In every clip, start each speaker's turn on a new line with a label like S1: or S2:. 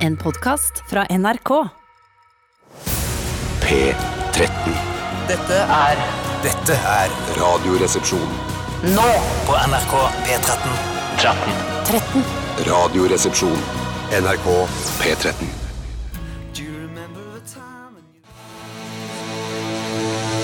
S1: En podkast fra NRK.
S2: P13.
S3: Dette er
S2: Dette er Radioresepsjon.
S3: nå på NRK P13. 13.
S2: Radioresepsjon. NRK P13.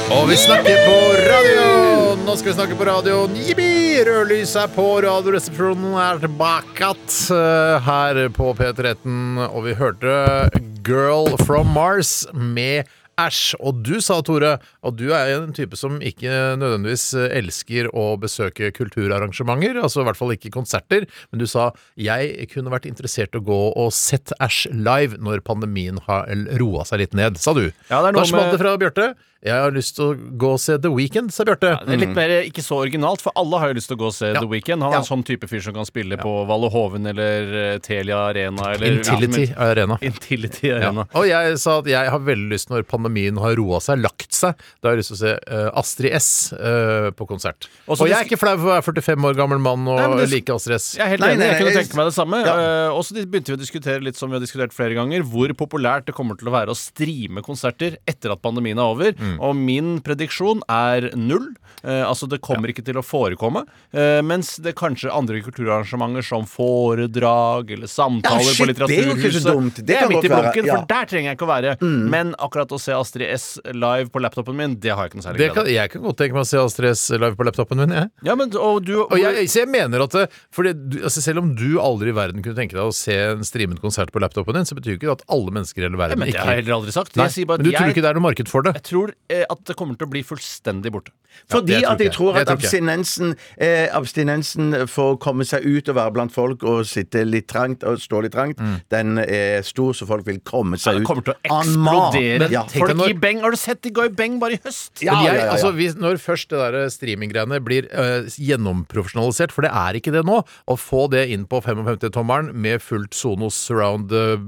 S4: Og vi snakker på radioen! Nå skal vi snakke på radioen. Jippi! Rødlyset er på, Radioresepsjonen er tilbake att, eh, her på P13. Og vi hørte Girl from Mars med Æsj. Og du sa, Tore, at du er en type som ikke nødvendigvis elsker å besøke kulturarrangementer. Altså i hvert fall ikke konserter. Men du sa jeg kunne vært interessert i å gå og sett Æsj live når pandemien har roa seg litt ned, sa du.
S5: Ja, det er
S4: da
S5: noe
S4: smalt
S5: med-
S4: det fra Bjarte. Jeg har lyst til å gå og se The Weeknd, sa Bjarte.
S5: Det er litt mer eh, ikke så originalt, for alle har jo lyst til å gå og se
S4: Mm. Ja.
S5: The Weeknd. Han er
S4: Ja.
S5: en sånn type fyr som kan spille på Valle Hoven eller eh, Telia Arena eller
S4: Intility
S5: Ja,
S4: Arena.
S5: men- Intility
S4: Ja.
S5: Arena.
S4: Og jeg sa at jeg har veldig lyst, når pandemien har roa seg, lagt seg, da har jeg lyst til å se eh, Astrid S eh, på konsert.
S5: Og
S4: Og,
S5: så
S4: jeg
S5: disk-
S4: er ikke flau for å være 45 år gammel mann og
S5: Nei, men det-
S4: like Astrid S.
S5: Jeg er helt
S4: Nei,
S5: enig,
S4: nei,
S5: jeg kunne
S4: jeg-
S5: tenke meg det samme.
S4: Ja.
S5: Eh, og så de- begynte vi å diskutere litt som vi har diskutert flere ganger, hvor populært det kommer til å være å streame konserter etter at pandemien er over.
S4: Mm.
S5: Og min prediksjon er null. Eh, altså det kommer ikke til å forekomme. Eh, mens det kanskje andre kulturarrangementer som foredrag eller samtaler
S6: Ja, shit,
S5: på
S6: det er jo
S5: Litteraturhuset
S6: ikke så dumt. Det
S5: Det er
S6: kan
S5: midt i
S6: godt være,
S5: blunken,
S6: ja.
S5: for der trenger jeg ikke å være.
S4: Mm.
S5: Men akkurat å se Astrid S live på laptopen min, det har jeg ikke noe særlig
S4: Det
S5: glede
S4: kan,
S5: av.
S4: jeg kan godt tenke meg å se Astrid S live på laptopen min. Jeg.
S5: Ja, men, og du,
S4: Og jeg, så jeg mener at det, fordi du, altså Selv om du aldri i verden kunne tenke deg å se en streamet konsert på laptopen din, så betyr ikke det at alle mennesker i hele
S5: Ja,
S4: verden
S5: men det
S4: ikke
S5: har jeg heller aldri sagt.
S4: Nei,
S5: jeg sier bare at
S4: Men du
S5: jeg,
S4: tror ikke det er noe marked for det?
S5: Jeg tror eh, at det kommer til å bli fullstendig borte.
S6: Fordi
S4: det tror
S6: at
S4: ikke
S6: jeg
S4: jeg. Det
S6: tror at
S4: tror ikke jeg.
S6: abstinensen, eh, abstinensen for å komme seg ut og være blant folk og sitte litt trangt og stå litt trangt, den er stor, så folk vil komme
S5: Ja,
S6: seg ut.
S5: det kommer til å
S6: en masse.
S5: eksplodere.
S6: Ja.
S4: tenk
S5: Folk
S4: deg når-
S5: i Beng, Har du sett de ga i Beng bare i høst?
S6: Ja,
S4: Men jeg,
S6: ja, ja, ja.
S4: Altså, hvis, når først det der streaminggreiene blir øh, gjennomprofesjonalisert, for det er ikke det nå, å få det inn på 55-tommeren med fullt Sonos surround øh,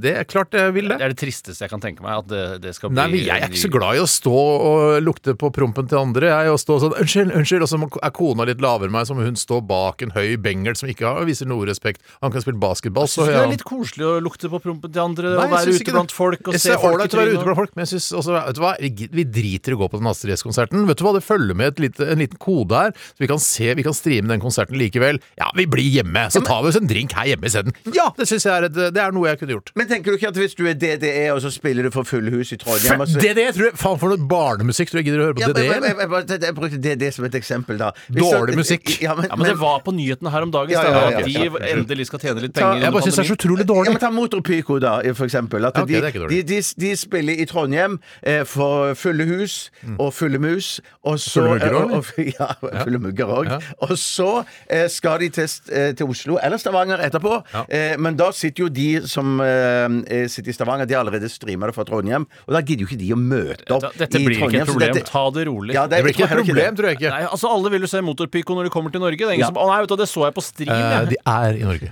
S4: Det er klart jeg vil
S5: Det
S4: det.
S5: er det tristeste jeg kan tenke meg. At det, det skal
S4: Nei, men
S5: bli
S4: Jeg er ikke så glad i å stå og lukte på prompen til andre. Jeg er jo å stå sånn 'unnskyld, unnskyld', og så må- er kona litt lavere enn meg, så må hun stå bak en høy bengel som ikke har, viser noe respekt. Han kan spille basketball, så
S5: Så det
S4: høy er
S5: er
S4: han.
S5: litt koselig å lukte på prompen til andre
S4: Nei,
S5: og
S4: jeg
S5: være
S4: synes
S5: ute
S4: ikke
S5: blant
S4: det.
S5: folk og
S4: Jeg
S5: se
S4: synes det er
S5: folk i
S4: ålreit å være ute
S5: trynet.
S4: blant folk, men jeg synes også, vet du hva, vi driter i å gå på den Astrid S-konserten. Vet du hva, det følger med et lite, en liten kode her, så vi kan se, vi kan streame den konserten likevel. Ja, vi blir hjemme, så tar vi oss en drink her hjemme isteden. Ja, det synes jeg er, et, det er noe jeg kunne gjort.
S6: Men tenker du ikke at hvis du er DDE, og så spiller du for fulle hus i Trondheim og så-
S4: DDE, tror jeg, faen for noe barnemusikk, tror jeg gidder å høre
S6: Ja,
S4: på
S6: men-
S4: DDE.
S6: jeg,
S4: eller?
S6: jeg, jeg, bare- jeg brukte DDE som et eksempel, da. Hvis du-
S4: Dårlig musikk.
S6: Ja, men,
S5: Ja, men det var på nyhetene her om dagen,
S6: Ja, ja,
S5: Steinar,
S6: ja,
S5: at
S6: ja,
S5: de endelig skal tjene litt
S6: Ta-
S5: penger.
S4: Jeg bare synes det er så utrolig
S6: Ja,
S4: dårlig.
S6: men Ta Motor Pyko, da, for eksempel. At
S4: Ja, ok, det er
S6: de,
S4: ikke
S6: de,
S4: dårlig.
S6: de, de spiller i Trondheim eh, for fulle hus og fulle mus. Og så,
S4: Mm. Fulle mugger også,
S6: og- og- Ja, fulle mugger òg.
S4: Ja.
S6: Og så eh, skal de til, eh, til Oslo eller Stavanger etterpå.
S4: Ja.
S6: Eh, men da sitter jo de som eh, sitter i Stavanger, de har allerede streama det fra Trondheim. Og da gidder jo ikke de å møte opp
S5: Da- Dette
S6: i
S5: blir ikke
S6: Trondheim.
S5: et
S6: så
S5: problem.
S6: dette-
S5: Ta det rolig.
S6: Ja, det,
S4: Det blir ikke
S6: jeg
S4: et
S6: tror heller
S4: problem, tror jeg ikke.
S5: Nei, altså Alle vil jo se Motorpyko når de kommer til Norge. Det er ingen
S6: Ja.
S5: som, å, nei, vet du, det så jeg på stream.
S4: Eh,
S5: jeg.
S4: de er i Norge.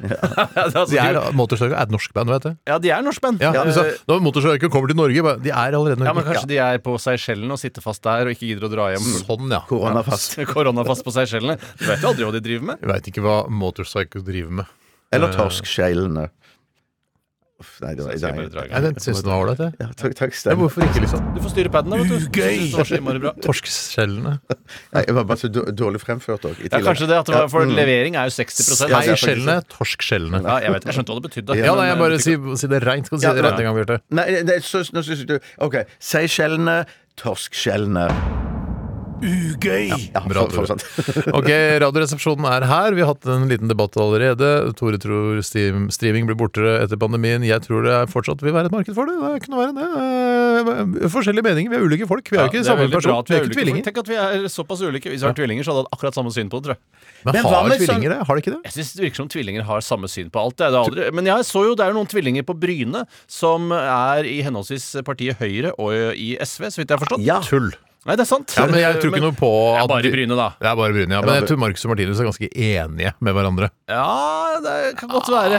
S5: Altså,
S4: De er,
S5: de-
S4: Motorsorga er et norsk band, vet du.
S5: ja, de er norskmenn.
S4: Ja,
S5: Eh,
S4: du sa, når Motorsorga kommer til Norge, bare, de er allerede i
S5: Ja, men
S4: Norge.
S5: kanskje de er på Seychellen og sitter fast der og ikke gidder å dra hjem.
S4: Sånn, ja.
S6: Koronafast.
S5: Korona fast på Seychellene. Du vet jo aldri hva de driver med.
S4: Jeg vet ikke hva Motorpsycho driver med.
S6: Eller torskskjellene. Uff, nei, det var
S5: Skal jeg bare dra i
S4: Jeg
S5: gang?
S4: synes den var ålreit, jeg.
S6: Ja, takk, takk
S4: Ja,
S6: Stein.
S4: Hvorfor ikke, liksom?
S5: Du får styre paden, da. vet du.
S4: Ugøy!
S5: Det var så innmari bra.
S4: Torskskjellene.
S6: Nei, Jeg var bare så dår- dårlig fremført òg.
S5: Ja, kanskje det. at det var, For levering er jo 60
S6: mm. Ja, det er faktisk-
S4: Skjellene, torskskjellene.
S5: Ja, jeg vet, jeg skjønte hva det betydde.
S4: Ja, nei, jeg
S5: men-
S4: bare sier si det reint. Kan du si
S6: Ja,
S4: det
S6: ja.
S4: reint en gang, Bjarte?
S6: Nei, det er så, nå synes jeg du OK. Seychellene, torskskjellene. Ugøy! Ja,
S4: Bra,
S6: for,
S4: Tore.
S6: fortsatt.
S4: Ok, Radioresepsjonen er her. Vi har hatt en liten debatt allerede. Tore tror steam, streaming blir bortere etter pandemien. Jeg tror det er fortsatt vil være et marked for det. Det kunne være det. Eh, Forskjellige meninger. Vi er ulike folk. Vi er jo ikke
S5: det er
S4: samme
S5: veldig bra
S4: person.
S5: at
S4: Vi er jo
S5: ulike,
S4: ikke
S5: for
S4: tvillinger.
S5: Tenk at vi er såpass ulike. Hvis vi var tvillinger, så hadde vi hatt akkurat samme syn på det, tror jeg.
S4: Men
S6: Men hva
S4: har
S6: med
S4: tvillinger det? Har de ikke det?
S5: Jeg synes Det virker som tvillinger har samme syn på alt. Det er det aldri. Men jeg så jo det er jo noen tvillinger på Bryne som er i henholdsvis partiet Høyre og i SV, så vidt jeg har forstått.
S6: Ja.
S4: Tull.
S5: Nei, det er sant.
S4: Ja, men jeg tror ikke
S5: Eh, Men-
S4: noe på
S5: Jeg er
S4: at
S5: bare i brynet, da.
S4: Det er bare Bryne, ja. Men jeg tror Marcus og Martinus er ganske enige med hverandre.
S5: Ja, det kan godt være.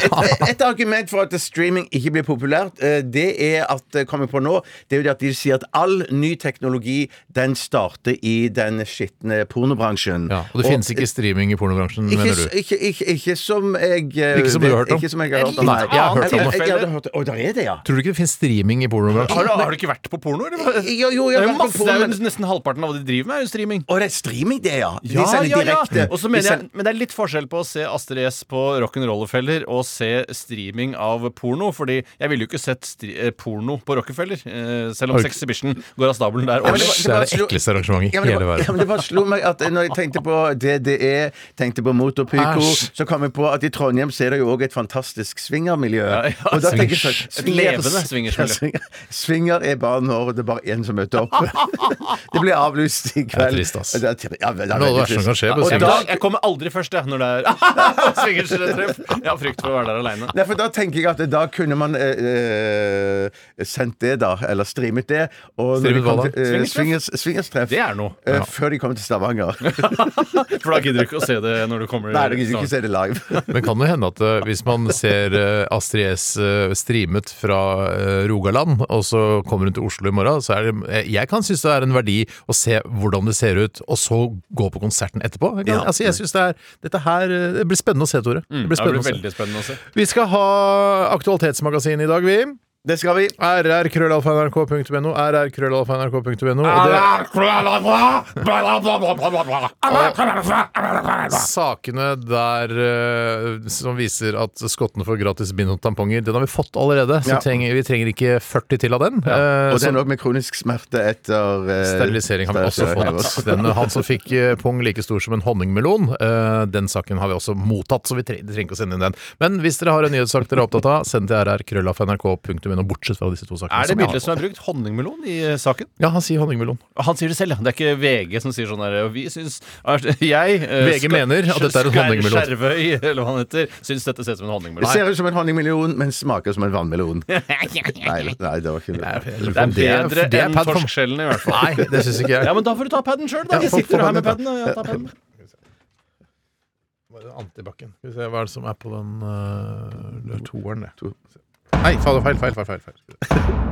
S6: Et, et argument for at streaming ikke blir populært, eh, det er at eh, kommer jeg på nå, det er jo det at de sier at all ny teknologi den starter i den skitne pornobransjen.
S4: Ja, og det finnes ikke streaming i pornobransjen,
S6: ikke,
S4: mener
S6: s-
S4: du?
S6: ikke, ikke, ikke som jeg eh,
S4: Ikke som du har
S6: vet-
S4: hørt om?
S6: Ikke som jeg har hørt om.
S5: Litt
S6: nei.
S5: annet tilfelle.
S6: jeg- jeg hadde hørt- Å, der er det, ja.
S4: Tror du ikke det finnes streaming i pornobransjen?
S5: Har du, har du ikke vært på porno, eller?
S6: Jo, jo,
S5: det
S6: jeg
S5: er
S6: har
S5: jo
S6: vært på
S5: masse,
S6: porno,
S5: det er
S6: men-
S5: jo nesten halvparten av hva de driver med, er jo streaming.
S6: Å, det er streaming, det, ja. De
S5: Ja,
S6: sender
S5: ja, ja.
S6: direkte.
S5: Og så
S6: De
S5: mener jeg,
S6: sender-
S5: men det er litt forskjell på å se Astrid S på Rock'n'Rollerfeller og se streaming av porno. Fordi jeg ville jo ikke sett stri eh, porno på Rockefeller, eh, selv om
S4: Har du ikke-
S5: Sexhibition går av stabelen der
S6: men
S4: Æsj,
S5: årlig.
S4: det
S6: det var-
S4: er det
S6: slo-
S4: ekleste arrangementet
S6: Ja,
S4: i
S6: men,
S4: hele
S6: det bare, ja,
S4: verden.
S6: men det bare slo meg at når jeg tenkte på DDE, tenkte på Motorpyko,
S4: Æsj.
S6: så kom jeg på at i Trondheim så er det jo òg et fantastisk swingermiljø.
S5: Ja, ja,
S6: og da tenker jeg
S5: swingers.
S6: sånn
S5: Et levende swingersmiljø.
S6: Ja, swinger, swinger er bare når det er bare én som møter opp. det blir avlyst i kveld.
S4: trist, ass.
S6: Det er tri- ja, det er
S4: Noe av det
S6: veldig
S4: verste som kan
S6: trist.
S4: skje på
S6: Og
S5: Jeg,
S4: swingers.
S6: da-
S5: jeg kommer aldri først, jeg, når det er swingerstreff. Jeg har frykt for å være der aleine.
S6: Nei, for Da tenker jeg at da kunne man eh, eh, sendt det, da. Eller streamet det. Og når
S4: Streamet
S6: de kom
S4: hva da?
S6: til, eh,
S5: Swingerstreff?
S6: swingers- Swingerstreff.
S5: Det er noe.
S6: eh, Før de kom til Stavanger.
S5: For da gidder du ikke å se det når du kommer.
S6: Nei, da gidder jeg ikke se det live.
S4: Men kan det hende at eh, hvis man ser eh, Astrid S eh, streamet fra eh, Rogaland, og så kommer hun til Oslo i morgen, så er det eh, Jeg kan synes det er en verdi å se hvordan det ser ut, og så gå på konserten etterpå. Jeg, kan, altså, jeg synes det er Dette her eh, Det blir spennende å se, Tore. Det blir
S5: det
S4: spennende
S5: blir
S4: å se.
S5: veldig spennende å se.
S4: Vi skal ha Aktualitetsmagasinet i dag, vi.
S6: Det skal vi.
S4: rrkrøllalfa.nrk.no. rrkrøllalfa.nrk.no. Og det er sakene der eh, som viser at skottene får gratis bind og tamponger. Den har vi fått allerede, så
S6: Ja.
S4: trenger, vi trenger ikke 40 til av den. Eh,
S6: Og
S4: så
S6: den òg med kronisk smerte etter eh,
S4: Sterilisering har vi også
S6: sterilisering.
S4: fått. Den, han som fikk eh, pung like stor som en honningmelon, eh, den saken har vi også mottatt, så vi tre- trenger ikke å sende inn den. Men hvis dere har en nyhetssak dere er opptatt av, send til rrkrøllalfa.nrk.no, bortsett fra disse to sakene.
S5: Er det
S4: som jeg har
S5: bildet som er brukt? Honningmelon i eh, saken?
S4: Ja, han sier honningmelon.
S5: Han sier det selv, ja. Det er ikke VG som sier sånn der Vi syns Jeg eh,
S4: VG
S5: Skar-
S4: mener at dette er en
S5: Skar-
S4: honningmelon.
S5: Skjervøy, eller hva han heter, syns dette ser ut som en
S6: Det
S5: honningmelon.
S6: ser ut som en honningmelon, men smaker som en vannmelon. Nei, nei, det var ikke det.
S5: Nei, Det er bedre
S4: det er
S5: enn
S4: pad for-
S5: torskskjellene, i hvert fall.
S4: Nei, det syns ikke
S5: Ja,
S4: jeg.
S5: men da får du ta paden sjøl, da.
S4: Ja,
S5: Jeg
S4: få-
S5: sitter
S4: få
S5: jo her med
S4: padden,
S5: paden. Og jeg tar padden.
S4: Antibac-en. Skal vi se hva er det som er på den uh, toeren, det. Nei, faen, feil, feil, feil. feil, feil.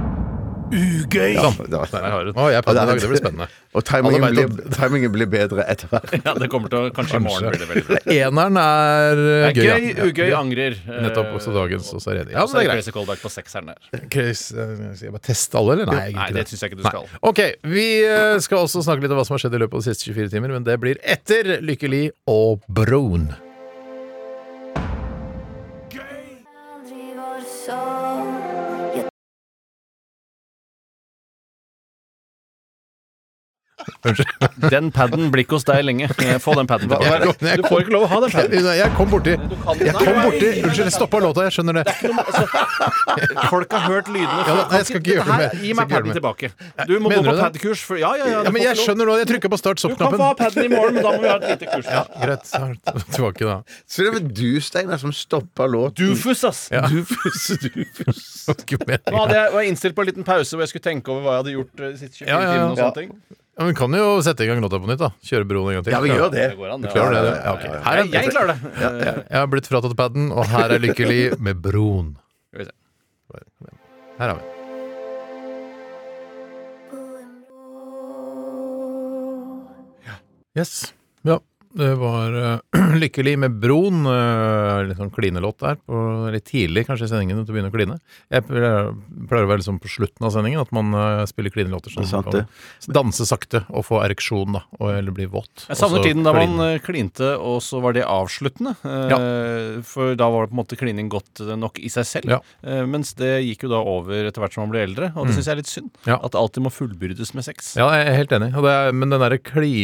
S3: Ugøy!
S6: Ja, det var-
S5: Der har du den.
S4: Å, jeg er padden i dag. Det blir spennende.
S6: Og timingen
S4: Alle vet
S6: blir, timingen blir bedre etter hvert.
S5: Ja, det kommer til å Kanskje i morgen blir det veldig bra.
S4: Eneren er
S5: Det
S4: eh,
S5: er
S4: gøy.
S5: Gøy,
S4: ja.
S5: ugøy, angrer. eh,
S4: Nettopp. Også dagens, og så er det enig.
S5: Ja,
S4: Ja, men det er greit.
S5: Crazy callback på sekseren der.
S4: Chris, eh, skal jeg bare teste alle, eller? jeg gidder
S5: Nei,
S4: ikke
S5: det syns jeg ikke du
S4: Nei.
S5: skal.
S4: Ok, Vi eh, skal også snakke litt om hva som har skjedd i løpet av de siste 24 timer, men det blir etter Lykke Li og Broen.
S5: Den paden blir ikke hos deg lenge. Eh, Få den paden
S4: hva er
S5: tilbake.
S4: det?
S5: Du får ikke lov å ha den paden.
S4: Nei, Jeg kom borti
S5: kan-
S4: Jeg kom borti Unnskyld, jeg stoppa låta. Jeg skjønner det.
S5: Folk har hørt lydene.
S4: Ja, nei, jeg skal ikke gjøre det mer. Jeg skal
S5: Her, Gi meg
S4: ikke gjøre
S5: paden
S4: det
S5: tilbake. Du må gå
S4: Mener du
S5: på
S4: det?
S5: padkurs. for- Ja, ja, ja.
S4: Ja, men jeg skjønner nå. Jeg trykka på start
S5: Du kan få ha
S4: stopp-knappen.
S5: paden i morgen, men da må vi ha et lite kurs.
S4: Ja, greit. så er det Tilbake, da.
S6: Så det var du, Steinar, som stoppa låten.
S5: Dufus, ass!
S4: Ja.
S6: Dufus, dufus.
S4: Det var ikke meningen.
S5: Nå hadde jeg var jeg innstilt på en liten pause hvor jeg skulle tenke over hva jeg hadde gjort eh, de siste 24
S4: Ja, ja, ja.
S5: timene. og
S4: Ja.
S5: sånne ting.
S4: Ja, men vi kan jo sette i gang låta på nytt, da. Kjøre broen en gang til.
S6: Ja, vi gjør det.
S5: Det går an,
S4: Du
S5: det.
S4: klarer det, du?
S5: Ja, ja, ja.
S4: Ja, ok. Her
S5: Jeg, jeg
S4: er
S5: klarer det.
S4: Jeg har blitt fratatt paden, og her er Lykke Li med Broen.
S5: Skal vi se.
S4: Her er vi. Yes. Ja. Det var eh, Lykke Li med Broen. eh, litt sånn klinelåt der. På, litt tidlig kanskje i sendingen til å begynne å kline. Jeg pleier pleier å være liksom på slutten av sendingen at man eh, spiller klinelåter sånn
S6: Det er
S4: at
S6: sant,
S4: man kan danse sakte og få ereksjon, da. Og, eller bli våt.
S5: Jeg savner
S4: og så
S5: tiden da man
S4: kline.
S5: eh, klinte, og så var det avsluttende. Eh, For da var det på en måte klining godt eh, nok i seg selv.
S4: Ja. Mm.
S5: Eh, Mens det gikk jo da over etter hvert som man ble eldre, og det syns jeg er litt synd.
S4: Ja.
S5: At det alltid må fullbyrdes med sex.
S4: eh, Ja, jeg er helt enig. Og det er, men den derre kli...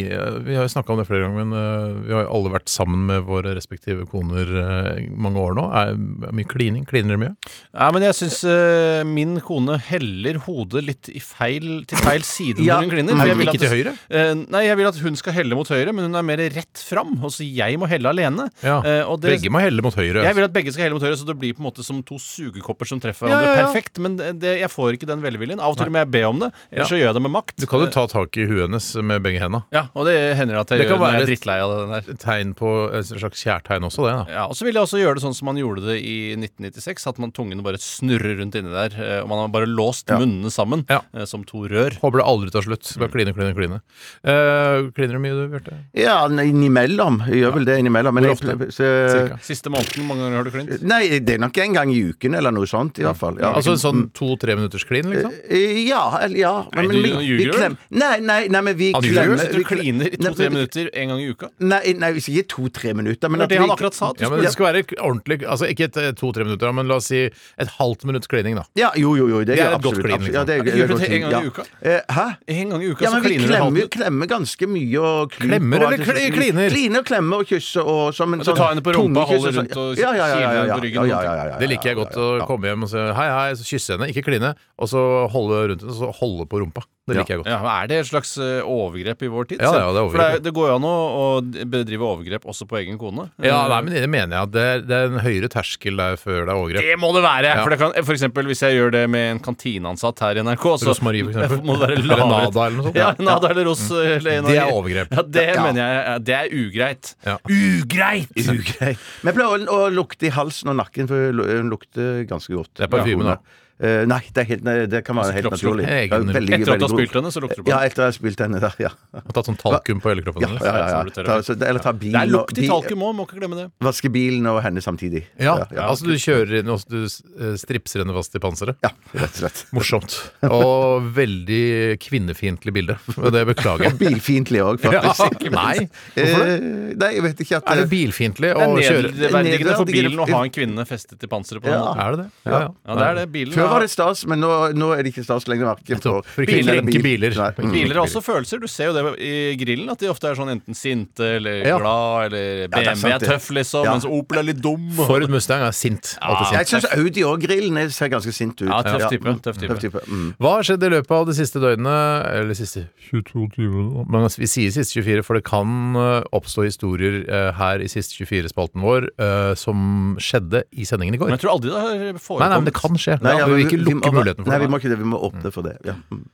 S4: Vi har jo snakka om det flere ganger, men øh, vi har jo alle vært sammen med våre respektive koner eh, i mange år nå. Er er mye klining? Kliner dere mye?
S5: Nei, men jeg syns eh, min kone heller hodet litt i feil, til feil side
S6: Ja.
S5: når hun kliner.
S4: Mm. Nei,
S5: for jeg vil
S4: ikke
S5: at-
S4: til høyre?
S5: Eh, nei, jeg vil at hun skal helle mot høyre, men hun er mer rett fram. Og så jeg må helle alene.
S4: Ja.
S5: Eh, og det,
S4: Begge må helle mot høyre.
S5: jeg vil at begge skal helle mot høyre, så det blir på en måte som to sugekopper som treffer
S4: Ja,
S5: hverandre
S4: ja, ja.
S5: perfekt. Men det, det, jeg får ikke den velviljen. Av og til må jeg be om det, ellers så gjør jeg det med makt. Eh,
S4: Du kan jo ta tak i huet hennes med begge henda.
S5: Ja, og det hender at jeg
S4: Det
S5: gjør
S4: kan
S5: når jeg er
S4: være-
S5: drittlei av den der.
S4: Tegn på et slags kjærtegn også, det. da
S5: Ja, og så vil jeg også gjøre det sånn som man gjorde det i 1996, at man tungen bare snurrer rundt inni der, eh, og man har bare låst munnene sammen
S4: Ja.
S5: eh, som to rør.
S4: Håper det aldri tar slutt. Bare kline, kline, kline. Eh, kliner du mye, du, Bjarte?
S6: Ja, innimellom. Jeg gjør vel det innimellom. Men
S4: Hvor
S6: jeg,
S4: ofte?
S6: ple-
S4: Cirka.
S6: så,
S5: Siste måneden, hvor mange ganger har du klint?
S6: nei, det er nok en gang i uken eller noe sånt, i hvert fall. Ja.
S4: Altså en sånn to-tre minutters klin, liksom?
S6: Eh, Ja, eller ja
S5: Nei, du Ah,
S6: vi- vi
S5: ljuger jo.
S6: klem- Nei, nei, nei, men vi
S4: Han ljuger.
S6: klemmer
S5: Sitter
S6: vi
S5: og
S6: klem-
S5: kliner i
S6: Nei,
S5: to-tre
S6: men-
S5: minutter en gang i uka?
S6: Nei, nei, hvis ikke to-tre minutter men
S5: Det
S6: at
S5: er det
S6: vi-
S5: han akkurat sa. at du
S4: Ja, men
S5: skulle-
S4: Det skal være et ordentlig Altså ikke et eh, to-tre minutter, men la oss si et halvt minutts klining, da.
S6: Ja, jo, jo, jo. Det,
S4: er
S6: gjør
S4: et godt
S6: absolutt-
S4: klin,
S6: absolutt-
S4: liksom.
S6: Ja,
S5: Gjør
S6: det, er-
S5: du
S6: er godt
S5: det en
S6: klin,
S5: gang i
S6: ja.
S5: uka?
S6: Eh, hæ?
S5: En gang i uka
S6: Ja,
S5: så
S6: men vi
S5: kliner du
S6: klemmer,
S5: halvt.
S6: klemmer ganske mye og klyper
S4: Klemmer
S6: og alt
S4: eller
S6: det sånn.
S4: kli- kliner?
S6: Kliner, klemmer og kysser og som en
S5: Så
S6: sånn
S5: tar henne på rumpa,
S6: tungekyss
S5: holder
S6: sånn.
S5: rundt og
S6: ja, ja, ja, ja,
S5: kiler
S6: ja,
S5: henne på ryggen
S6: ja,
S5: og
S6: ja,
S5: sånn.
S6: ja, ja, ja,
S4: Det liker jeg godt.
S6: ja,
S4: Å
S6: ja.
S4: komme hjem og si hei, hei, så kysse henne. Ikke kline, og så holde rundt henne, og så holde på rumpa. Det liker jeg godt.
S5: Ja, men Er det et slags eh, overgrep i vår tid?
S4: Ja,
S5: selv?
S4: ja, det er overgrep,
S5: For det,
S4: ja.
S5: er- det går jo an å, å bedrive overgrep også på egen kone.
S4: Ja, nei, men Det mener jeg at det er, det er en høyere terskel der før det er overgrep.
S5: Eh, Det må det være!
S4: Ja.
S5: For, det kan, eh, for eksempel hvis jeg gjør det med en kantineansatt her i NRK, så
S4: Rosmarie, for eksempel.
S5: må det være
S4: Eller
S5: lavere.
S4: Nada eller noe sånt.
S5: Ja, Nada eller Ros. eh, Eller
S4: Det er overgrep.
S5: Ja, det
S6: Ja.
S5: mener jeg er- Det er ugreit.
S4: Ja.
S5: Ugreit!
S6: Ugreit. Men jeg pleier å, å lukte i halsen og nakken, for lu- hun lukter ganske godt.
S4: Det er parfyme, da.
S6: Eh, nei, det, er helt, nei, det kan være helt
S5: kroppslukt.
S6: naturlig.
S4: Egen-
S6: Ja, veldig-
S5: Etter at du
S6: veldig
S5: har
S6: god.
S5: spylt henne, så lukter du på
S6: Ja,
S5: henne.
S6: etter at jeg har spilt henne der, ja.
S4: Har tatt sånn talkum på hele kroppen. liksom,
S6: ja, ja,
S4: eller?
S6: ja,
S5: Som
S6: ja.
S5: blir
S6: Ta, så, eller ta bilen
S5: Det er lukt i
S6: og- bi-
S5: talkum òg, må ikke glemme det.
S6: Vaske bilen og henne samtidig.
S4: Ja,
S6: ja, ja.
S4: altså du kjører inn og du eh, stripser henne fast i panseret.
S6: Ja, rett og slett.
S4: Morsomt. Og veldig kvinnefiendtlig bilde. Og det beklager jeg.
S6: Bilfiendtlig òg, faktisk.
S4: Ja, nei.
S6: Eh, nei, jeg vet ikke at eh,
S4: Er det bilfiendtlig
S5: Det
S4: å
S5: er
S4: kjøre
S5: nedverdigende for
S6: Nedverdigende-
S5: bilen å ha en kvinne festet til panseret på den
S6: Ja.
S5: måten.
S4: Er det det? Ja, ja.
S5: Ja, det er det. Bilen
S6: Før
S5: er-
S6: var det stas, men nå, nå er det ikke stas lenger. Verken for
S4: Nettopp. For ikke å krenke biler. Mm.
S6: Nei.
S4: Ikke
S5: Biler har også følelser. Du ser jo det i grillen, at de ofte er sånn enten sinte eller
S4: Ja.
S5: glad, eller
S6: det
S5: BMW er,
S6: er sant, det.
S5: tøff, liksom,
S6: Ja.
S5: mens Opel er litt dum.
S4: Ford Mustang er sint. Alltid
S6: Jeg
S4: sint.
S6: syns Audi og grillen ser ganske sint ut.
S5: Ja, tøff type,
S6: mm,
S5: tøff type.
S6: Mm.
S4: Hva har skjedd i løpet av de siste døgnet, eller siste 22 timene? nå? Men altså, vi sier siste 24, for det kan eh, oppstå historier eh, her i siste 24-spalten vår eh, som skjedde i sendingen i går.
S5: Men jeg tror aldri det har
S4: Nei, nei, men
S5: forekommet.
S4: det kan skje.
S6: Nei, ja,
S4: vi
S6: men
S4: vil ikke
S6: vi må-
S4: lukke muligheten for
S6: Nei, vi
S4: det.
S6: må ikke det. Vi må åpne for det. Ja. Mm.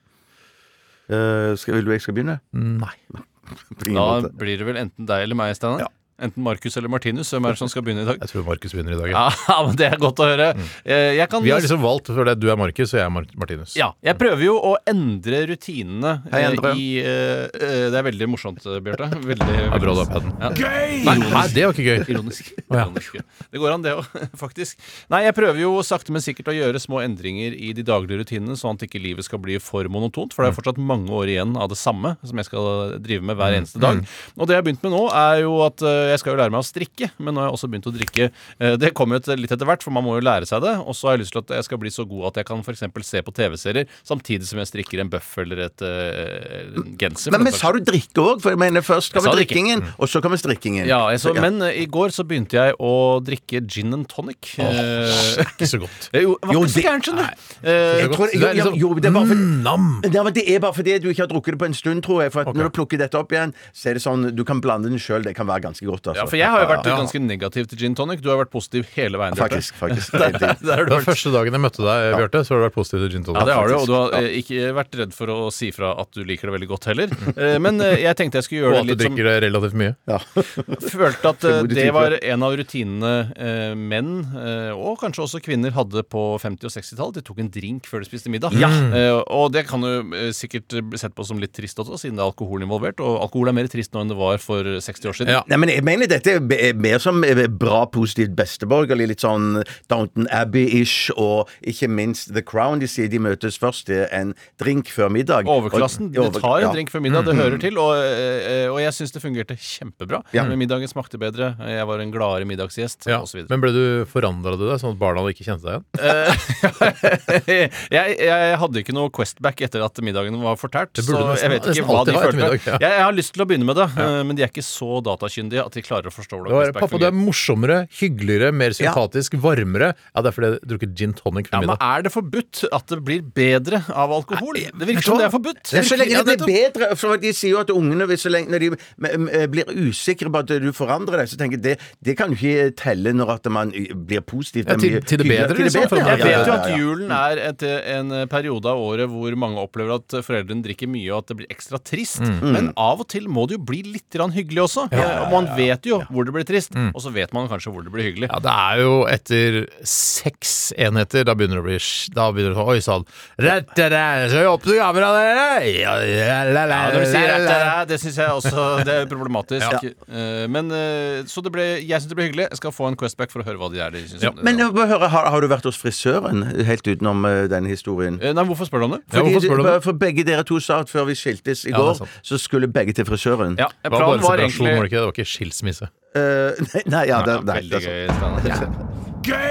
S6: Eh, skal, vil du jeg skal begynne?
S4: Nei.
S6: På ingen
S5: Da
S6: måte.
S5: blir det vel enten deg eller meg, Steinar. Enten Markus eller Martinus. Hvem er det som skal begynne i dag?
S4: Jeg tror Markus vinner i dag. Ja.
S5: Ja, men Det er godt å høre. Eh, Jeg kan
S4: Vi har liksom valgt for det er du er Markus, og jeg er Mar- Martinus.
S5: ja, jeg prøver jo å endre rutinene
S6: Hei,
S5: eh,
S6: Endre.
S5: i eh, eh, Det er veldig morsomt, Bjarte. Veldig,
S4: Det er bra du
S5: veldig
S4: har padden.
S5: Gøy!
S4: Nei, hæ, det var ikke gøy.
S5: Ironisk.
S4: Å, ja.
S5: Ironisk, ja. Det går an, det òg, faktisk. Nei, jeg prøver jo sakte, men sikkert å gjøre små endringer i de daglige rutinene, sånn at ikke livet skal bli for monotont, for det er fortsatt mange år igjen av det samme som jeg skal drive med hver eneste dag. Og det jeg har begynt med nå, er jo at eh, jeg skal jo lære meg å strikke, men nå har jeg også begynt å drikke. Eh, Det kommer jo et- litt etter hvert, for man må jo lære seg det. Og så har jeg lyst til at jeg skal bli så god at jeg kan f.eks. se på TV-serier samtidig som jeg strikker en bøff eller et eh, en genser. for
S6: Men,
S5: den
S6: men
S5: saks
S6: sa du drikke òg? For jeg mener, først
S5: Jeg sa
S6: kommer
S5: drikke. Mm.
S6: drikkingen, og så kommer strikkingen.
S5: Ja, jeg så,
S6: Ja.
S5: men eh, i går så begynte jeg å drikke gin and tonic. Eh,
S4: Ikke så godt.
S5: eh, jo, det var
S6: Jo,
S5: ikke så
S6: det-
S5: gærent, skjønner du. Eh,
S6: Jeg tror,
S4: Det
S6: jo,
S4: er
S6: jo,
S4: liksom-
S6: jo, det er bare for,
S4: Mm, nam.
S6: Ja, men Det er bare fordi du ikke har drukket det på en stund, tror jeg. For at når du plukker dette opp igjen, så er det sånn Du kan blande den sjøl. Det kan være ganske godt. Altså.
S5: Ja, for jeg har jo vært
S4: Ja.
S5: ganske negativ til gin tonic. Du har vært positiv hele veien. Bjarte.
S6: Faktisk. faktisk
S5: Der har
S4: Det
S5: du
S4: var
S5: vært.
S4: første dagen jeg møtte deg, Bjarte, så har du vært positiv til gin tonic.
S5: Ja, det har du, og
S6: faktisk.
S5: du har eh, ikke vært redd for å si fra at du liker det veldig godt heller. Eh, Men eh, jeg tenkte jeg skulle
S4: Og
S5: gjøre
S4: at du
S5: det litt sånn- som
S4: drikker det relativt mye.
S5: følte at eh,
S6: må du
S5: det
S6: type.
S5: var en av rutinene eh, menn, eh, og kanskje også kvinner, hadde på 50- og 60-tallet. De tok en drink før de spiste middag. Eh, og det kan jo eh, sikkert bli sett på som litt trist også, siden det er alkohol involvert. Og alkohol er mer trist nå enn det var for 60 år siden.
S4: Ja.
S6: Nei, men jeg, mener dette er be- er mer som eh, bra, positivt besteborgerlig. Litt sånn Downton Abbey-ish, og ikke minst The Crown. De sier de møtes først til en drink før middag.
S5: Overklassen
S6: Og-
S5: de
S6: over-
S5: tar
S6: ja.
S5: en drink før middag, det hører til. Og, eh, eh, og jeg syns det fungerte kjempebra. Men Middagen smakte bedre, jeg var en gladere middagsgjest
S4: Ja.
S5: osv.
S4: Men ble du forandra du deg, sånn at barna ikke kjente deg igjen?
S5: jeg, jeg hadde ikke noe questback etter at middagen var fortært.
S4: Det
S5: Så
S4: burde nesten-
S5: jeg vet ikke
S4: nesten
S5: hva
S4: alltid
S5: de
S4: være
S5: følte.
S4: ettermiddag, ja.
S5: Jeg, jeg har lyst til å begynne med det, eh, men de er ikke så datakyndige at de klarer å forstå
S4: Det
S5: hvordan
S4: var,
S5: questback
S4: Pappa, du er
S5: fungerer.
S4: morsommere, hyggeligere, mer sympatisk, varmere. Ja, det er fordi jeg drukket gin tonic
S5: Ja,
S4: før
S5: men
S4: middag.
S5: Er det forbudt at det blir bedre av alkohol? Det virker som det er forbudt.
S6: Ja, så lenge
S5: Ja,
S6: det blir
S5: nettopp.
S6: bedre for De sier jo at ungene hvis så lenge, når de m- m- blir usikre på at du forandrer deg, så tenker jeg det, det kan jo ikke telle når at man y- blir positiv.
S4: Ja,
S6: Det er
S4: til-
S6: mye
S4: til det
S6: hyggeligere.
S4: bedre,
S6: Til
S4: liksom, for
S6: ja,
S5: Jeg
S4: meg.
S6: ja, ja,
S5: vet jo
S6: ja,
S5: at
S6: ja.
S5: julen er et, en periode av året hvor mange opplever at foreldrene drikker mye og at det blir ekstra trist. Men av og til må det jo bli litt grann hyggelig også. Og man vet jo hvor det blir trist, og så vet man kanskje hvor det blir hyggelig.
S4: Ja, det er jo etter seks enheter, da begynner det å bli sj- Da begynner det å Oi sånn. sann. Rett, rett, rett, Så åpner kameraet, dere! Ja, ja, la, la,
S5: Ja, når du sier
S4: la,
S5: at
S4: la,
S5: det
S4: la.
S5: er, det syns jeg også det er problematisk. Eh, Men eh, Så det ble, jeg syns det ble hyggelig. Jeg skal få en questback for å høre hva de er de syns. om det.
S6: Men jeg må høre, har, har du vært hos frisøren helt utenom eh, denne historien?
S5: Eh, Nei, hvorfor spør du om det?
S4: Ja, hvorfor spør du om det?
S6: Fordi- For begge dere to sa at før vi skiltes i
S4: det er
S6: går,
S4: sant.
S6: så skulle begge til frisøren.
S5: Ja,
S4: Det var bare
S5: planen
S4: separasjon, var
S5: var
S4: det
S5: egentlig
S4: ikke det? Det var ikke skilsmisse.
S6: Eh, nei, nei, ja, det, nei, det
S5: Veldig gøy.
S6: er sant.
S5: Steinar.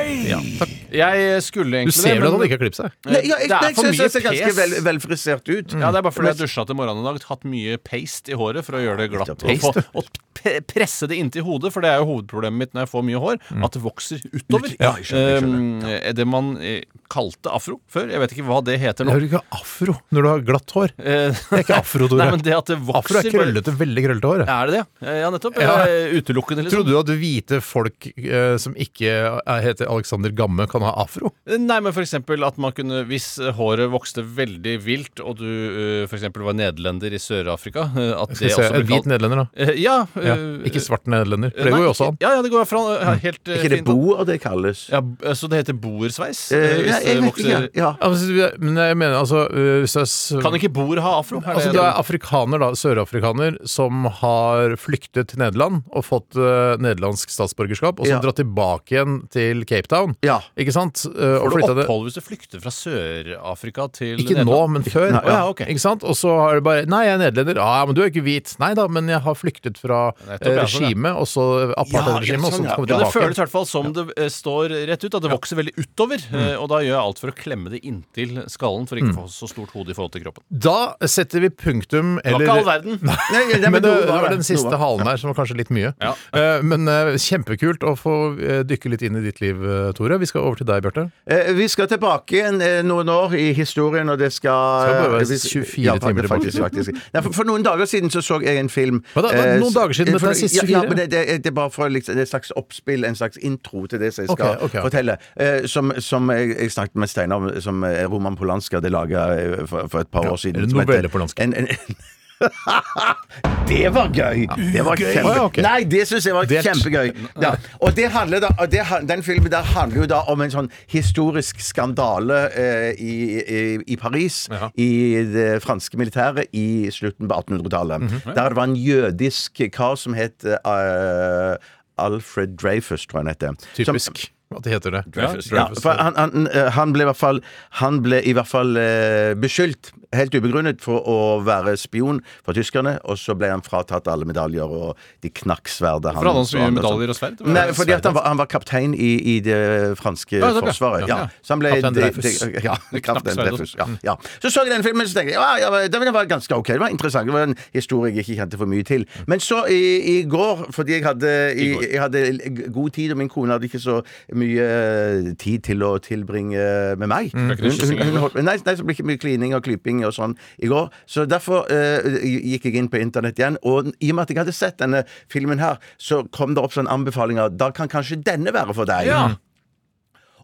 S5: Jeg skulle
S4: Du
S5: egentlig
S4: ser vel at han
S5: men-
S4: ikke har klippet seg?
S6: Nei, ja, jeg,
S5: Det er
S6: nei, jeg
S5: for
S6: synes
S5: mye
S6: jeg ser ganske
S5: pes.
S6: vel, velfrisert ut.
S5: Ja, det er bare fordi jeg dusja til morgenen i dag. Hatt mye paste i håret for å gjøre det glatt. Og, få,
S6: Paste?
S5: og p- presse det inntil hodet, for det er jo hovedproblemet mitt når jeg får mye hår. At det vokser utover.
S6: Ja, jeg skjønner, jeg skjønner.
S5: Um, er det man eh, kalte afro før. Jeg vet ikke hva det heter
S4: Du
S5: nå. Eh,
S4: har ikke afro når du har glatt hår. Det
S5: Det
S4: er ikke afro, Tore.
S5: Nei, men det at det vokser
S4: Afro er krøllete, veldig krøllete hår.
S5: Er det det? Eh, Ja, nettopp.
S4: Ja.
S5: Eh, Utelukkende, liksom.
S4: Trodde du at hvite folk eh, som ikke er- heter Alexander Gamme, kan ha afro?
S5: Nei, men for eksempel at man kunne Hvis håret vokste veldig vilt, og du eh, for eksempel var nederlender i Sør-Afrika eh, At
S4: Skal vi
S5: det
S4: se,
S5: også ble
S4: En hvit
S5: kalt
S4: nederlender, da.
S5: Eh, Ja.
S4: Ja.
S5: eh,
S4: Ikke svart nederlender. For
S5: Nei,
S4: det går jo også an. Mm.
S5: ikke- Ja, ja, det går fra ja, helt eh,
S6: Er ikke det
S5: fint an.
S6: boer det kalles?
S5: Ja, b- eh, så det heter boersveis?
S6: Eh,
S5: eh, hvis
S6: ja, jeg
S5: det
S6: vet
S5: vokser-
S6: ikke. Ja.
S4: Ja, men- men jeg mener altså eh, Hvis du er s-
S5: Kan ikke boer ha afro? Er
S4: Altså,
S5: det-
S4: du er afrikaner, da, sørafrikaner, som har flyktet til Nederland og fått eh, nederlandsk statsborgerskap, og så
S6: Ja.
S4: dratt tilbake igjen til Cape Town.
S6: Ja.
S4: Ikke sant? Eh, og
S5: Får du
S4: flyttet det-
S5: opphold hvis du flykter fra Sør-Afrika til
S4: Ikke nå,
S5: Nederland?
S4: men før.
S6: Nei,
S4: Å ja,
S5: ja, ok.
S4: Ikke sant? Og så har det bare Nei, jeg er nederlender. Ah, Ja, men du er ikke hvit. Nei da, men jeg har flyktet fra eh,
S5: Nettopp, ja, sånn, ja.
S4: regimet, og så eh, apartheidregimet, og så
S6: ja,
S4: kommer
S5: Ja, det
S4: tilbake.
S5: føles i hvert fall som det eh, står rett ut. At det vokser veldig utover.
S4: Mm.
S5: eh, Og da gjør jeg alt for å klemme det inntil skallen for ikke å få så stort hode i forhold til kroppen.
S4: Da setter vi punktum,
S5: Det var
S4: eller
S5: ikke all verden.
S6: Nei, nei,
S4: men det,
S6: noe
S4: det var
S6: det.
S4: den siste
S6: Noe var-
S4: halen her som var kanskje litt mye.
S5: Ja.
S4: Eh, men eh, kjempekult å få eh, dykke litt inn i ditt liv, eh, Tore. Vi skal over til deg, Bjarte.
S6: Eh, Vi skal tilbake igjen eh, noen år i historien, og det skal eh,
S4: Skal bare være
S6: vi-
S4: 24
S6: ja, faktisk,
S4: timer tilbake.
S6: Faktisk, faktisk. Nei, for, for noen dager siden så, så jeg en film
S4: Hva da?
S6: eh,
S4: Noen dager siden,
S6: eh,
S4: dette er
S6: for-
S4: sist
S6: Ja,
S4: 24?
S6: ja, men det, det, det er bare for liksom, det er et slags oppspill, en slags intro til det som jeg
S4: Ok,
S6: skal
S4: ok.
S6: fortelle. Eh, som som jeg, jeg snakket med Steinar om, som eh, Roman Polanski hadde laga eh, for, for et par år siden.
S4: eller
S6: som heter-
S4: novelle Polanski.
S6: En, en, det var gøy! Det var kjempe...
S4: Å, ja, ok.
S6: Nei, det syns jeg var
S4: Delt.
S6: kjempegøy. Ja. Og det handler da, og det, han- den filmen der handler jo da om en sånn historisk skandale eh, i, i, i Paris, i det franske militæret, i slutten på 1800-tallet.
S5: Mhm.
S6: Der det var en jødisk kar som het eh, Alfred Dreyfus, tror jeg han heter. Som-
S4: Typisk at det heter det.
S5: Dreyfus,
S6: ja, for han, han, eh, han ble i hvert fall, han ble i hvert fall eh, beskyldt, helt ubegrunnet, for å være spion for tyskerne. Og så ble han fratatt alle medaljer, og de knakk sverdet
S5: For alle hans
S6: og
S5: mye
S6: andre og sånt.
S5: medaljer og
S4: sånn.
S5: sverd.
S6: Nei, fordi at han var, han var kaptein i, i det franske
S5: Ja, sånn, ja.
S6: forsvaret.
S5: Ja,
S6: Ja.
S5: ja.
S6: Så han ble
S4: Kaptein
S6: de-
S4: Dreyfus.
S6: de- Ja,
S5: Det knakk
S6: kaptein
S5: sverdet.
S6: Dreyfus. Ja, ja. Så så jeg den filmen, så tenkte jeg ja, ja, det var ganske ok. Det var interessant. Det var en historie jeg ikke kjente for mye til. Men så i, i går, fordi jeg hadde,
S5: Mm.
S6: i,
S5: I går.
S6: jeg hadde g- god tid, og min kone hadde ikke så mye eh, tid til å tilbringe med meg
S5: ikke Mm. det kyssing i går?
S6: holdt- Nei, nei, så ble det ikke mye klining og klyping og sånn i går. Så derfor eh, gikk jeg inn på internett igjen. Og i og med at jeg hadde sett denne filmen her, så kom det opp sånne anbefalinger. Da kan kanskje denne være for deg.
S5: Ja.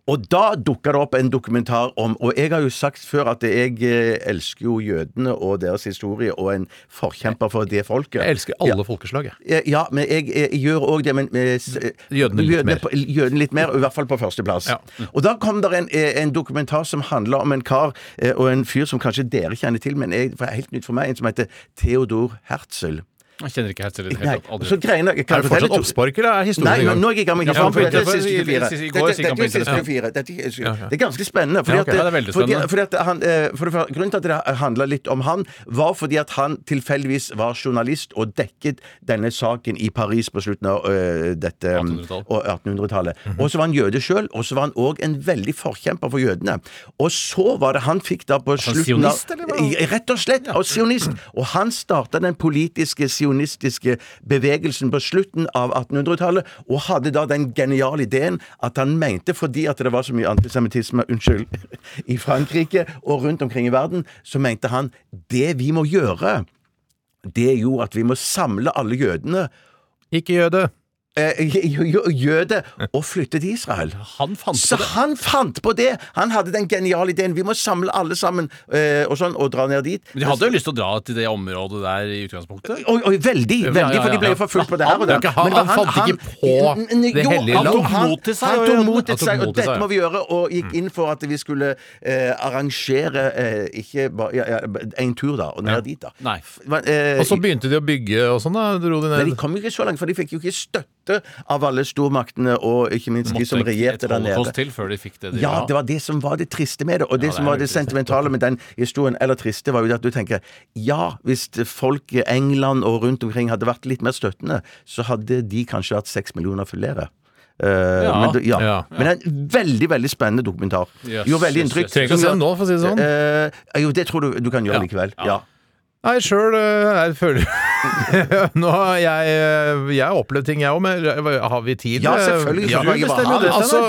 S6: Og da dukka det opp en dokumentar om Og jeg har jo sagt før at jeg eh, elsker jo jødene og deres historie, og en forkjemper for det folket.
S4: Jeg elsker alle folkeslag, jeg.
S6: Eh, Ja, men jeg, eh, gjør òg det, men eh, s- eh,
S4: Jødene litt mer.
S6: på- jødene litt mer. og I hvert fall på førsteplass.
S4: Ja.
S6: Og da kom det en, eh, en dokumentar som handler om en kar eh, og en fyr som kanskje dere kjenner til, men er var helt nytt for meg, en som heter Theodor Herzl.
S5: Jeg kjenner ikke helt til det.
S6: Nei,
S5: Helt, tatt,
S6: Så
S4: Altså,
S5: aldri.
S6: greiene, kan
S4: Er
S6: jeg
S4: det
S6: fortelle
S4: fortsatt
S6: to-
S4: oppspark, eller er historien
S6: Nei,
S4: i
S6: men
S4: gang?
S6: nå er jeg i gang med
S5: Ja,
S6: kampen.
S5: for
S6: Dette er
S5: det-
S6: siste
S5: i- i-
S6: fire.
S5: i- i- i går
S6: Dette-
S5: gikk
S6: dette
S5: han på
S6: er siste
S5: internett.
S6: fire. Dette er siste
S4: Ja,
S6: fire.
S4: ja.
S6: Det er ganske spennende.
S5: Ja,
S6: Fordi at,
S5: ok. Ja, det er veldig
S6: fordi,
S5: spennende.
S6: fordi at han, eh, for det, første- grunnen til at det handla litt om han, var fordi at han tilfeldigvis var journalist og dekket denne saken i Paris på slutten av eh, dette
S5: 1800-tallet.
S6: og 1800-tallet. Og så var han jøde sjøl, og så var han òg en veldig forkjemper for jødene. Og så var det han fikk da på
S5: han
S6: slutten
S5: sionist, eller hva?
S6: av I- Rett og slett. Og sionist. Og han starta den politiske sionistiske bevegelsen på slutten av 1800-tallet, og hadde da den geniale ideen at han mente, fordi at det var så mye antisemittisme unnskyld, i Frankrike og rundt omkring i verden, så mente han det vi må gjøre, det er jo at vi må samle alle jødene
S4: Ikke jøde.
S6: eh, jø- jø- jøde og flytte til Israel.
S5: Han fant
S6: Så
S5: på det.
S6: han fant på det! Han hadde den geniale ideen. Vi må samle alle sammen eh, og sånn, og dra ned dit.
S5: Men De hadde jo lyst til å dra til det området der i utgangspunktet.
S6: Oi, oi, veldig,
S5: Ja, ja,
S6: veldig,
S5: ja,
S6: for de ble
S5: ja.
S6: jo forfulgt på det her og der.
S4: Men han- han fant ikke på
S6: N- n-
S4: det hellige
S6: jo, han tok-
S5: land.
S6: Han
S5: mot til seg, ja,
S6: han
S5: ja.
S6: tok mot
S5: Han
S6: til
S5: tok
S6: seg,
S5: mot til seg,
S6: og dette
S5: ja.
S6: må vi gjøre, og gikk inn for at vi skulle eh, arrangere eh, ikke ba- ja, ja, en tur, da, og ned dit, da.
S5: Nei.
S6: Men, eh,
S4: Og så begynte de å bygge og sånn, da? Dro de
S6: men
S4: ned?
S6: de kom jo ikke så langt, for de fikk jo ikke støtte av alle stormaktene, og ikke minst de som
S5: Måtte
S6: regjerte
S5: et
S6: der
S5: holocaust
S6: nede.
S5: til før de fikk det de
S6: Ja,
S5: ville
S6: det
S5: ha.
S6: var det som var det triste med det. Og det,
S5: det er
S6: som var
S5: veldig
S6: det
S5: trist.
S6: sentimentale med den historien, eller triste, var jo det at du tenker ja, hvis det- folk i England og rundt omkring hadde vært litt mer støttende, så hadde de kanskje hatt seks millioner flere. Eh,
S5: Ja.
S6: men, det- ja.
S4: Ja.
S6: men en veldig veldig spennende dokumentar.
S5: Yes,
S6: Gjorde veldig
S5: yes,
S6: inntrykk.
S5: yes.
S4: Trenger ikke å se den nå, for å si det sånn.
S6: Eh, jo, det tror du du kan gjøre
S4: Ja.
S6: likevel. Ja.
S4: Nei, sjøl føler Nå har jeg eh, Jeg har opplevd ting, jeg òg, men har vi tid?
S6: Ja, selvfølgelig,
S4: Ja.
S6: så kan jeg bare ha det.
S4: Altså,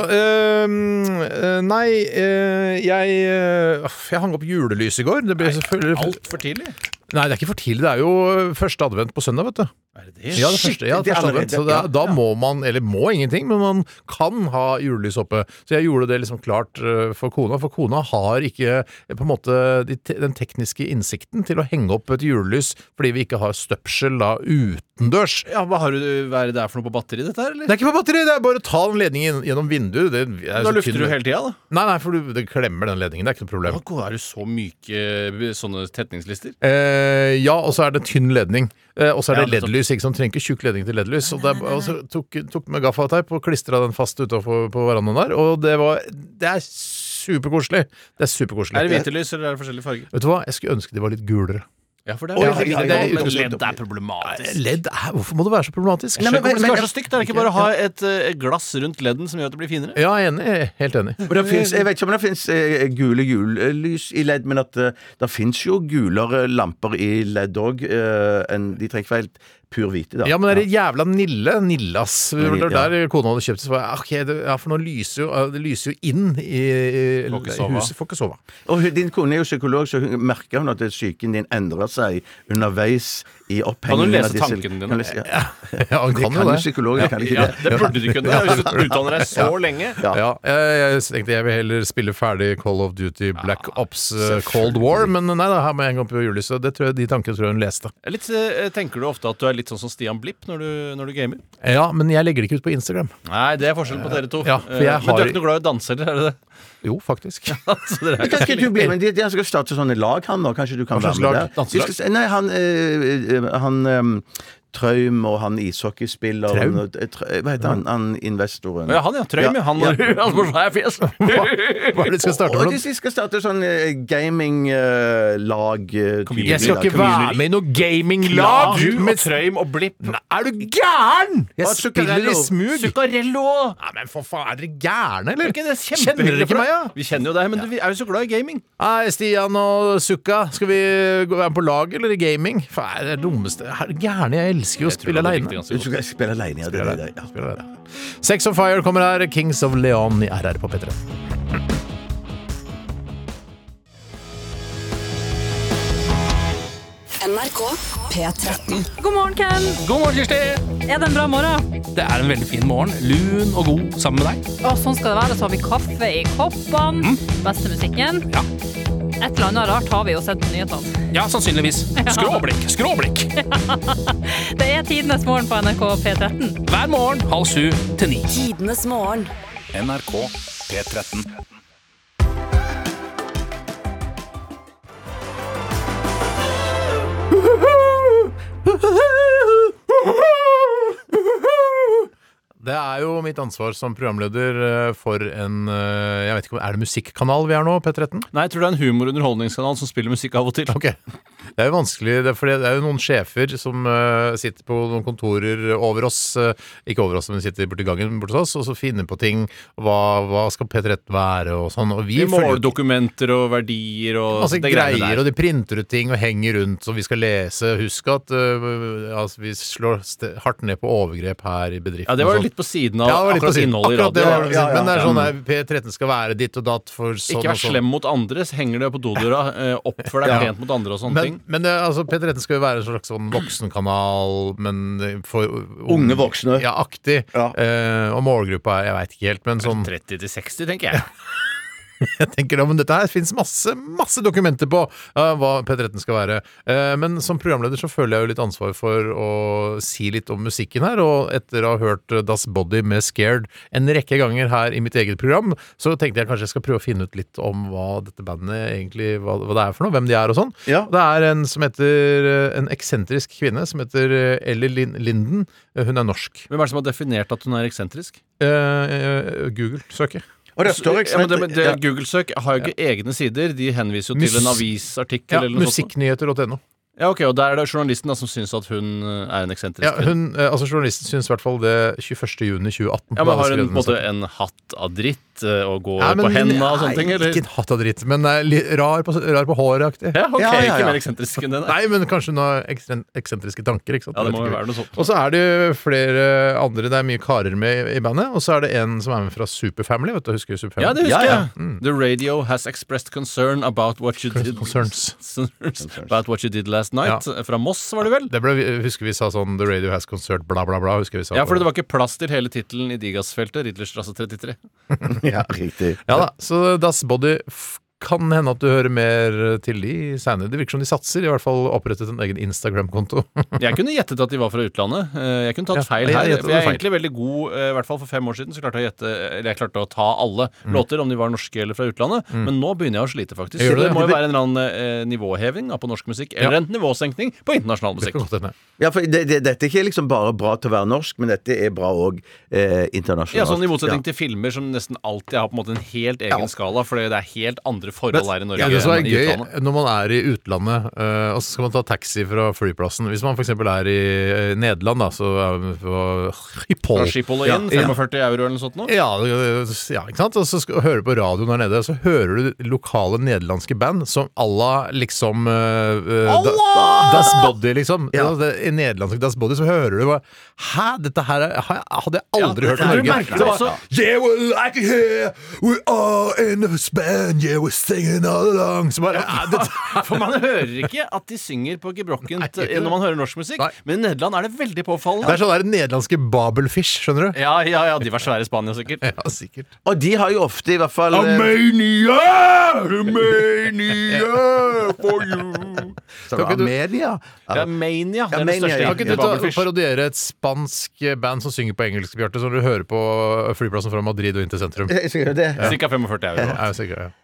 S4: eh, nei, eh, jeg eh, Jeg hang opp julelys i går. Det ble selvfølgelig
S5: Altfor tidlig.
S4: Nei, det er ikke for tidlig. Det er jo første advent på søndag, vet du.
S5: Er det det?
S4: Ja, det første, ja,
S6: det er
S4: første advent. Så
S6: allerede,
S4: det,
S6: ja.
S4: er- da må man, eller må ingenting, men man kan ha julelys oppe. Så jeg gjorde det liksom klart eh, for kona, for kona har ikke eh, på en måte de te den tekniske innsikten til å henge opp et julelys fordi vi ikke har støpsel da utendørs.
S5: Ja, hva har du, hva er det der for noe på batteri, dette her,
S4: Det
S5: eller?
S4: er ikke på batteri, det er bare å ta den ledningen gjennom vinduet. Det er
S5: Da
S4: så
S5: lufter
S4: tynn-
S5: du hele tida, da.
S4: Nei, nei, for du, det klemmer den ledningen. Det er ikke noe problem.
S5: Hva er det så myke eh, sånne tetningslister?
S4: Eh, ja, og så er det tynn ledning. Eh, og så er
S5: Ja,
S4: det
S5: nettopp.
S4: LED-lys. ikke sant? Trenger ikke tjukk ledning til LED-lys. Og, det er- og så tok, tok med gaffateip og klistra den fast utafor på verandaen der. Og det var Det er superkoselig. Det er
S5: Er det
S4: superkoselig.
S5: vinterlys, eller er det forskjellige farger?
S4: Vet du hva, jeg skulle ønske de var litt gulere.
S5: Ja, for det
S6: Oi,
S5: er,
S6: ja, ja,
S5: det er,
S6: ja,
S5: men
S6: ja.
S5: ledd er problematisk.
S4: LED er Hvorfor må det være så problematisk?
S5: Skjønner ikke hvorfor
S6: men-
S5: det skal
S6: men-
S5: være så stygt. Er det ikke bare å ha et eh, glass rundt ledden som gjør at det blir finere?
S4: Ja, jeg er enig. Jeg er Helt enig.
S6: Og det finnes, jeg vet ikke om det fins eh, gule julelys i ledd, men at eh, det fins jo gulere lamper i ledd òg. Eh, enn- de trenger ikke være helt pur hvite, da.
S4: Ja, men det er jævla Nille. Nillas. Det var
S6: Ja.
S4: der kona hadde kjøpt det. så var jeg, "Ah, ok, det, ja, for nå lyser jo, det lyser jo inn i, i
S5: Får ikke sove.
S4: huset. Får ikke sove.
S6: Og hun- din kone er jo psykolog, så hun merker hun at psyken din endrer seg underveis i
S5: Kan hun
S6: opphengingen
S5: lese
S6: av disse-
S5: tankene dine?
S6: Kan hun lese- ja.
S4: Ja, han
S6: Det
S4: kan
S6: kan
S4: jo
S6: jo
S4: det.
S6: psykologer, kan ikke
S5: Ja,
S6: det?
S5: det burde du kunne. Hvis du utdanner deg så lenge.
S4: Ja, jeg, jeg tenkte jeg vil heller spille ferdig Call of Duty Black Ops eh, Cold War, men nei da, her må jeg henge opp i julelyset. Det tror jeg, de tankene tror jeg hun leste.
S5: Litt, eh, tenker du ofte at du er litt sånn som Stian Blipp når du, når du gamer?
S4: Ja, men jeg legger det ikke ut på Instagram.
S5: Nei, det er forskjellen på dere to.
S4: Ja, for jeg
S5: Eh, Men du
S4: har-
S5: er ikke noe glad i å danse, eller er det det?
S4: Jo, faktisk.
S5: Så dere er
S6: Kan
S5: ikke
S6: ikke du bli med? De, de skal starte sånne lag, han nå. Kanskje du kan
S4: Hva
S6: være
S4: slags
S6: med
S4: lag?
S6: der? De skal, se- nei, han, eh, eh, han eh, Traum og han ishockeyspiller
S4: Traum?
S6: og- eh, Tra- Hva heter han? Han investoren.
S5: ja, han ja, Trøym, ja. Han,
S6: Ja.
S5: han får svær fjes.
S4: Hva er det de skal starte
S6: Og
S4: med?
S6: de de skal starte sånn eh, gaminglag
S4: Jeg skal ikke være med i noe gaminglag!
S5: Du
S4: Men-
S5: med Trøym og Blipp.
S4: Nei, Er du gæren?! Jeg
S6: Hva,
S4: spiller i
S6: Zuccarello?
S4: smug!
S5: Zuccarello òg.
S4: Nei, men for faen, er dere gærne, eller?
S5: Ikke det kjempe-
S4: Kjenner dere ikke meg, ja?
S5: Vi kjenner jo deg, men du, vi er jo så glad i gaming.
S4: Nei, Stian og Sukka, skal vi gå- være med på lag eller i gaming? Faen, det er det dummeste Er dere gærne? Jeg elsker jo å spille aleine.
S6: Du skal spille aleine, ja. Det, er det, ja.
S4: Sex on Fire kommer her. Kings of Leon i RR på P3.
S1: NRK P13.
S7: God morgen, Ken.
S8: God morgen, Kirsti!
S7: Er det en bra morgen?
S8: Det er en veldig fin morgen. Lun og god sammen med deg.
S7: Å, sånn skal det være. Så har vi kaffe i koppene. Beste musikken.
S8: Ja.
S7: Et eller annet rart har vi jo sett på nyhetene.
S8: Ja, sannsynligvis. Skråblikk, skråblikk.
S7: Det er tidenes morgen på NRK P13.
S8: Hver morgen halv sju til ni.
S1: Tidenes morgen.
S3: NRK P13.
S4: Det er jo mitt ansvar som programleder eh, for en eh, jeg vet ikke, om- Er det musikkanal vi er nå, P13?
S5: Nei, jeg tror det er en humorunderholdningskanal som spiller musikk av og til.
S4: Ok. Det er jo vanskelig, det er, fordi det er jo noen sjefer som eh, sitter på noen kontorer over oss, eh, ikke over oss, men sitter borti gangen borti oss, og så finner på ting. Hva, hva skal P13 være, og sånn. Og vi følger
S5: I
S4: jo ikke-
S5: måldokumenter og verdier og
S4: Altså
S5: det greiene
S4: greier,
S5: der.
S4: og de printer ut ting og henger rundt som vi skal lese. Husk at eh, altså, vi slår ste- hardt ned på overgrep her i bedriften.
S5: Ja, det
S4: og
S5: var
S4: sånn.
S5: litt på siden av
S4: Ja, det var litt på
S5: akkurat
S4: siden.
S5: innholdet i
S4: Akkurat det
S5: radio.
S4: var det på
S6: Ja,
S4: siden.
S6: ja,
S4: Men det er sånn der, P13 skal være ditt og datt for sånn
S5: Ikke vær
S4: og sånn.
S5: slem mot andre, så henger det på dodøra. eh, Oppfør deg
S4: Ja.
S5: pent mot andre og sånne
S4: Men,
S5: ting.
S4: men det, altså, P13 skal jo være en slags sånn voksenkanal, men eh, for
S6: Unge voksne.
S4: Ja, aktig.
S6: Ja.
S4: Eh, og målgruppa, jeg veit ikke helt, men sånn
S5: 30 til 60, tenker jeg.
S4: Jeg tenker da, men dette her finnes masse masse dokumenter på eh, hva P13 skal være. Eh, men som programleder så føler jeg jo litt ansvar for å si litt om musikken her. Og etter å ha hørt eh, Das Body med Scared en rekke ganger her i mitt eget program, så tenkte jeg kanskje jeg skal prøve å finne ut litt om hva dette bandet egentlig hva, hva det er for noe, hvem de er og sånn.
S6: Ja.
S4: Det er en som heter eh, en eksentrisk kvinne som heter eh, Ellie Lin- Linden. Eh, Hun er norsk.
S5: Hvem er det som har definert at hun er eksentrisk?
S4: Eh, eh, Google søker.
S6: Og det står
S5: Ja, men det, men det,
S6: Ja.
S5: Google-søk har jo ikke egne sider. De henviser jo
S4: Mus-
S5: til en avisartikkel
S4: Ja,
S5: eller noe sånt.
S4: Musikknyheter.no.
S5: Ja, ok, Og der er det journalisten da, som syns at hun eh, er en eksentrisk
S4: Ja,
S5: kvinne.
S4: hun, eh, altså Journalisten syns i hvert fall det 21. juni 2018.
S5: Ja, men Har hun på en
S4: Skrevet
S5: måte
S4: den
S5: en hatt av dritt eh, og går
S4: Nei, men-
S5: på hendene og sånne ting?
S4: Nei,
S5: Eller?
S4: ikke en hatt av dritt, men eh, litt rar på, rar på håret-aktig.
S5: Ja, ok,
S6: Ja, ja, ja.
S5: Ikke mer eksentrisk enn det. Nei.
S4: Nei, men kanskje hun har eksen- eksentriske tanker. ikke sant?
S5: Ja, det må
S4: Jeg vet ikke.
S5: jo være noe sånt.
S4: Og så er det jo flere andre, det er mye karer med i bandet. Og så er det en som er med fra Superfamily. vet du, husker du Superfamily? Mm.
S5: Ja, det husker
S6: Ja, ja.
S5: jeg. The radio has expressed concern about what you did
S4: Concerns.
S5: Concerns About what you did last night. Fra Moss, var det vel?
S4: Det ble, husker vi sa sånn The Radio Has Concert, bla, bla, bla. husker vi sa
S5: Ja, for det var ikke plass til hele tittelen i Digasfeltet. Ridlerstrasse 33.
S6: Ja, riktig.
S4: Ja da, så Das Body f- kan hende at du hører mer til de senere. Det virker som de satser. I hvert fall opprettet en egen Instagram-konto.
S5: Jeg kunne gjettet at de var fra utlandet. Eh, Jeg kunne
S4: Ja,
S5: tatt feil
S4: jeg
S5: her.
S4: gjettet
S5: For jeg er
S4: feil.
S5: egentlig veldig god, eh, i hvert fall for fem år siden, så klarte jeg å gjette Eller jeg klarte å ta alle
S4: Mm.
S5: låter, om de var norske eller fra utlandet. Men nå begynner jeg å slite, faktisk.
S4: Gjør
S5: Så
S4: du
S5: det
S4: det?
S5: må jo være en eller annen eh, nivåheving da, på norsk musikk, eller en nivåsenkning på internasjonal
S4: Det
S5: musikk.
S4: kan godt hende.
S6: Ja, for det, det, dette er ikke liksom bare bra til å være norsk, men dette er bra òg eh, internasjonalt.
S5: Ja, sånn I motsetning til
S6: Ja.
S5: filmer som nesten alltid har på en måte en helt egen skala, fordi det er helt andre forhold her i Norge
S4: Ja, det som er
S5: enn i
S4: gøy
S5: utlandet.
S4: når man er i utlandet, eh, og så skal man ta taxi fra flyplassen Hvis man f.eks. er i eh, Nederland, da, så er man på Schiphol.
S5: Fra Schiphol og inn,
S4: Ja,
S5: 45 euro eller noe sånt nå.
S4: Ja, øh, ja, ikke sant? Og så skal, hører du på radioen der nede, så hører du lokale nederlandske band som Allah liksom øh, øh, da, Das Body, liksom.
S6: Ja.
S4: Altså, det- I nederlandsk Das Body så hører du bare Hæ, dette her er, har jeg- hadde jeg aldri hørt i
S5: det er
S4: Norge.
S5: merkelig.
S4: Det var
S5: Altså-
S4: Yeah, we're like it here, we are in Spain, yeah, we're singing all along. Så bare, ja, dette,
S5: For man hører ikke at de synger på gebrokkent
S4: Nei.
S5: eh, når man hører norsk musikk,
S4: Nei.
S5: men i Nederland er det veldig
S4: det
S5: påfallende.
S4: er sånn der nederlandske Babelfish, skjønner du?
S5: Ja, ja, ja, de var svære i Spania, sikkert.
S4: Ja, sikkert.
S6: Og de har jo ofte, i hvert fall eh,
S4: Mania, mania for you.
S6: så
S4: Kan
S6: var
S4: ikke du-
S6: Armenia.
S5: Ja, Mania. Det
S6: Ja,
S5: er den
S6: Mania,
S5: største
S6: ja.
S4: Kan
S5: hiten
S4: ikke
S5: til
S4: du ta,
S5: Babelfish.
S4: parodiere et spansk eh, band som synger på engelsk, Bjarte, som du hører på flyplassen fra Madrid og inn til sentrum?
S6: Jeg skal gjøre det.
S5: Cirka 45 euro.
S4: Er jo sikkert, ja.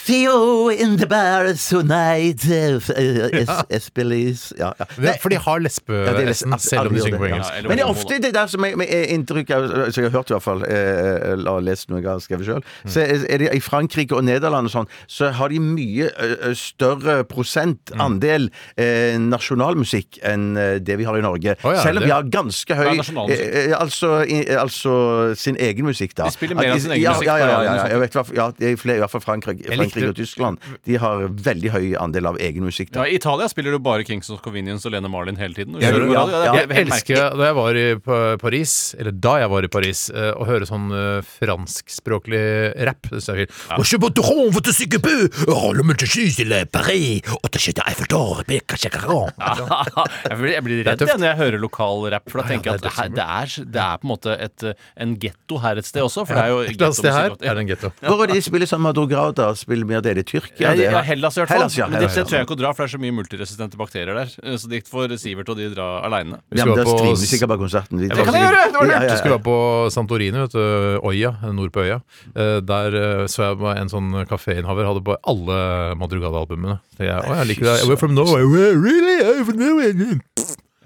S6: See you in the bar tonight eh, f- eh, es- Espelis Ja, ja.
S4: Det, for de har
S6: Ja, det er
S4: lesbe-S-en,
S6: nesten-
S4: selv om de
S6: alle gjør
S4: synger på
S6: det, ja.
S4: engelsk.
S5: eller
S6: Men det er
S5: homo, da.
S6: ofte det der som er, er inntrykk av Som jeg har hørt i hvert fall, eh, eller har lest noe jeg har skrevet sjøl, så eh, er er det i Frankrike og Nederland og sånn, så har de mye eh, større prosentandel eh, nasjonalmusikk enn eh, det vi har i Norge.
S4: Å, ja,
S6: Selv om
S4: det-
S6: vi har ganske høy
S5: Ja, nasjonalmusikk.
S6: eh, eh, altså, i, eh, altså sin egen musikk, da.
S5: De spiller mer
S6: At-
S5: av sin egen
S6: ja,
S5: musikk
S6: Ja, ja,
S5: på
S6: ja.
S5: radioen
S6: ja,
S5: og
S6: ja,
S5: sånt.
S6: jeg vet, i hvert fall- ja i flere- i hvert fall Frankrike,
S4: likte-
S6: Frankrike og Tyskland. De har veldig høy andel av egen musikk.
S5: Ja,
S6: Da.
S5: I Italia spiller du bare Kings of Convenience og Lene Marlin hele tiden. Og
S6: Ja,
S5: kjører på
S6: ja,
S5: radio. Det er
S6: ja.
S5: helt
S4: Jeg
S5: merkelig.
S4: elsker da jeg var i Pa- Paris, eller da jeg var i Paris, eh, å høre sånn eh, franskspråklig rap. Det synes jeg er fint. Og kjøp et rom, for det syke by, og Oh, le monde skyse til Paris, og det skyter Eiffeltårn, peka sjekkeren.
S5: jeg, blir, jeg blir redd
S4: tøft.
S5: jeg, når jeg hører lokal rap, for da tenker jeg
S4: det er
S5: at her, det, er, det er på en måte et, eh, en getto her et sted også. For det er jo
S4: Et eller annet sted her
S5: ghettomusikk.
S4: er det en getto.
S6: Hvor er det de spiller sammen med Madrograda? Spiller mer det i Tyrkia?
S5: Ja,
S6: det er-
S5: ja, Hellas i hvert fall.
S6: Hellas, ja,
S5: Men det
S6: Hellas,
S5: det
S6: ja.
S5: tør jeg ikke å dra, for det er så mye multiresistente bakterier der. eh, Så det får Sivert og de dra aleine.
S4: Vi
S6: Ja,
S4: skal
S6: men da
S4: på
S6: streamer vi
S4: s-
S6: sikkert bare konserten. Det
S5: kan jeg gjøre, det var lurt.
S4: Jeg skulle være på Santorini, vet du, øya, nord på øya. Eh, Der eh, så jeg bare en sånn kaféinnehaver hadde på alle Madrugada-albumene. Så jeg, å, jeg liker det. We're from Norway. We're really? I'm from Norway.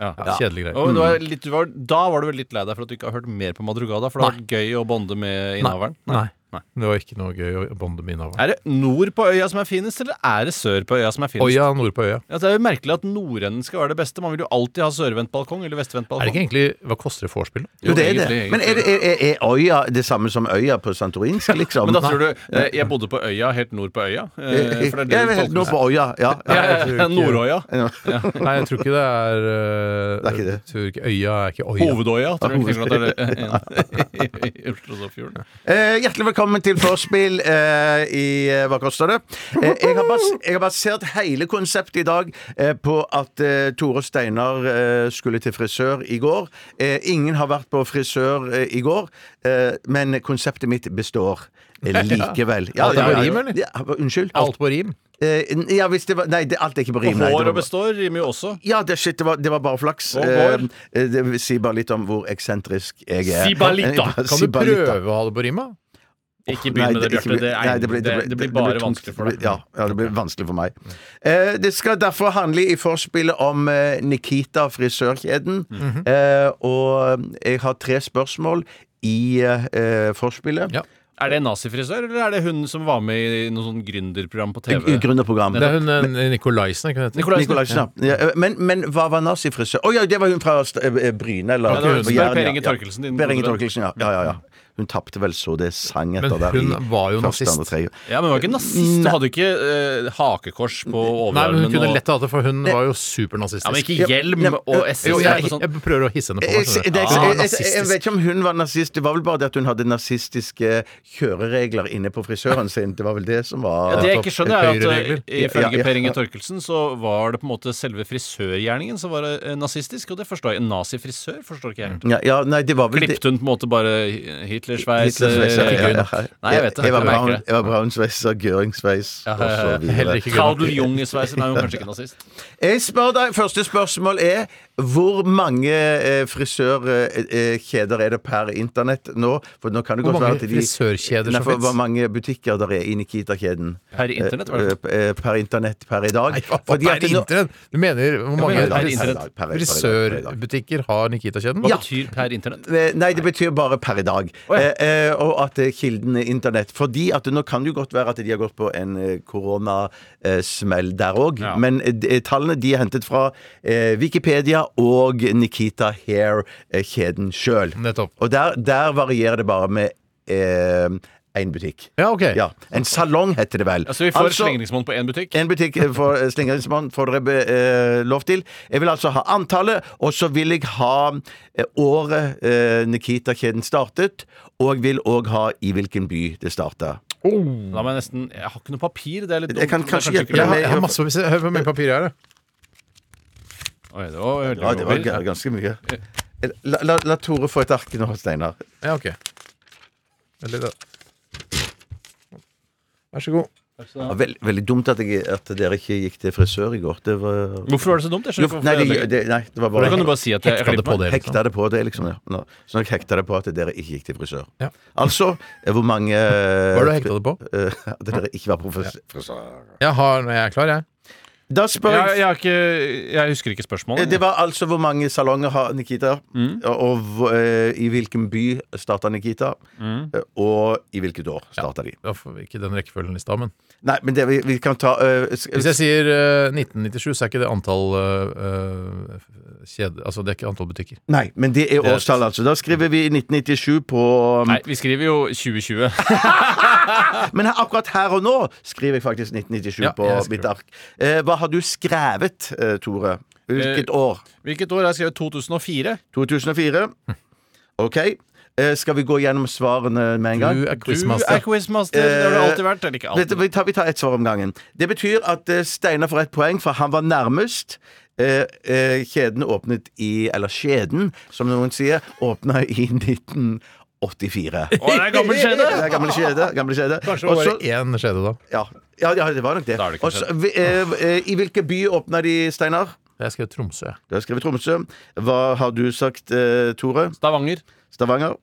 S5: Ja.
S4: Kjedelig greie.
S5: Og du var litt, du var, da var du vel litt lei deg for at du ikke har hørt mer på Madrugada, for det var gøy å bonde med innehaveren?
S4: Nei. Det var ikke noe gøy å bonde med innehaveren.
S5: Er det nord på øya som er finest, eller er det sør på øya som er finest?
S4: Øya nord på øya.
S5: Ja, det er jo merkelig at nordenden skal være det beste. Man vil jo alltid ha sørvendt balkong eller
S4: Er
S5: vestvendt
S4: det
S5: balkong.
S4: ikke egentlig Hva koster det vorspiel?
S6: Jo, det er
S5: egentlig,
S6: det. Men er, det, er, er- er øya det samme som øya på santorinsk, liksom?
S5: Men da tror du eh, Jeg bodde på øya, helt nord på øya. eh, For det er det
S6: Jeg
S5: du
S6: er helt
S5: tolker
S6: nå
S5: som-
S6: på øya, ja.
S5: Ja,
S6: ja.
S5: ja, ja, Nordøya.
S4: Nei, jeg tror ikke det er eh,
S6: Det er ikke det.
S4: Tror ikke, Øya er ikke øya.
S5: Hovedøya. Tror jeg tenker at det er eh, en- i Oslofjorden.
S6: Eh, hjertelig velkommen til Forspill eh, i eh, Hva koster det? Eh, jeg, har bas jeg har basert hele konseptet i dag eh, på at eh, Tore og Steinar eh, skulle til frisør i går. Eh, ingen har vært på frisør eh, i går, eh, men konseptet mitt består. eh, Likevel. Ja,
S4: Alt er på
S6: ja, ja.
S4: rim, eller?
S6: Ja, unnskyld.
S4: Alt på rim.
S6: Eh, ja, hvis det var Nei, det, alt er ikke på
S5: Og
S6: rim. nei, det
S5: hår
S6: var
S5: og
S6: bare-
S5: består rimer jo også.
S6: Ja, det, shit, det, var, det var bare flaks.
S5: Og går.
S6: Eh, det vil si bare litt om hvor eksentrisk jeg er. Eh,
S5: Sibalita.
S4: Kan du prøve å ha det på rima?
S5: Ikke begynn med det, Bjarte. Det, er- det- det blir bare vanskelig for deg.
S6: Ja, ja, det blir vanskelig for meg. Eh, det skal derfor handle i forspillet om eh, Nikita, frisørkjeden.
S5: Mhm.
S6: eh, og jeg har tre spørsmål i eh, forspillet.
S4: Ja.
S5: Er det en nazifrisør, eller er det hun som var med i noe sånn gründerprogram på
S6: I- i
S5: TV?
S6: Gründerprogram.
S4: Det er hun eh, Nikolaisen, er ikke hun heter?
S6: Nikolaisen, ja. Ja, men, men hva var nazifrisør? Å ja, det var hun fra St- eh, Bryne, eller
S5: Ja, det var hun som-
S6: på Jæren,
S5: Per
S6: ja.
S5: Inge Torkelsen, din
S6: Per Inge
S5: gode venn.
S6: Torkelsen, ja. ja, ja, ja. Hun tapte vel så det sang etter
S4: Men
S6: der.
S4: hun
S6: i
S4: var jo
S6: første,
S4: nazist.
S6: andre, tredje.
S5: Ja, men hun var ikke nazist. Hun hadde ikke eh, hakekors på
S4: Nei, men
S5: overarmen.
S4: hun kunne
S5: og-
S4: lett hatt det, for hun var jo supernazistisk.
S5: ja, men ikke hjelm
S6: Ja, men-
S5: og SS.
S4: Jo,
S5: og sånn.
S4: jeg,
S5: sånt.
S4: jeg prøver å hisse henne på.
S6: sånn- Jeg,
S4: meg, skjønner
S6: jeg,
S4: du.
S5: Ah,
S6: jeg, jeg, jeg, jeg
S5: nazistisk.
S6: vet ikke om hun var nazist. Det var vel bare det at hun hadde nazistiske kjøreregler inne på frisøren sin. Det var vel det som var
S5: Ja, det jeg ikke skjønner, er at
S4: Høyreregler.
S5: eh,
S6: Ja, ja,
S5: ifølge
S6: ja.
S5: Per Inge Torkelsen så var det på en måte selve frisørgjerningen som var eh, nazistisk, og det forstår jeg. En nazifrisør forstår ikke jeg.
S6: ja, ja, nei, det var vel Mm. det-
S5: Klippte hun på en måte bare Hitlers-sveis?
S6: Hitlers-
S5: eh,
S6: ja, ja, ja.
S5: Nei, jeg vet det.
S6: Eva
S5: Jeg
S6: Braun-
S5: merker det.
S6: Eva Braun-sveis og Gøring-sveis og så
S4: Heller
S6: videre.
S4: ikke grunn.
S5: Traudel Jung-sveis? Nei, hun er kanskje ikke nazist.
S6: Jeg spør deg, Første spørsmål er hvor mange eh, frisørkjeder er det per internett nå? For nå kan det
S4: Hvor
S6: godt
S4: mange
S6: være at de-
S4: frisørkjeder
S6: Nei,
S4: som
S6: for
S4: finnes?
S6: Hvor mange butikker der er i Nikita-kjeden?
S5: Per internett, var det?
S6: Eh, eh, Per internett per i dag.
S4: Nei, hva, hva,
S6: Fordi at
S4: per
S6: det nå-
S4: internett? Du mener hvor mange
S5: men per
S4: fris-
S6: internett. Per- per- per-
S4: frisørbutikker har Nikita-kjeden?
S5: Hva betyr per internett?
S6: Eh, Nei, det betyr bare per i dag. eh, eh, og at eh, kilden er internett. Fordi at nå kan det jo godt være at de har gått på en eh, koronasmell der òg.
S5: Ja.
S6: Men eh, de- tallene de er hentet fra eh, Wikipedia og Nikita Hair-kjeden sjøl.
S4: Nettopp.
S6: Og der, der varierer det bare med én butikk.
S4: Ja, ok.
S6: Ja. En salong heter det vel.
S5: Altså, vi får
S6: Altså-
S5: slingringsmonn på én butikk.
S6: en butikk eh, for eh, slingringsmonn får dere be, eh, lov til. Jeg vil altså ha antallet, og så vil jeg ha eh, året eh, Nikita-kjeden startet, og jeg vil òg ha i hvilken by det starta.
S5: Da må jeg nesten Jeg har ikke noe papir. Det er litt dumt.
S6: Jeg kan
S5: men det er
S6: kanskje hjelpe
S5: ikke
S4: Jeg har,
S5: lov.
S4: jeg har masse, hør hvor mye papir jeg har.
S5: Oi, det var, jeg hørte
S6: Ja, det var
S5: over.
S6: g- ganske mye. Eh, La, la, la Tore få et ark nå, Steinar.
S4: Ja, ok. Eller, da. Vær så god.
S6: Ja, Vel, veldig dumt at, jeg, at dere ikke gikk til frisør i går. Det var
S5: Hvorfor var det så dumt? Jeg skjønner ikke
S6: Nei,
S5: hvorfor
S6: det,
S5: det
S6: det, nei, det var
S5: Da kan du
S6: bare
S5: bare si at jeg, jeg
S4: Hekta det på
S5: klipper meg.
S4: det. liksom.
S6: Hekta det på det, liksom. Ja. Nå- Så jeg hekta det på at dere ikke gikk til frisør.
S4: Ja.
S6: Altså, eh, hvor mange
S4: Hva er det du hekta det på?
S6: Eh, At dere ikke var profes- frisør.
S4: Jeg, har, jeg er klar, jeg.
S6: Da spør
S5: Jeg,
S6: jeg
S5: jeg, har ikke, jeg husker ikke spørsmålet.
S6: Det var altså hvor mange salonger har Nikita, og, og hvor- eh, i hvilken by starta Nikita, eh, og i hvilket år starta de.
S4: Da får vi ikke den rekkefølgen i stad, men
S6: Nei, men det, vi, vi kan ta eh, s-
S4: Hvis jeg sier eh, 1997, så er ikke det antall eh, eh, kjede... Altså, det er ikke antall butikker.
S6: Nei, men det er årstallet, altså. Da skriver vi 1997 på um,
S5: Nei, vi skriver jo 2020.
S6: Ah, Men her, akkurat her og nå skriver jeg faktisk 1997
S4: Ja,
S6: på
S4: jeg skriver.
S6: mitt ark. Eh, hva har du skrevet, eh, Tore? Hvilket år?
S5: Hvilket år har jeg skrevet 2004?
S6: 2004? OK. Eh, skal vi gå gjennom svarene med en gang?
S4: Du er
S5: Du
S4: quizmaster.
S5: er quizmaster. Det har du
S6: Eh,
S5: alltid vært. Eller ikke
S6: Dette,
S5: alltid.
S6: vi, tar, vi tar ett svar om gangen. Det betyr at eh, Steinar får ett poeng, for han var nærmest. Eh, eh, kjeden åpnet i Eller skjeden, som noen sier, åpna i 1984.
S5: Å, det er en gammel
S6: Det
S5: skjede!
S6: er Gammel skjede. Gammel skjede.
S4: Kanskje det var
S6: Også-
S4: bare én skjede, da.
S6: ja, ja, ja, det var nok det.
S5: Da er det ikke
S6: Også, vi, eh, eh, I hvilken by åpna de, Steinar?
S4: Jeg skrev Tromsø. jeg.
S6: Du har skrevet Tromsø. Hva har du sagt, eh, Tore?
S5: Stavanger.
S6: Stavanger?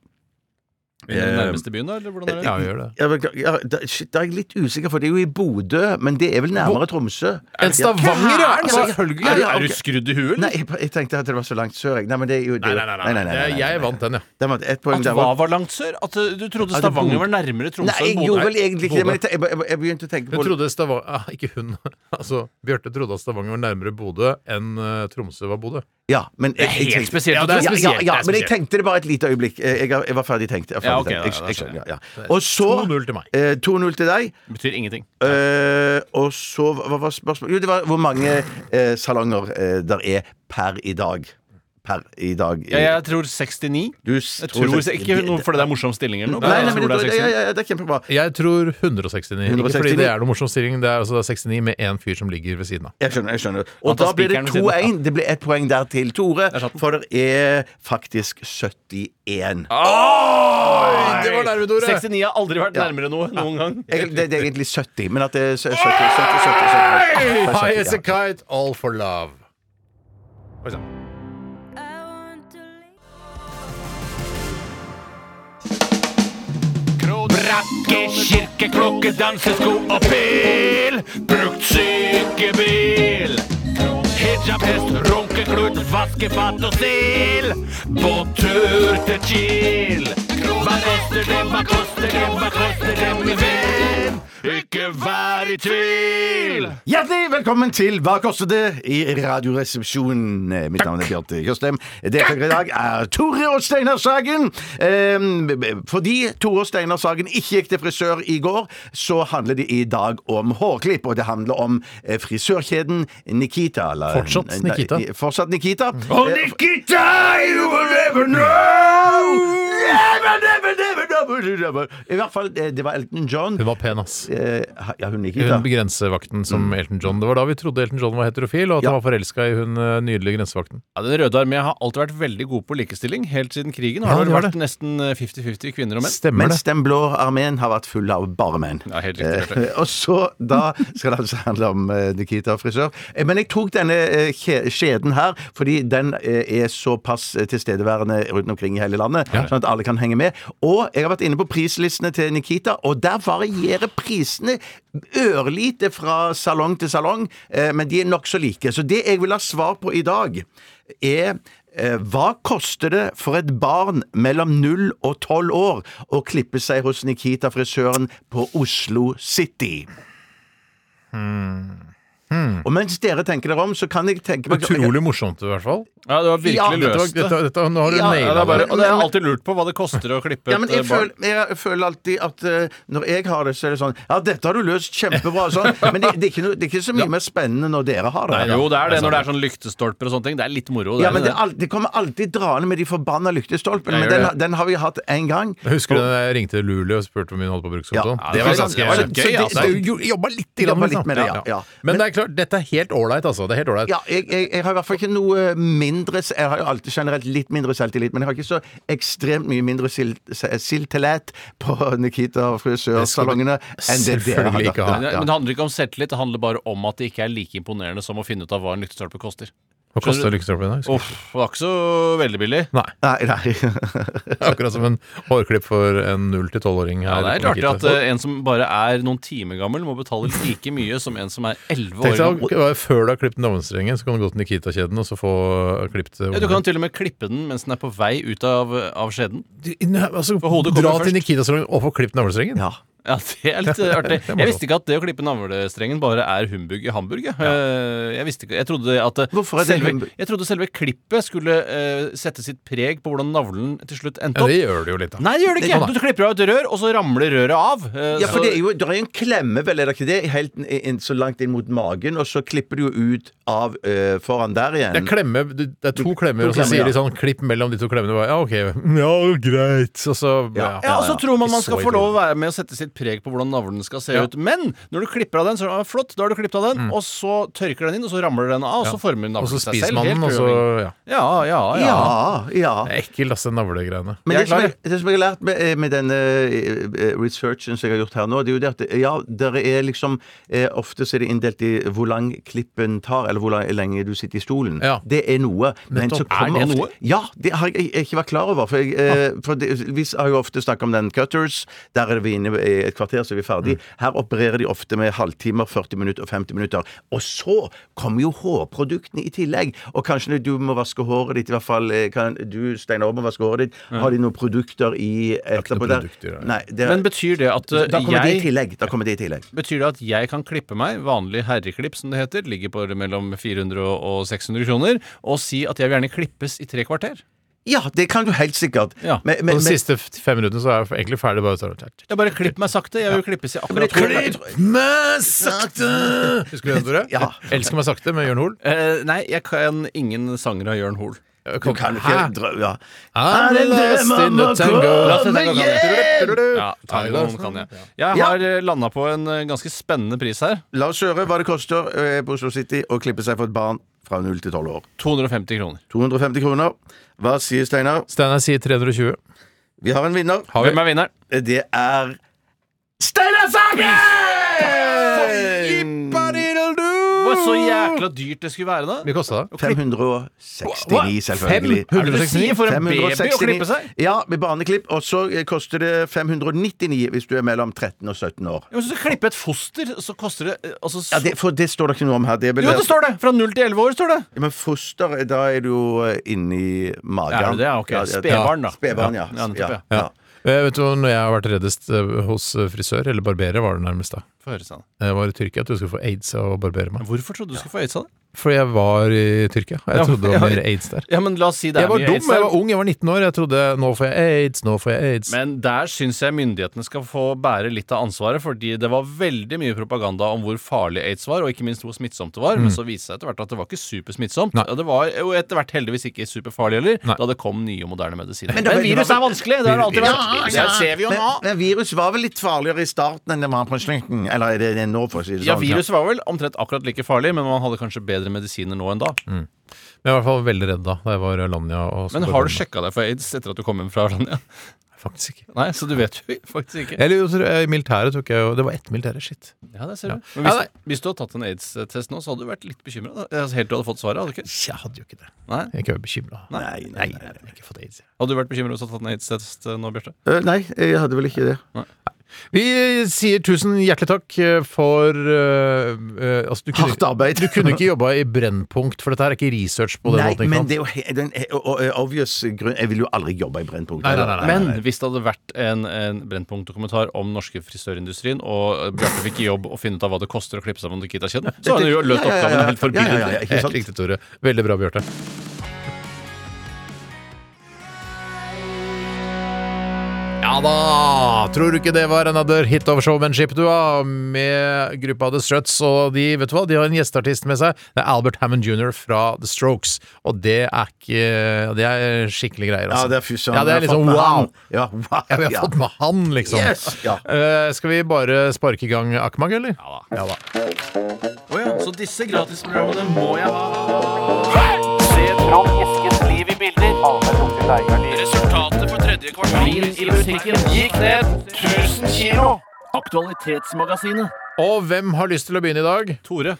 S5: I den nærmeste byen, da? Eller hvordan er det?
S4: Ja, vi gjør det.
S6: Eh, Ja, men, ja, da, shit, da er jeg litt usikker, for det er jo i Bodø, men det er vel nærmere Tromsø.
S4: En Stavanger, ja! altså, Selvfølgelig.
S6: Ja,
S5: Altså, Er, du-
S6: ja,
S5: er du
S6: ok.
S5: skrudd i huet?
S6: Nei,
S5: eller?
S6: jeg, jeg tenkte at det var så langt sør. jeg. Nei, men det er jo det-
S4: Nei, nei, nei. nei, nei,
S6: nei, nei, nei.
S4: Jeg vant den, ja.
S6: Det var et poeng
S5: At
S6: der.
S5: hva
S6: var-
S5: var langt sør? At uh, du trodde
S6: det
S5: Stavanger
S6: Bodø.
S5: var nærmere Tromsø
S6: Nei, jeg
S5: enn
S6: gjorde
S5: Bodø?
S6: vel egentlig ikke det, men
S4: Bodø.
S6: jeg, te- jeg, jeg begynte å tenke
S4: Jeg
S6: på
S4: trodde Stavanger ah, Ikke hun. Altså, Bjarte trodde at Stavanger var nærmere Bodø enn eh, Tromsø var Bodø.
S6: Ja, men jeg, jeg,
S5: Helt
S6: tenkte-
S5: spesielt.
S4: Ja,
S5: og
S4: det er
S6: ja,
S4: spesielt,
S6: ja, ja,
S4: det er
S6: men jeg
S4: spesielt.
S6: tenkte det bare et lite øyeblikk. Jeg, jeg, jeg var ferdig tenkt. Jeg var
S5: Ja,
S6: ferdig
S5: ok, ja,
S6: tenkt. Jeg- jeg
S5: da skjønner
S6: skjønner, ja, ja. Og så
S5: 2-0 til meg.
S6: eh, 2-0 til deg.
S5: Betyr ingenting.
S6: Eh, og så Hva var spørsmålet? Jo, det var hvor mange eh, salonger eh, der er per i dag. Per i dag.
S5: Ja, jeg tror 69.
S6: Du s-
S5: Jeg tror, ikke noe fordi det er morsom stilling eller noe.
S6: Nei,
S5: men
S6: nei,
S5: jeg
S6: men
S5: tror det er
S6: det,
S5: 69.
S6: ja, ja, ja, det er kjempebra.
S4: Jeg tror 169. Ikke
S6: 169.
S4: fordi det er noen morsom stilling, det er altså 69 med én fyr som ligger ved siden av.
S6: Jeg skjønner. jeg skjønner Og
S5: Han tar
S6: da blir det
S5: spikeren ved siden av.
S6: 2-1. Det blir ett poeng der til Tore,
S5: satt den.
S6: for det er faktisk 71.
S4: Det var nærme, Tore!
S5: 69 har aldri vært nærmere noe noen gang.
S6: Jeg, det, det er egentlig 70, men at det er 70, 70, 70, 70, 70.
S4: High as a kite, all for love. Oi, sann.
S3: Brakke, kirke, klokke, dansesko og pil. Brukt sykebil. Hijab, hest, runkeklut, vaskefat og stil. Båttur til Kiel. Hva koster det, hva koster det, hva koster det, min venn? Ikke vær i tvil.
S6: Hjertelig velkommen til Hva koster det? i Radioresepsjonen. Eh, Mitt navn er Bjarte Tjøstheim. Deltakere i dag er Tore og Steinar Sagen. Ehm, b- b- Fordi Tore og Steinar Sagen ikke gikk til frisør i går, så handler det i dag om hårklipp. Og det handler om eh, frisørkjeden Nikita. Eller,
S4: Fortsatt Nikita.
S6: Nei, fortsatt Nikita.
S3: Og
S6: Eh,
S3: Nikita, you will never know.
S6: Never, never, never, never, never. I hvert fall, eh, det var Elton John.
S4: Hun var pen, ass.
S6: Eh, Ja, hun Nikita.
S4: Hun grensevakten som Elton John. Det var da vi trodde Elton John var heterofil, og at
S6: Ja.
S4: han var forelska i hun eh, nydelige grensevakten.
S5: Ja, Den røde armé har alltid vært veldig god på likestilling. Helt siden krigen
S4: Ja,
S5: har det
S4: det var
S5: vel vært nesten 50-50 kvinner og menn.
S4: Stemmer det?
S6: Mens den blå armeen har vært full av bare menn.
S5: Ja, helt riktig, Bjarte.
S6: Eh, og så da skal det altså handle om eh, Nikita frisør. Eh, Men jeg tok denne eh, kje- skjeden her, fordi den eh, er såpass eh, tilstedeværende rundt omkring i hele landet, sånn at alle kan henge med. Og jeg har vært inne på prislistene til Nikita, og der varierer prisene ørlite fra salong til salong, eh, men de er nokså like. Så det jeg vil ha svar på i dag, er eh, hva koster det for et barn mellom 0 og 12 år å klippe seg hos Nikita frisøren på Oslo City?
S5: Hmm.
S6: Og mens dere tenker dere om, så kan jeg tenke meg
S4: Utrolig morsomt, i hvert fall.
S5: Ja, det var
S6: Ja,
S5: virkelig
S6: dette
S4: Dette var,
S5: løst. det.
S4: dette, dette, nå har du
S6: Ja,
S4: naila
S5: Ja, det er bare,
S4: det.
S5: og det har jeg alltid lurt på hva det koster å klippe
S6: Ja, men
S5: et eh,
S6: jeg
S5: barn.
S6: føler, jeg føler alltid at eh, når jeg har det, så er det sånn Ja, dette har du løst kjempebra, sånn. Men det, det, er ikke noe, det er ikke så mye mer spennende når dere har det.
S5: Jo, det er det når det er sånn lyktestolper og sånne ting. Det er litt moro.
S6: Ja, men det, er alt- det kommer alltid draende med de forbanna lyktestolpene.
S5: Jeg
S6: Men
S5: gjør
S6: den,
S5: det.
S6: den har vi hatt én gang.
S4: Husker du da jeg ringte til Luleå og spurte hvor mye hun holdt på å bruke
S6: Ja,
S4: sånn?
S6: det var ganske
S5: gøy, altså.
S4: Jobba litt,
S6: Jobba
S4: grann,
S6: litt
S4: liksom.
S6: med det, ja, ja.
S4: Men det er klart, dette er helt ålreit, altså. Det er helt ålreit.
S6: Ja, jeg, jeg, jeg har i hvert fall ikke noe eh, mindre Jeg har jo alltid generelt litt mindre selvtillit, men jeg har ikke så ekstremt mye mindre sil- se- selvtillit på Nikita frisørsalongene enn det dere har.
S4: selvfølgelig ikke ha.
S5: Men det- men det handler ikke om selvtillit, det handler bare om at det ikke er like imponerende som å finne ut av hva en lyktestolpe koster.
S4: Hva kosta lykkestolpen i dag? husker du?
S5: Uff, det var ikke så veldig billig.
S4: Nei.
S6: Nei, nei.
S4: Akkurat som en hårklipp for en 0-12-åring.
S5: Ja, det er rart at eh, en som bare er noen timer gammel, må betale like mye som en som er 11 år
S4: Tenk deg,
S5: gammel.
S4: ok, Før du har klippet navlestrengen, så kan du gå til Nikita-kjeden og så få eh, klippet
S5: Ja, du kan til og med klippe den mens den er på vei ut av, av skjeden.
S4: altså,
S5: For hodet kommer
S4: Dra
S5: først.
S4: til Nikita-salongen og få klippet navlestrengen?
S6: Ja.
S5: Ja, det er litt eh, artig.
S4: er morsomt.
S5: Jeg visste ikke at det å klippe navlestrengen bare er humbug i Hamburg. Jeg, Eh, jeg, visste ikke, jeg, trodde at eh,
S6: Hvorfor er det
S5: selve,
S6: humbug?
S5: jeg trodde selve klippet skulle eh, sette sitt preg på hvordan navlen til slutt endte
S4: Ja,
S5: opp.
S4: det gjør det jo litt, da.
S5: Nei, det gjør det
S4: Å,
S5: ikke!
S4: nei.
S5: Du klipper av et rør, og så ramler røret av. Eh,
S6: Ja, for
S5: så-
S6: det er jo det er jo en klemme, vel, er det ikke det? Helt inn- inn, så langt inn mot magen, og så klipper du jo ut av eh, foran der
S4: Det er,
S6: igjen.
S4: klemme, du- det er to klemmer, og så
S6: klemmer,
S4: sier de
S6: ja.
S4: sånn klipp mellom de to klemmene. Og bare, ja, ok. Ja, greit. Og så
S5: ja, og så tror man man skal få lov å være med og sette sitt sitt preg på hvordan navlen skal se ut. Men når du klipper av den, så er det «Ah, flott, da har du klippet av den, og så tørker den inn, og så ramler den av, og så former
S4: Og
S5: navlen
S4: så
S5: seg
S4: spiser
S5: selv.
S4: man den,
S5: helt
S4: og så
S5: uavhengig.
S4: ja.
S5: ja, ja, ja.
S6: Ja, ja.
S4: Det er ekkelt, altså, navlegreiene.
S6: Men
S5: Jeg
S6: det
S5: er
S6: som,
S5: klar.
S6: jeg, det som jeg har lært med, eh, med denne eh, researchen som jeg har gjort her nå, det er jo det at eh, ja, dere er liksom eh, Ofte så er det inndelt i hvor lang klippen tar, eller hvor lang- lenge du sitter i stolen.
S4: Ja.
S6: Det er noe. Men
S4: Nettopp.
S6: så kommer
S5: Er det
S6: ofte-
S5: noe? Ah.
S6: Ja, det har jeg, jeg ikke vært klar over. For, jeg, eh, for det, vi har jo ofte snakket om den cutters. Der er vi inne i et kvarter, så er vi
S5: Mm.
S6: ferdig. Her opererer de ofte med halvtimer, 40 minutter og 50 minutter. Og så kommer jo hårproduktene i tillegg. Og kanskje du må vaske håret ditt, i hvert fall eh, kan du, Steinar, må vaske håret ditt. Har de noen produkter i etterpå der?
S4: produkter, ja.
S6: Nei, det,
S5: Men betyr det at eh,
S6: da kommer det i
S5: jeg
S6: tillegg. Da kommer det i tillegg.
S5: Betyr det at jeg kan klippe meg, vanlig herreklipp som det heter, ligger på mellom 400 og 600 kroner, og si at jeg vil gjerne klippes i tre kvarter?
S6: Ja, det kan du helt sikkert.
S5: Ja,
S6: Men-
S4: På
S6: men-
S4: de
S6: men-
S4: siste f- fem minuttene så er jeg egentlig ferdig. bare så-
S5: Jeg bare klipp meg sakte. Jeg vil klippes i akkurat to
S4: Klipp meg sakte! Husker du den, Tore?
S6: Ja.
S4: Elsker meg sakte med Jørn Hoel.
S5: Eh, nei, jeg kan ingen sanger av Jørn Hoel.
S6: Du kan jo ikke drø- ja.
S4: I'm lost in the tango.
S5: La oss se, tango kan jeg.
S4: Du, du, du.
S5: Ja, tango kan jeg. Jeg
S6: Ja.
S5: har landa på en eh, ganske spennende pris her.
S6: La oss høre hva det koster eh, på Oslo City å klippe seg for et barn fra 0 til 12 år.
S5: 250 kroner.
S6: 250 kroner. Hva sier Steinar?
S4: Steinar sier 320.
S6: Vi har en vinner. Eh,
S5: Hvem er vinneren?
S6: Det er Steinar Sagen!
S5: Det var så jækla dyrt det skulle være, da.
S4: Mye kosta det?
S6: 569, selvfølgelig.
S5: Hva er det du sier for en baby å klippe seg?
S6: Ja, med barneklipp. Og så eh, koster det 599 hvis du er mellom 13 og 17 år.
S5: Ja, men så klippe et foster, så koster det eh, altså,
S6: Ja, det, for det står det ikke noe om her. Det er vel-
S5: Jo, det står det! Fra 0 til 11 år står det.
S6: Ja, Men foster, eh, da er du jo eh, inni magen.
S5: Er det det? Ja, ok.
S6: Ja, ja,
S5: Spedbarn, da.
S6: Spedbarn, ja.
S5: Ja, nettopp, ja.
S6: ja.
S4: Eh, Vet du hva, når jeg har vært reddest eh, hos eh, frisør, eller barberer, var det nærmest da.
S5: Få høre, Steinar.
S4: Jeg var i Tyrkia, jeg trodde jeg skulle få aids av å barbere meg.
S5: Hvorfor trodde du skulle få aids av det?
S4: Fordi jeg var i Tyrkia. og
S5: Ja,
S4: Jeg trodde det var
S5: ja.
S4: mer aids der.
S5: Ja, men la oss si det
S4: Jeg
S5: er
S4: var
S5: mye
S4: dum,
S5: aids der.
S4: jeg var ung, jeg var 19 år. Jeg trodde nå får jeg aids, nå får jeg aids.
S5: Men der syns jeg myndighetene skal få bære litt av ansvaret, fordi det var veldig mye propaganda om hvor farlig aids var, og ikke minst hvor smittsomt det var. Men så viste det seg etter hvert at det var ikke supersmittsomt.
S4: Mm. Nei.
S5: Og det var jo etter hvert heldigvis ikke superfarlig heller,
S4: Nei.
S5: da det kom nye og moderne medisiner.
S6: Men
S5: Men,
S6: det var-
S5: virus er vanskelig! Det har det alltid vært. Det ser vi jo nå.
S6: Men, men virus var vel litt farligere i starten enn det var på slutten? Eller er det det nå, for å si det
S5: Ja,
S6: sånn?
S5: viruset var vel omtrent akkurat like farlig, men man hadde kanskje bedre medisiner nå enn da.
S4: Mm, Men jeg var i hvert fall veldig redd da da jeg var i Alanya. og så
S5: Men
S4: barberte
S5: har du
S4: meg.
S5: sjekka deg for aids etter at du kom hjem fra Arlanda?
S4: Faktisk ikke.
S5: Nei, så du vet jo faktisk ikke.
S4: Eller jo, så- eh, i militæret tok jeg jo Det var ett militære, shit.
S5: Ja, det
S4: Ja.
S5: ser du. Men
S4: Ja, nei.
S5: hvis, hvis du hadde tatt en aids-test nå, så hadde du vært litt bekymra. Helt til du hadde fått svaret, hadde du ikke?
S4: Jeg hadde jo ikke det.
S5: Nei?
S4: Jeg er ikke bekymra.
S6: Nei, nei, nei.
S4: jeg har ikke fått aids. jeg.
S5: Hadde du vært bekymra hvis du hadde tatt en aids-test eh, nå, Bjarte?
S6: Eh, nei, jeg hadde vel ikke det.
S4: Vi sier tusen hjertelig takk eh, for eh, eh, altså, du kunne,
S6: Hardt arbeid.
S4: Du kunne ikke jobba i Brennpunkt, for dette her er ikke research på den
S6: Nei,
S4: måten. ikke
S6: men
S4: sant?
S6: det er jo he- den he- og- og- obvious grunn Jeg ville jo aldri jobba i Brennpunkt.
S4: Nei, nei, nei, nei.
S5: Men hvis det hadde vært en, en Brennpunkt-dokumentar om norske frisørindustrien, og eh, Bjarte fikk i jobb å finne ut av hva det koster å klippe seg med Nikita-kjeden, så hadde du jo løst
S6: Ja, ja, ja,
S5: oppgaven
S6: ja.
S5: helt forbi.
S6: Ja, ja, ja, ikke sant?
S4: Helt riktig, Tore. Veldig bra, Bjarte. Ja da! Tror du ikke det var another hit of showmanship, du, da? Med gruppa The Struts. Og de vet du hva, de har en gjesteartist med seg. Det er Albert Hammond jr. fra The Strokes. Og det er ikke Det er skikkelig greier,
S6: Ja,
S4: altså.
S6: det er fy søren.
S4: Ja, det er
S6: jeg har fått
S4: liksom
S6: med
S4: wow!
S6: han. Ja,
S4: Ja,
S6: wow.
S4: vi har
S6: ja.
S4: fått med han, liksom.
S6: Yes! Ja.
S4: Eh, skal vi bare sparke i gang Akmag, eller? Ja da.
S5: Så disse gratisprogrammene må jeg ha. Resultatet på tredje kvartal i musikken gikk ned 1000 kilo. Aktualitetsmagasinet.
S4: Og hvem har lyst til å begynne i dag?
S5: Tore.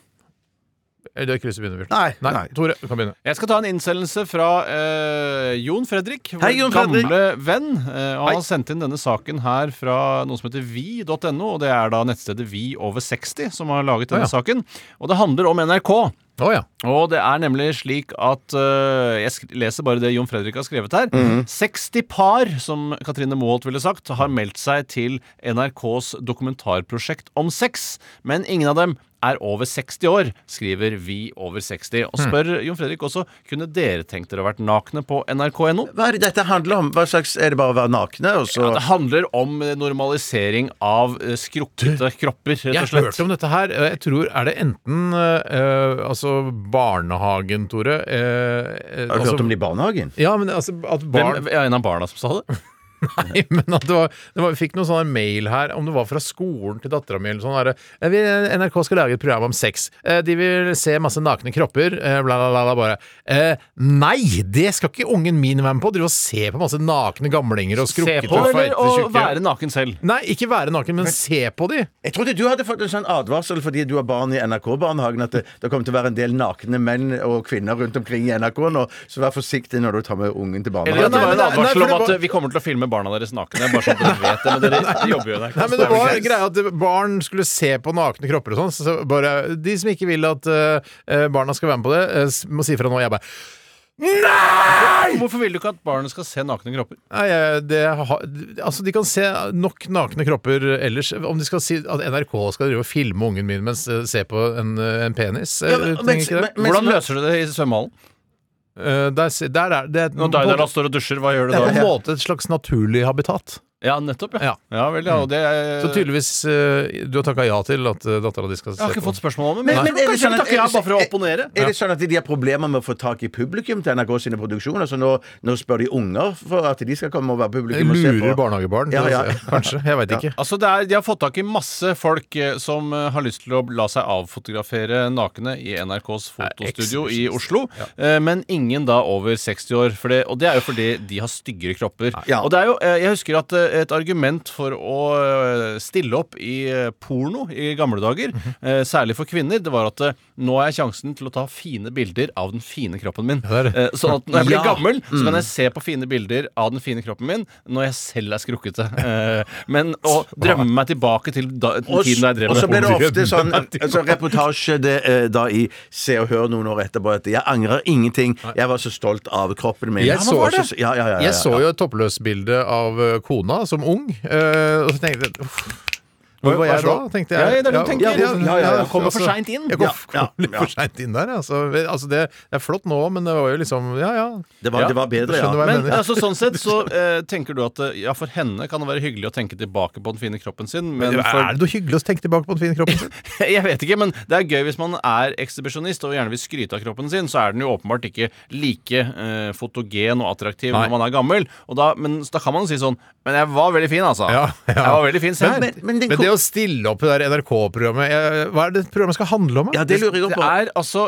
S4: Eh, Det er Kruse begynner først.
S6: Nei,
S4: Nei,
S6: nei.
S4: Tore, du kan begynne.
S5: Jeg skal ta en innsendelse fra eh, Jon Fredrik, vår
S6: Hei, Jon Fredrik.
S5: gamle venn. Eh, og han har sendt inn denne saken her fra noe som heter vi.no, og det er da nettstedet Vi over 60 som har laget denne
S4: Å, ja.
S5: saken. Og det handler om NRK.
S4: Å ja.
S5: Og det er nemlig slik at eh, Jeg sk- leser bare det Jon Fredrik har skrevet her.
S4: Mhm.
S5: 60 par, som Katrine Moholt ville sagt, har meldt seg til NRKs dokumentarprosjekt om sex. Men ingen av dem er over 60 år, skriver Vi over
S4: Mhm.
S5: 60. Og spør Jon Fredrik også kunne dere tenkt dere å vært nakne på nrk.no.
S6: Hva er det dette handler om? Hva slags, Er det bare å være nakne? Og så
S5: Ja, det handler om eh, normalisering av eh, skrukkete kropper, rett og
S4: Jeg
S5: slett.
S4: hørte om dette her. og Jeg tror Er det enten eh, altså barnehagen, Tore eh, eh,
S6: Har du
S4: altså,
S6: hørt om det i barnehagen?
S4: Ja, men altså at barn
S5: Hvem, er en av barna som sa det?
S4: Nei, men at det var, det var, vi fikk noen sånne mail her, om det var fra skolen til dattera mi eller sånn derre «Eh, vi- NRK skal lage et program om sex. Eh, De vil se masse nakne kropper, eh, bla, bla, bla, bla bare. Eh, Nei! Det skal ikke ungen min være med på! Drive og se på masse nakne gamlinger og
S5: Se
S4: skrukkete og
S5: på eller
S4: feite
S5: å
S4: tjukke.
S5: være naken selv?
S4: Nei, ikke være naken, men se på de!
S6: Jeg trodde du hadde fått en sånn advarsel fordi du har barn i NRK-barnehagen, at det, det kommer til å være en del nakne menn og kvinner rundt omkring i NRK nå, så vær forsiktig når du tar med ungen til
S5: Eller at
S4: nei,
S5: det var en
S6: barnehagen.
S4: nei,
S5: advarsel
S4: for det
S5: om at
S4: var-
S5: eh, vi kommer til å filme barna deres nakne. Bare sånn at dere vet det, men dere jobber jo der.
S4: Nei, men det var greia at barn skulle se på nakne kropper og sånn. Så så bare, de som ikke vil at eh, barna skal være med på det, eh, s- må si fra nå. Jeg bare
S5: Hvorfor vil du ikke at barn skal se nakne kropper?
S4: Nei, jeg- det, har- altså De kan se nok nakne kropper ellers. Om de skal si at NRK skal drive og filme ungen min mens eh, se på en, eh, en penis eh,
S6: Ja, men-
S4: trenger
S6: men-
S4: ikke det.
S6: men-
S5: Hvordan løser du det i svømmehallen?
S4: Eh, der, se- der er det er
S5: Når Daidala står og dusjer, hva gjør du
S4: det er på en
S5: da?
S4: måte et slags naturlig habitat.
S5: Ja, nettopp, ja.
S4: Ja.
S5: Ja vel, ja. Og det er
S4: Så tydeligvis eh, Du har takka ja til at uh, dattera di skal se
S5: Jeg har ikke
S4: på
S5: fått spørsmål om det,
S6: Men-
S5: men,
S6: men er det
S5: kanskje
S6: sånn
S5: vi
S6: at-
S5: takker ja bare for å
S6: er-
S5: opponere?
S6: Er det sånn at de har problemer med å få tak i publikum til NRK sine produksjoner? Så nå, nå spør de unger for at de skal komme og være
S4: Jeg
S6: publikum og se
S4: Lurer
S6: på?
S4: barnehagebarn,
S6: Ja, ja.
S4: kanskje. Jeg veit ikke.
S5: Altså, det er, De har fått tak i masse folk eh, som eh, har lyst til å la seg avfotografere nakne i NRKs fotostudio i Oslo, eh, men ingen da over 60 år. For det, og det er jo fordi de har styggere kropper.
S6: Ja.
S5: Og det er jo, eh, Jeg husker at eh, et argument for å eh, stille opp i eh, porno i gamle dager, eh, særlig for kvinner, det var at eh, nå har jeg sjansen til å ta fine bilder av den fine kroppen min.
S4: Ja, det er det.
S5: Eh, Sånn at når jeg blir
S6: Ja.
S5: gammel, så kan jeg se på fine bilder av den fine kroppen min når jeg selv er skrukkete. Eh, Men å drømme meg tilbake til da, den
S6: Og
S5: tiden da jeg drev
S6: og så ble det ofte sånn
S5: Drømme-
S6: altså, reportasje det, eh, da i Se og Hør noen år etterpå at 'jeg angrer ingenting', 'jeg var så stolt av kroppen min'.
S4: Jeg
S6: Ja, men
S4: så
S6: var
S4: det.
S6: så- Ja, ja, ja, ja,
S4: Jeg så jo et toppløsbilde av eh, kona som ung, eh, og så tenkte jeg uff, Hvor var
S5: Vær
S4: jeg
S5: så
S4: da?
S5: god.
S4: tenkte
S5: Ja,
S4: jeg.
S5: ja, det er det du tenker.
S6: Ja, ja, ja.
S5: Kommer for sent inn.
S4: altså, Jeg kom,
S6: Ja, ja,
S4: kom litt
S6: ja.
S4: for seint inn der. Altså, Vi- altså det, det er flott nå, men det var jo liksom Ja, ja.
S6: Det, var,
S5: Ja.
S6: det var bedre, ja.
S4: Skjønner hva jeg
S5: Men
S4: mener.
S5: altså, sånn sett så eh, tenker du at eh, ja, for henne kan det være hyggelig å tenke tilbake på den fine kroppen sin, men
S4: Er
S5: for
S4: det noe hyggelig å tenke tilbake på den fine kroppen sin?
S5: Jeg vet ikke, men det er gøy hvis man er ekshibisjonist og gjerne vil skryte av kroppen sin, så er den jo åpenbart ikke like eh, fotogen og attraktiv
S4: Nei.
S5: når man er gammel. Og da, men så da kan man jo si sånn Men jeg var veldig fin, altså.
S4: Ja, ja.
S5: Jeg var veldig fin, se her.
S6: Men, men den
S4: Men det å stille opp i det der NRK-programmet eh, Hva er det programmet skal handle om? da?
S6: Ja, det lurer jeg
S5: Det
S6: også på.
S5: er altså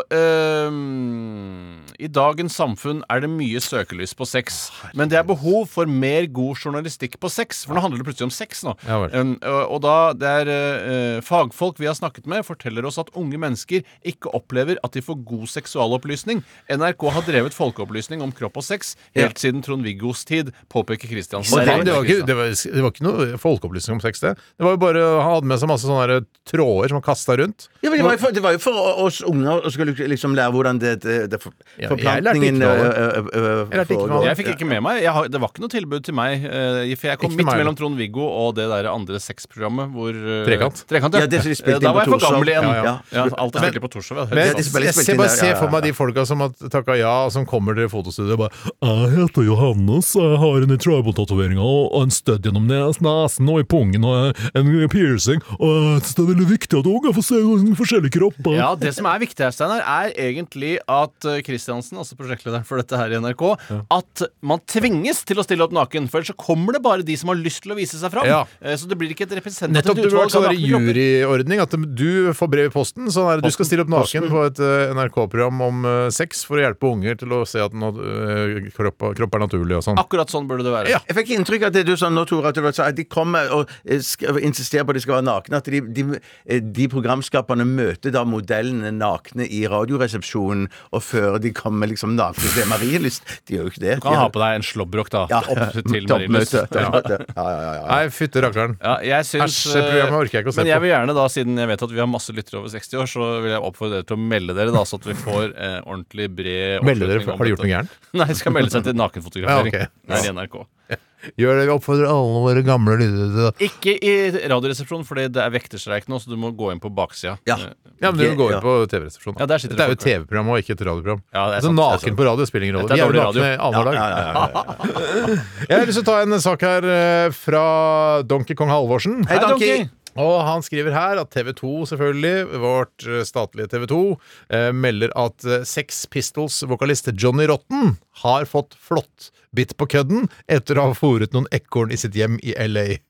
S5: øhm, I dagens samfunn er det mye søkelys på sex. Men det er behov for mer god journalistikk på sex, for nå handler det plutselig om sex nå.
S4: Ja vel.
S5: Øhm, og- og da det er øh, fagfolk vi har snakket med, forteller oss at unge mennesker ikke opplever at de får god seksualopplysning. NRK har drevet folkeopplysning om kropp og sex helt siden Trond-Viggos tid, påpeker Kristiansen.
S4: Og det,
S5: Nei,
S4: det, var ikke, det, var, det var ikke noe folkeopplysning om sex, det. Det var jo bare Han hadde med seg masse sånne der tråder som han kasta rundt.
S6: Ja, men det, var jo for, det var jo for oss unger å skulle liksom lære hvordan det, det, det for,
S4: Ja, jeg
S6: forplantningen
S4: lærte ikke noe.
S6: ø, ø, ø, ø,
S4: Jeg lærte ikke noe.
S6: foregår.
S5: Jeg fikk ikke med meg. Jeg har, det var ikke noe tilbud til meg. eh, for jeg kom
S4: Ikke
S5: midt
S4: meg,
S5: mellom Trond-Viggo og det der andre sexprogrammet hvor eh,
S4: Trekant.
S6: Ja, det som de spilte
S5: Eh, da
S6: inn
S5: var jeg
S6: på
S5: for
S6: Torshov.
S5: gammel igjen.
S6: Ja, ja.
S5: alt er spilt på Torshov. ja.
S4: Men
S5: Helt
S4: jeg,
S5: sant.
S6: ble
S4: jeg,
S6: spilt
S4: ser-
S6: inn
S4: bare
S6: der,
S4: se
S6: ja, ja,
S4: for meg
S6: ja.
S4: de folka som har takka ja, og som kommer til fotostudioet og bare 'Jeg heter Johannes, jeg har en tribal-tatovering og og en stødd gjennom nes- nesen og i pungen og en piercing', og jeg synes det er veldig viktig at unger får se forskjellige kropper.
S5: Ja, Det som er viktig her, Steinar, er egentlig at eh, Kristiansen, altså prosjektlederen for dette her i NRK, at man tvinges til å stille opp naken. For ellers så kommer det bare de som har lyst til å vise seg fram.
S4: Ja.
S5: Eh, Så det blir ikke et
S4: Nettopp,
S5: representativt
S4: du har
S5: utvalg. av
S4: sånn
S5: nakne kropper.
S4: juryordning, at du får brev i posten. Sånn er det, du skal stille opp naken på et eh, NRK-program om eh, sex for å hjelpe unger til å se at nå, eh, kropp, kropp er naturlig og sånn.
S5: Akkurat sånn burde det være.
S4: Ja.
S6: Jeg fikk inntrykk av det du sa nå, Tore, at, du sa at de kommer og eh, sk- insisterer på at de skal være nakne. At de, de, eh, de programskaperne møter da modellene nakne i Radioresepsjonen, og før de kommer liksom nakne til Marienlyst. De gjør jo ikke det.
S5: Du kan ha på deg en slåbrok, da.
S6: ja,
S5: opp til Marienlyst.
S6: toppmøte. toppmøte. Ja, ja, ja, ja.
S4: Nei, fytte rakkeren.
S5: Ja, jeg syns,
S4: Æsj, det programmet orker jeg ikke å se
S5: men jeg
S4: på.
S5: vil gjerne da, siden jeg vet at vi har masse lyttere over 60 år, så vil jeg oppfordre dere til å melde dere, da, så at vi får eh, ordentlig bred
S4: Melde dere,
S5: oppslutning om
S4: har de gjort
S5: dette.
S4: noe gærent?
S5: Nei, de skal melde seg til nakenfotografering.
S4: Ja, ok.
S5: Her i NRK.
S4: Gjør det, vi oppfordrer alle våre gamle lyttere til det.
S5: Ikke i Radioresepsjonen, fordi det er vekterstreik nå, så du må gå inn på baksida.
S6: Ja.
S5: Eh,
S4: Ja, men du går jo
S6: Ja.
S4: på TV-resepsjonen.
S5: Ja, der sitter
S4: det er jo
S5: det
S4: et TV-program og ikke et radioprogram.
S5: Ja, det er
S4: altså,
S5: sant, det er
S4: naken
S5: sant.
S4: på radio spiller ingen rolle.
S5: Dette er
S4: Vi er jo
S5: dårlig
S4: nakne annenhver dag.
S6: Ja, ja, ja, ja.
S4: Jeg har lyst til å ta en sak her eh, fra Donkey Kong Halvorsen.
S6: Hei, Donkey!
S4: Og han skriver her at TV 2, selvfølgelig, vårt eh, statlige TV 2, eh, melder at eh, Sex Pistols-vokalist Johnny Rotten har fått flåttbitt på kødden etter å ha fôret noen ekorn i sitt hjem i LA.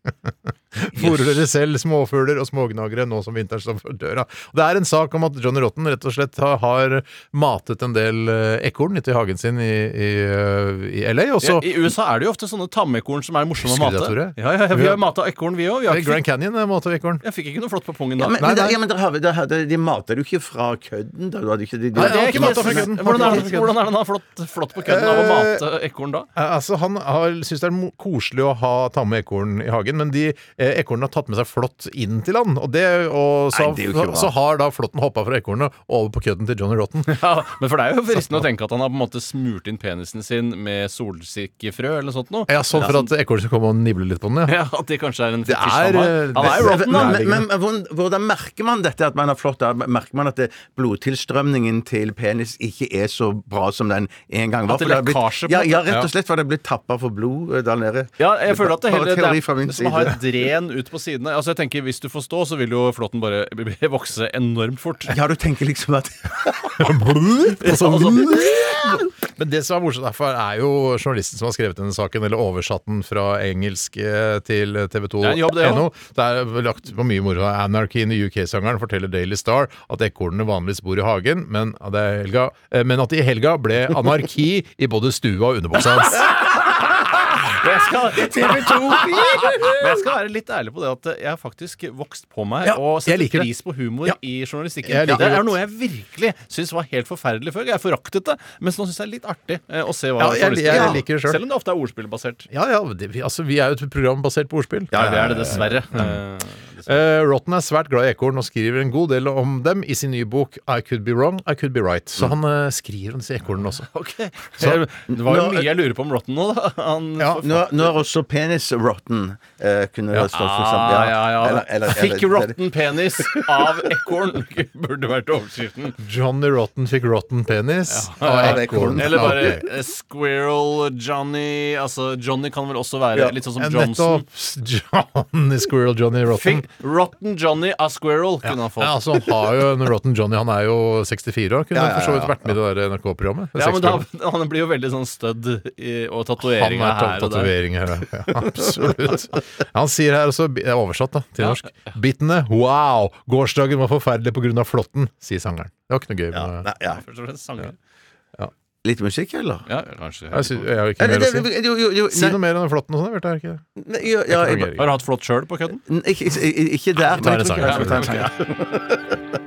S4: Fôrer dere selv småfugler og smågnagere nå som vinteren står for døra? Det er en sak om at Johnny Rotten rett og slett har, har matet en del eh, ekorn ute i hagen sin i, i, eh, i LA, og så
S5: I USA er det jo ofte sånne tamekorn som er morsomme å
S4: Husker du
S5: mate.
S4: det, Tore?
S5: Ja, ja, ja, vi har mata ekorn, vi òg.
S4: I Grand Canyon eh, mater vi ekorn.
S5: Jeg fikk ikke noe flott på pungen da.
S6: Ja, men,
S5: Nei,
S6: men, da- ja, men dere har- dere har- de mater jo ikke fra kødden, da. Du hadde ikke, de, de,
S4: Nei, det er ikke
S5: jeg
S4: mata fra
S5: synes-
S4: kødden.
S5: Hvordan er, det- hvordan er den da flott, flott på kødden av å mate ekorn da?
S4: Eh, Altså, Han har- syns det er mo- koselig å ha tamme ekorn i hagen, men de eh, ekornene har tatt med seg flått inn til land. Og, det, og så,
S6: Nei, det er jo ikke bra.
S4: så har da flåtten hoppa fra ekornet over på kødden til Johnny Rotten.
S5: Ja, men for det er jo fristende å tenke at han har på en måte smurt inn penisen sin med solsikkefrø eller noe sånt noe.
S4: Ja, Sånn for at ekornet skal komme og nible litt på den. ja
S5: Ja, at det kanskje er en
S4: Det
S5: fetisj han har.
S4: er, eh,
S5: Han er jo rotten, da.
S6: men, men, men hvordan- hvordan merker man dette? At man har flått av? Merker man at det, blodtilstrømningen til penis ikke er så bra som den en gang
S5: At
S6: var?
S5: det
S6: For har blitt-
S5: lekkasje på
S6: ja,
S5: den?
S6: ja, rett og slett, for det er blitt tappa for blod eh, der nede.
S5: Ja, jeg føler at det
S6: Bare
S5: heller det
S6: teori
S5: er
S6: fra min
S5: det som å ha
S6: side.
S5: et dren ut på sidene. Altså jeg tenker Hvis du får stå, så vil jo flåtten bare vokse enormt fort.
S6: Ja, du tenker liksom at
S4: Og så-
S5: altså.
S4: Men det som er morsomt derfor, er jo journalisten som har skrevet denne saken, eller oversatt den fra engelsk eh, til
S5: Det er en jobb, det,
S4: tv2.no. Det er lagt på mye moro. Anarchy in the UK-sangeren forteller Daily Star at ekornene vanligvis bor i hagen, men, ja, det er helga, eh, men at det i helga ble anarki i både stua og underbuksa hans.
S5: Jeg skal, Men jeg skal være litt ærlig på det at jeg har faktisk vokst på meg
S4: Ja,
S5: og
S4: jeg
S5: setter
S4: liker det.
S5: pris på humor
S4: Ja.
S5: i journalistikken.
S4: Jeg liker
S5: Det
S4: det
S5: er
S4: godt.
S5: noe jeg virkelig syns var helt forferdelig før. Jeg foraktet det, mens nå syns jeg det er litt artig eh, å se hva
S4: Ja, jeg-
S5: journalistikken
S4: jeg
S5: er.
S4: liker det selv.
S5: Selv om det ofte er ordspillbasert.
S4: Ja, ja, det, vi, altså, vi er jo et program basert på ordspill.
S5: Ja, det er det dessverre. Eh,
S4: Eh, Rotten er svært glad i ekorn og skriver en god del om dem i sin nye bok I Could Be Wrong, I Could Be Right. Så han eh, skriver om disse ekornene også.
S5: Så, det var jo
S6: Nå-
S5: mye jeg lurer på om Rotten nå, da. Han,
S4: Ja,
S5: for-
S6: Nå, nå er også penis rotten. Eh, kunne det stått for eksempel.
S5: Ah, ja, ja.
S6: Eller- eller-
S5: Fikk
S6: eller-
S5: rotten penis av ekorn, burde vært overskriften.
S4: Johnny Rotten fikk rotten penis
S6: Ja,
S4: av
S6: det er
S4: ekorn.
S6: korn.
S5: Eller
S6: Ja,
S5: bare
S6: ok.
S5: eh, Squirrel, Johnny Altså, Johnny kan vel også være
S6: Ja,
S5: litt sånn
S4: Ja,
S5: som Johnson.
S4: Nettopp. Johnny Squirrel Johnny Rotten.
S5: Fikk rotten Johnny av Squirrel, kunne han
S4: Ja,
S5: fått.
S4: altså, han har jo en Rotten Johnny. Han er jo 64 år. Kunne
S6: Ja, ja,
S4: for så vidt
S6: ja,
S4: vært med i det der NRK-programmet.
S5: Ja, men da, han blir jo veldig sånn stødd i- og
S4: han
S5: tatoveringer
S4: er
S5: her og der.
S4: tatovering her, ja. Ja, Absolutt. Han sier her også, det er oversatt da, til norsk, 'Bitene, wow! Gårsdagen var forferdelig pga. flåtten', sier sangeren. Det var ikke noe gøy.
S6: Ja,
S4: Med,
S6: nei, ja.
S5: Først og fremst sanger.
S6: Litt musikk, eller?
S5: Ja, kanskje.
S4: jeg, sy- jeg har ikke
S6: Eller,
S4: mer å si.
S6: det, jo, jo, jo,
S4: Si noe
S6: nei,
S4: mer om den flåtten og sånn. Bjarte, er det ikke det?
S6: nei, jo, ja, jeg,
S5: Har du hatt flott sjøl på kødden?
S6: N- Ikke, ikke, ikke- ikke der.
S4: tar
S6: men
S4: en
S6: jeg tror
S4: sang,
S6: ikke-
S4: ja, vi tar en
S5: sang, ja.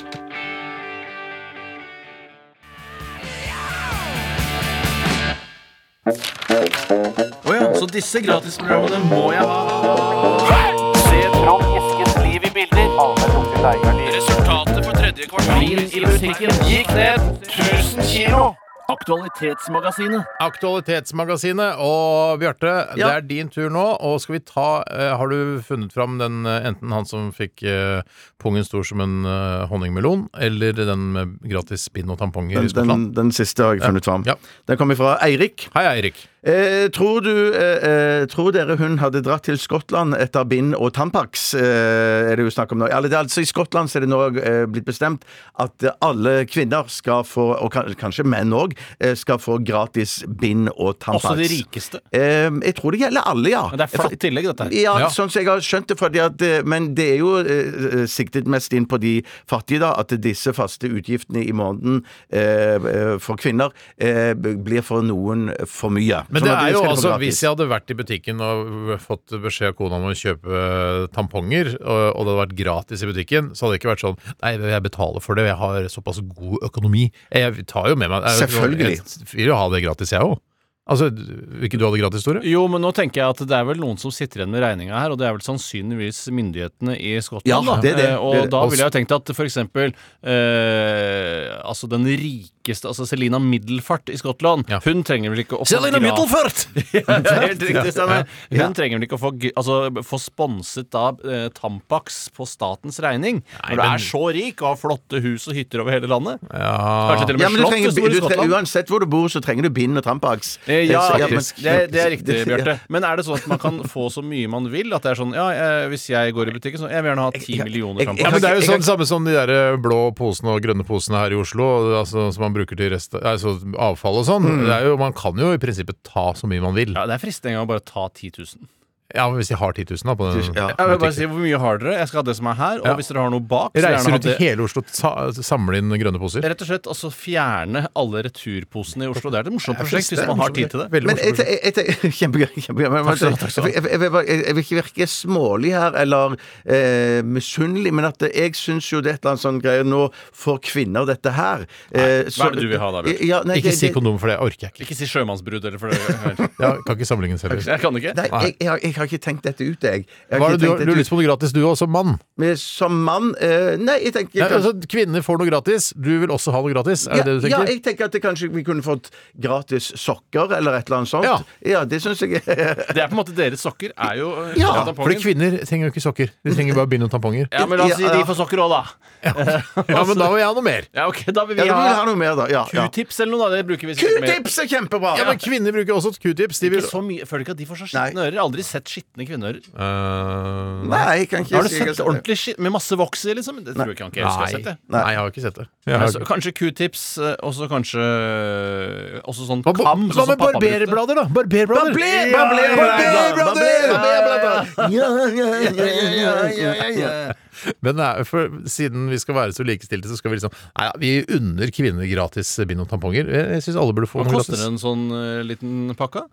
S5: Å ja, så disse gratisprogrammene må jeg ha.
S9: Se Trond Eskens liv i bilder.
S8: Resultatet for tredje
S9: Vin i butikken gikk ned 1000 kilo. Aktualitetsmagasinet.
S4: Aktualitetsmagasinet. Og Bjarte, det
S6: Ja.
S4: er din tur nå. Og skal vi ta eh, Har du funnet fram den eh, enten han som fikk eh, pungen stor som en eh, honningmelon, eller den med gratis spinn og tamponger i
S6: Den,
S4: Skottland?
S6: den, den siste har jeg funnet fram.
S4: Ja.
S6: Den kommer fra Eirik.
S4: Hei, Eirik.
S6: Eh, tror, du, eh, eh, tror dere hun hadde dratt til Skottland etter bind og Tampax? Eh, er det jo snakk om nå. Eller, det er altså, I Skottland så er det nå eh, blitt bestemt at eh, alle kvinner skal få, og kan, kanskje menn òg, eh, skal få gratis bind og Tampax.
S5: Også de rikeste.
S6: Eh, jeg tror det gjelder alle, ja.
S5: Men det er flatt tillegg, dette her.
S6: Ja,
S4: Ja.
S6: sånn som jeg har skjønt det, fordi at, eh, men det er jo eh, eh, siktet mest inn på de fattige, da, at disse faste utgiftene i måneden eh, eh, for kvinner eh, b- blir for noen for mye.
S4: Men
S6: Sånn
S4: det
S6: at
S4: er
S6: de
S4: jo
S6: skal få
S4: altså,
S6: gratis.
S4: hvis jeg hadde vært i butikken og fått beskjed av kona om å kjøpe eh, tamponger, og, og det hadde vært gratis i butikken, så hadde det ikke vært sånn Nei, jeg betaler for det, jeg har såpass god økonomi. Jeg tar jo med meg jeg-
S6: Selvfølgelig.
S4: Jeg vil jo ha det gratis, jeg òg. Altså, vil ikke du ha det gratis, Tore?
S5: Jo, men nå tenker jeg at det er vel noen som sitter igjen med regninga her, og det er vel sannsynligvis myndighetene i
S6: Ja,
S5: Skottland, da.
S6: det er det.
S5: Eh,
S6: Det
S5: Og
S6: er det.
S5: da ville jeg jo tenkt at for eksempel eh, altså den rikeste, altså Selina Middelfart i Skottland,
S4: Ja.
S5: hun trenger vel ikke å få gra- Ja, det er Helt riktig, Steinar. Hun trenger vel ikke å få, g- altså, få sponset da eh, Tampax på statens regning? Når du
S4: men-
S5: er så rik og har flotte hus og hytter over hele landet?
S4: Ja.
S5: Kanskje til og
S6: ja,
S5: med
S6: men du
S5: slott
S6: trenger,
S5: hvis du bor i
S6: du tre-
S5: Skottland?
S6: uansett hvor du bor, så trenger du bind og Tampax.
S5: Eh, Ja,
S6: Så- men-
S5: faktisk. det, det er riktig, Bjarte. Men er det sånn at man kan få så mye man vil? At det er sånn Ja, eh, hvis jeg går i butikken, så Jeg vil gjerne ha ti millioner
S6: jeg-
S5: fram.
S6: jeg-
S4: Ja, men Det er jo
S6: Jeg kan-
S4: sånn samme som de der blå posene og grønne posene her i Oslo, altså, som man bruker til rest, altså avfall og sånn.
S6: Mm.
S4: Det er jo, man kan jo i prinsippet ta så mye man vil.
S5: Ja, det er fristende en gang å bare ta 10 000.
S4: Ja, men Hvis de har 10 000 da, på den
S6: Ja.
S5: Jeg vil bare si, Hvor mye har dere? Jeg skal ha det som er her. Og
S4: Ja.
S5: hvis dere har noe bak så
S4: Reiser
S5: gjerne ha
S4: rundt i
S5: det-
S4: hele Oslo og sa- samler inn grønne poser.
S5: Rett og slett altså fjerne alle returposene i Oslo. Det er et morsomt prosjekt hvis man har tid til det.
S4: Veldig
S6: Men jeg,
S4: morsomt.
S6: jeg, jeg, jeg, kjempegøy. kjempegøy. Men,
S5: Takk skal du ha,
S6: jeg,
S5: takk skal du ha.
S6: jeg, jeg, vil bare- jeg, jeg vil ikke virke smålig her eller eh, misunnelig, men at det- jeg syns jo det er et eller annet sånn greie Nå får kvinner dette her. Eh,
S5: hva er det du vil ha da, Bjørn?
S6: Ja, nei,
S4: Ikke
S6: det-
S4: si
S6: det-
S4: kondom, for det orker jeg ikke.
S5: Ikke si sjømannsbrudd, eller for det
S4: Ja, kan ikke sammenlignes heller.
S5: Jeg kan ikke.
S6: Nei, jeg, jeg, har- jeg har ikke tenkt dette ut, jeg. jeg
S4: Hva
S6: har
S4: er
S6: ikke
S4: det du,
S6: tenkt
S4: har-
S6: dette
S4: du har
S6: ut.
S4: lyst på noe gratis, du òg, som mann?
S6: Men Som mann eh, Nei, jeg tenker
S4: Ja, altså, kvinner får noe gratis, du vil også ha noe gratis? Er
S6: ja,
S4: det det du
S6: ja,
S4: tenker?
S6: jeg tenker at det kanskje vi kunne fått gratis sokker eller et eller annet sånt.
S4: Ja.
S6: det syns jeg er
S5: Det er på en måte deres sokker. Er jo eh,
S6: Ja,
S5: tampongen.
S4: Fordi kvinner trenger jo ikke sokker. De trenger bare bind og tamponger.
S5: Ja, men la oss si
S6: Ja,
S5: de
S6: ja.
S5: får sokker òg, da.
S4: Ja, men da må jeg ha noe mer!
S5: Ja, ok, Da vil
S6: Ja,
S5: vi
S6: du vil ha
S5: ha
S6: noe mer, da. Ja, ja.
S5: Q-tips eller noe, da. Det bruker vi sikkert mer.
S6: Q-tips er kjempebra!
S4: Ja, men Kvinner bruker også q-tips. De vil
S5: Ikke så mye. Føler ikke at de får så skitne
S6: Nei.
S5: ører. Jeg har Aldri sett skitne kvinneører.
S4: Eh, nei.
S6: Nei, jeg kan ikke
S5: Har du
S6: si jeg
S5: sett
S6: har sett det.
S5: ordentlig skitt med masse voks i, liksom? Det tror jeg ikke han ikke har sett. det.
S4: Nei, jeg har ikke sett det. Jeg har
S5: Altså,
S4: ikke-
S5: kanskje Q-tips, eh, og så kanskje eh, Også sånn
S4: Hva hva
S5: kam. sånn som
S4: med
S5: pappa brukte.
S4: barberblader, da? Barberblader!
S6: Barber-
S4: Ja,
S6: barber-
S4: barberblader!
S6: barber- Ja, ja, ja, ja, ja, ja.
S4: Men nei, for, siden vi skal være så likestilte, så skal vi liksom Nei, ja, vi unner kvinner gratis bind og tamponger. Jeg, jeg syns alle burde få
S5: Hva
S4: noe
S5: koster
S4: gratis.
S5: en sånn eh, liten pakke?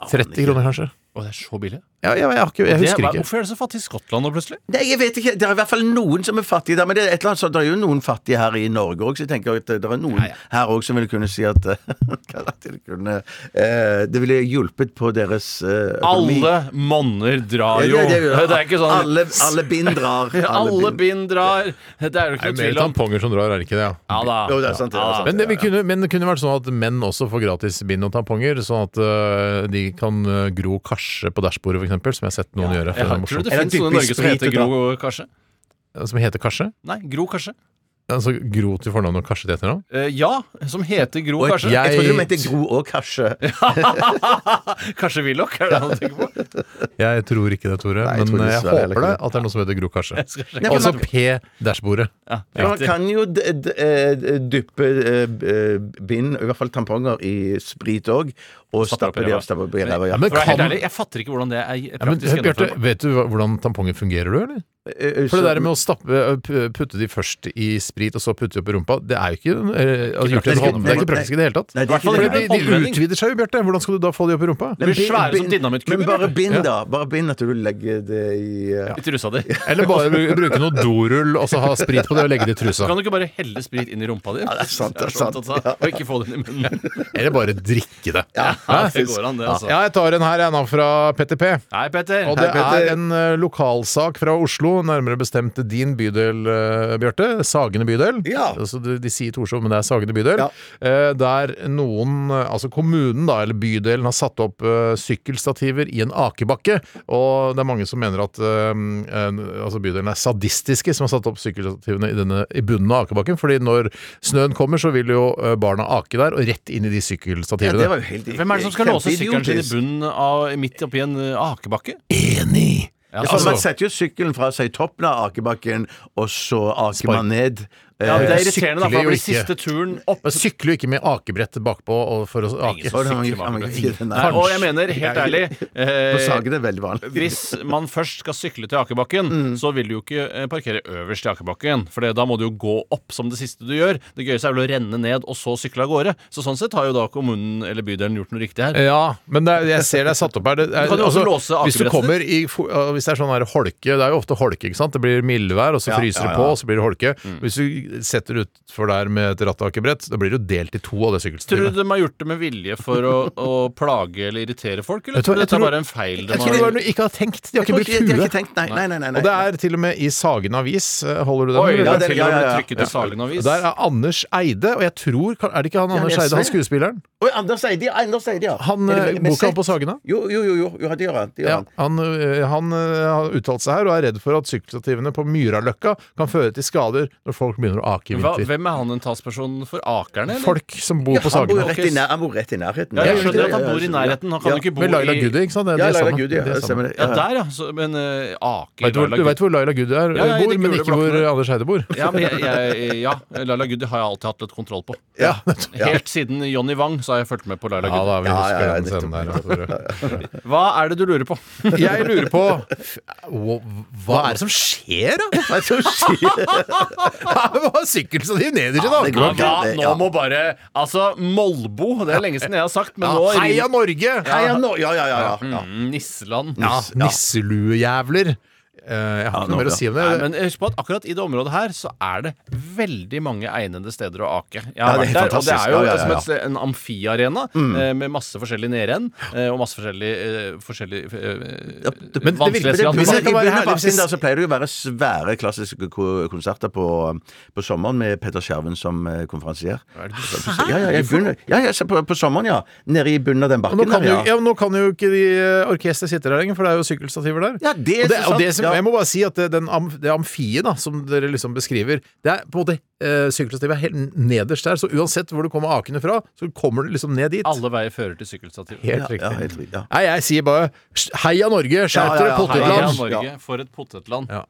S4: 30 kroner, kanskje.
S5: Å, det er så billig.
S4: Ja, ja, jeg, har ikke, jeg
S5: Det
S4: husker
S5: er-
S4: ikke.
S5: Hvorfor er det så fattig i Skottland nå, plutselig?
S6: Nei, jeg vet ikke. Det er i hvert fall noen som er fattige der. Men det er, et eller annet, sånt, det er jo noen fattige her i Norge òg, så jeg tenker at det er noen her òg som ville kunne si at, at det, kunne, eh, det ville hjulpet på deres eh, økonomi.
S5: Alle monner drar jo.
S6: Ja, det-
S5: Det,
S6: det gjør det.
S5: er ikke sånn
S6: Alle, alle bind drar.
S5: Alle bind drar. Det er jo
S4: Det er
S5: ikke noe
S4: mer
S5: tvil om.
S4: tamponger som drar, er det ikke det? Ja.
S5: Ja da.
S6: Jo, det er sant. Det er sant.
S4: Men det, vi kunne, men det kunne vært sånn at menn også får gratis bind og tamponger, sånn at øh, de kan øh, gro karse på dashbordet, f.eks., som jeg har sett noen gjøre. for
S5: Jeg
S4: det er
S5: har, tror du
S4: morsomt.
S5: det
S6: Eller
S5: finnes noen i
S6: dyppe
S5: Norge
S6: i
S5: som
S6: sprit
S5: heter
S6: og
S5: Gro Karse?
S4: Som heter karse?
S5: Nei, Gro Karse.
S4: Altså gro til fornavn og karse til etternavn?
S5: Eh, ja, som heter Gro
S6: Jeg,
S5: Karse.
S6: jeg trodde du
S4: Jeg-
S6: mente Gro og Kasje.
S5: Karse Willoch, er det han tenker på?
S4: Jeg tror ikke det, Tore,
S6: jeg tror
S4: men jeg,
S6: dessverre heller
S4: håper
S6: ikke
S4: det
S6: det.
S4: at det er noe som heter gro karse.
S5: skal sjekke.
S4: Altså P dashbordet.
S5: Ja,
S6: Man
S5: riktig.
S6: kan jo d- d- eh, dyppe eh, eh, bind, i hvert fall tamponger, i sprit òg, og
S5: Stappe opp i
S6: stappe de
S5: ræva.
S6: av stappe opp i ræva. Ja.
S4: Men
S5: For å være helt
S4: kan-
S5: ærlig, jeg fatter ikke hvordan det er
S4: Ja, men
S5: praktisk
S4: Bjarte,
S5: gjennomført.
S4: vet du hva- hvordan tamponger fungerer, du, eller?
S6: Eh, eh,
S4: For
S6: så-
S4: det der med å stappe, øh, pu- putte de først i sprit, og så putte de opp i rumpa, det er jo ikke, øh, altså, gjort i en
S6: praktisk.
S4: hånd. Det er ikke praktisk i det hele tatt.
S6: Nei, det er ikke
S4: Fordi
S6: det.
S4: de, de utvider seg jo, Bjarte. Hvordan skal du da få de opp i rumpa?
S5: Det blir svære som
S6: Bind-
S5: dinamittkubber,
S6: Men bare
S5: Bjarte.
S6: bind, da. Bare bind at du legger det i eh,
S5: I trusa di.
S4: Eller bare bru- bruke noe dorull og så ha sprit på det og legge det i trusa.
S5: Kan du ikke bare helle sprit inn i rumpa di? Ja,
S6: det er sant, det er sant.
S5: Og ikke få den i munnen.
S4: Eller bare drikke det.
S5: Ja, det går an, det, altså.
S4: Ja, jeg tar en her, jeg nå, fra PTP.
S5: Hei, Petter.
S4: Og det er en eh, lokalsak fra Oslo, nærmere bestemt din bydel, eh, Bjarte. Sagene bydel.
S6: Ja.
S4: Altså, de, de sier Torshov, men det er Sagene bydel.
S6: Ja.
S4: Eh, der noen, eh, altså kommunen da, eller bydelen, har satt opp eh, sykkelstativer i en akebakke. Og det er mange som mener at eh, en, altså bydelen er sadistiske som har satt opp sykkelstativene i, denne, i bunnen av akebakken. Fordi når snøen kommer, så vil jo eh, barna ake der, og rett inn i de
S6: Ja,
S4: sykkelstativene.
S6: det var jo helt
S5: Hvem er det som skal låse sykkelen sin i
S6: kjempeidiotisk.
S5: bunnen av, midt oppi en eh, akebakke?
S4: Enig!
S5: Ja,
S6: Ja, altså, for
S4: altså-
S6: Man setter jo sykkelen fra seg i toppen av akebakken, og så aker man ned.
S5: Ja, men det er
S4: Eh, sykler
S5: irriterende, da, for da blir
S4: jo ikke.
S5: siste turen opp.
S6: Altså-
S4: Man sykler jo ikke med akebrett bakpå og for å ake.
S6: Å, nei, man- man-
S5: Nei,
S6: nei,
S5: og jeg mener, helt ærlig
S6: På
S5: eh,
S6: Sagen er det veldig vanlig.
S5: Hvis man først skal sykle til akebakken,
S4: Mm.
S5: så vil du jo ikke eh, parkere øverst i akebakken. For det- da må du jo gå opp som det siste du gjør. Det gøyeste er vel å renne ned og så sykle av gårde. Så sånn sett har jo da kommunen eller bydelen gjort noe riktig her.
S4: Ja, men det er, jeg ser det er satt opp her. Det er, altså,
S5: Du kan jo også låse
S4: hvis du
S5: akebrettet
S4: kommer i fo- uh, Hvis det er sånn her holke Det er jo ofte holke, ikke sant? Det blir mildvær, og så fryser det på, og så blir det holke. Hvis du setter utfor der med et rattakebrett, da blir det jo delt i to av det
S5: Tror du
S4: sykkelstativet.
S5: de har gjort det med vilje for å, å plage eller irritere folk, eller
S4: Vet du hva,
S5: tror du
S4: jeg
S5: dette er
S4: tror-
S5: bare en feil de
S4: Jeg tror
S5: har
S4: det var noe de ikke har tenkt. De har
S6: Jeg
S4: ikke
S6: tror ikke- De har
S4: brukt
S6: ikke
S4: huet.
S6: tenkt, nei, nei, nei. nei,
S4: Og det er til og med i Sagen Avis. eh, Holder du den?
S5: Oi, det
S4: eller?
S6: Ja,
S5: er
S6: det-
S5: til og
S6: ja,
S5: med
S6: ja, ja.
S5: trykket i Sagen Avis.
S4: Der er Anders Eide, og jeg tror Er det ikke han Anders
S6: det er
S4: Eide, han
S6: SV.
S4: skuespilleren?
S6: Oi, Anders Eide, ja. Anders Eide, ja.
S4: Han,
S6: Er det
S4: eh,
S6: med- med
S4: boka
S6: sekk?
S4: på Sagene?
S6: Jo, jo, jo, jo, jo det gjør han. Det gjør
S4: Ja, han,
S6: han.
S4: eh, ø, han ø, har uttalt seg her og er redd for at sykkelstativene på Myraløkka kan føre til skader når folk begynner å ake i
S5: Hva,
S4: vinter.
S5: hvem er han en talsperson for akerne? eller?
S4: Folk som bor på
S6: Han bor, jo
S4: Sagene.
S6: rett i nær, han bor rett i nærheten.
S5: Ja, jeg
S6: Ja,
S5: skjønner
S6: ja,
S5: at han
S6: ja,
S5: bor i
S6: ja,
S5: nærheten. Han kan
S6: ja.
S5: jo ikke bo
S4: Med Laila
S5: i
S4: Goody, ikke sant? Det,
S6: Ja,
S4: det er
S6: Laila
S4: sammen.
S6: Goody. Ja,
S4: Det er sammen.
S6: stemmer det.
S5: Ja,
S6: Ja, ja.
S5: der, ja. Så, men eh, aker
S4: Vet du, hvor,
S5: Laila
S4: du
S5: Gudi.
S4: vet hvor Laila Goody er,
S5: Ja, ja, i de
S4: bor, men
S5: gule
S4: ikke hvor
S5: blokkene.
S4: Anders Heide bor.
S5: Ja, men jeg, jeg, ja, Laila Goody har jeg alltid hatt litt kontroll på.
S6: Ja.
S5: Helt siden Jonny Wang så har jeg fulgt med på Laila
S4: Ja,
S5: Goody.
S4: da vi
S6: Ja,
S4: husker
S6: ja, ja,
S4: den scenen der. altså.
S5: Hva er det du lurer på?
S4: Jeg lurer på hva- Hva er det som skjer, da?
S6: Hva er det som skjer?
S4: Det var sykkelstativ nederst i dag!
S6: det går
S5: Ja,
S6: bra, det,
S5: nå
S6: ja.
S5: må bare Altså, Molbo. Det er lenge siden jeg har sagt, men nå
S4: Heia Norge!
S6: Heia Nor- Ja, ja, ja. ja, ja.
S5: Mm, Nisseland.
S4: Nis- Nisseluejævler. Eh, Jeg har ikke noe mer å si om det.
S5: Nei, men eh, husk på at akkurat i det området her så er det veldig mange egnede steder å ake. Jeg
S6: Ja,
S5: har
S6: det er
S5: vært der, og det
S6: fantastisk.
S5: er jo
S6: Ja, ja, ja,
S5: som
S6: ja.
S5: et, sted- en amfiarena eh, med masse forskjellig nedrenn eh, og masse forskjellig, eh, forskjellig eh,
S4: men det vil-
S5: vanskelige
S4: men det-
S6: Hvis jeg
S4: Det kan
S6: kan
S4: være
S6: være
S4: her, hvis jeg-
S6: der, så pleier det jo å være svære klassiske ko- konserter på, um, på sommeren med Petter Skjerven som eh, konferansier. Ja, ja, jeg begynner, ja, ja, se på, på sommeren, ja. Nede i bunnen av den
S4: Og Nå
S6: bakken
S4: kan,
S6: der,
S4: jo,
S6: ja.
S4: ja, men nå kan jo ikke de eh, orkesteret sitte der lenger, for det er jo sykkelstativer der.
S6: Ja, det
S4: og
S6: er
S4: det,
S6: så
S4: og det
S6: sant,
S4: som,
S6: ja.
S4: Jeg må bare si at det, den am, det amfiet da, som dere liksom beskriver, det er på en måte eh, sykkelstativet er helt nederst der, så uansett hvor du kommer akende fra, så kommer du liksom ned dit.
S5: Alle veier fører til sykkelstativ.
S4: Helt
S6: Ja, ja,
S4: riktig.
S6: helt riktig, ja.
S4: Nei, jeg sier bare s- heia Norge, skjerp dere,
S6: Ja, ja,
S5: Heia
S6: ja,
S4: pottetland!
S5: Norge,
S6: Ja.
S5: for et potetland.
S4: Ja.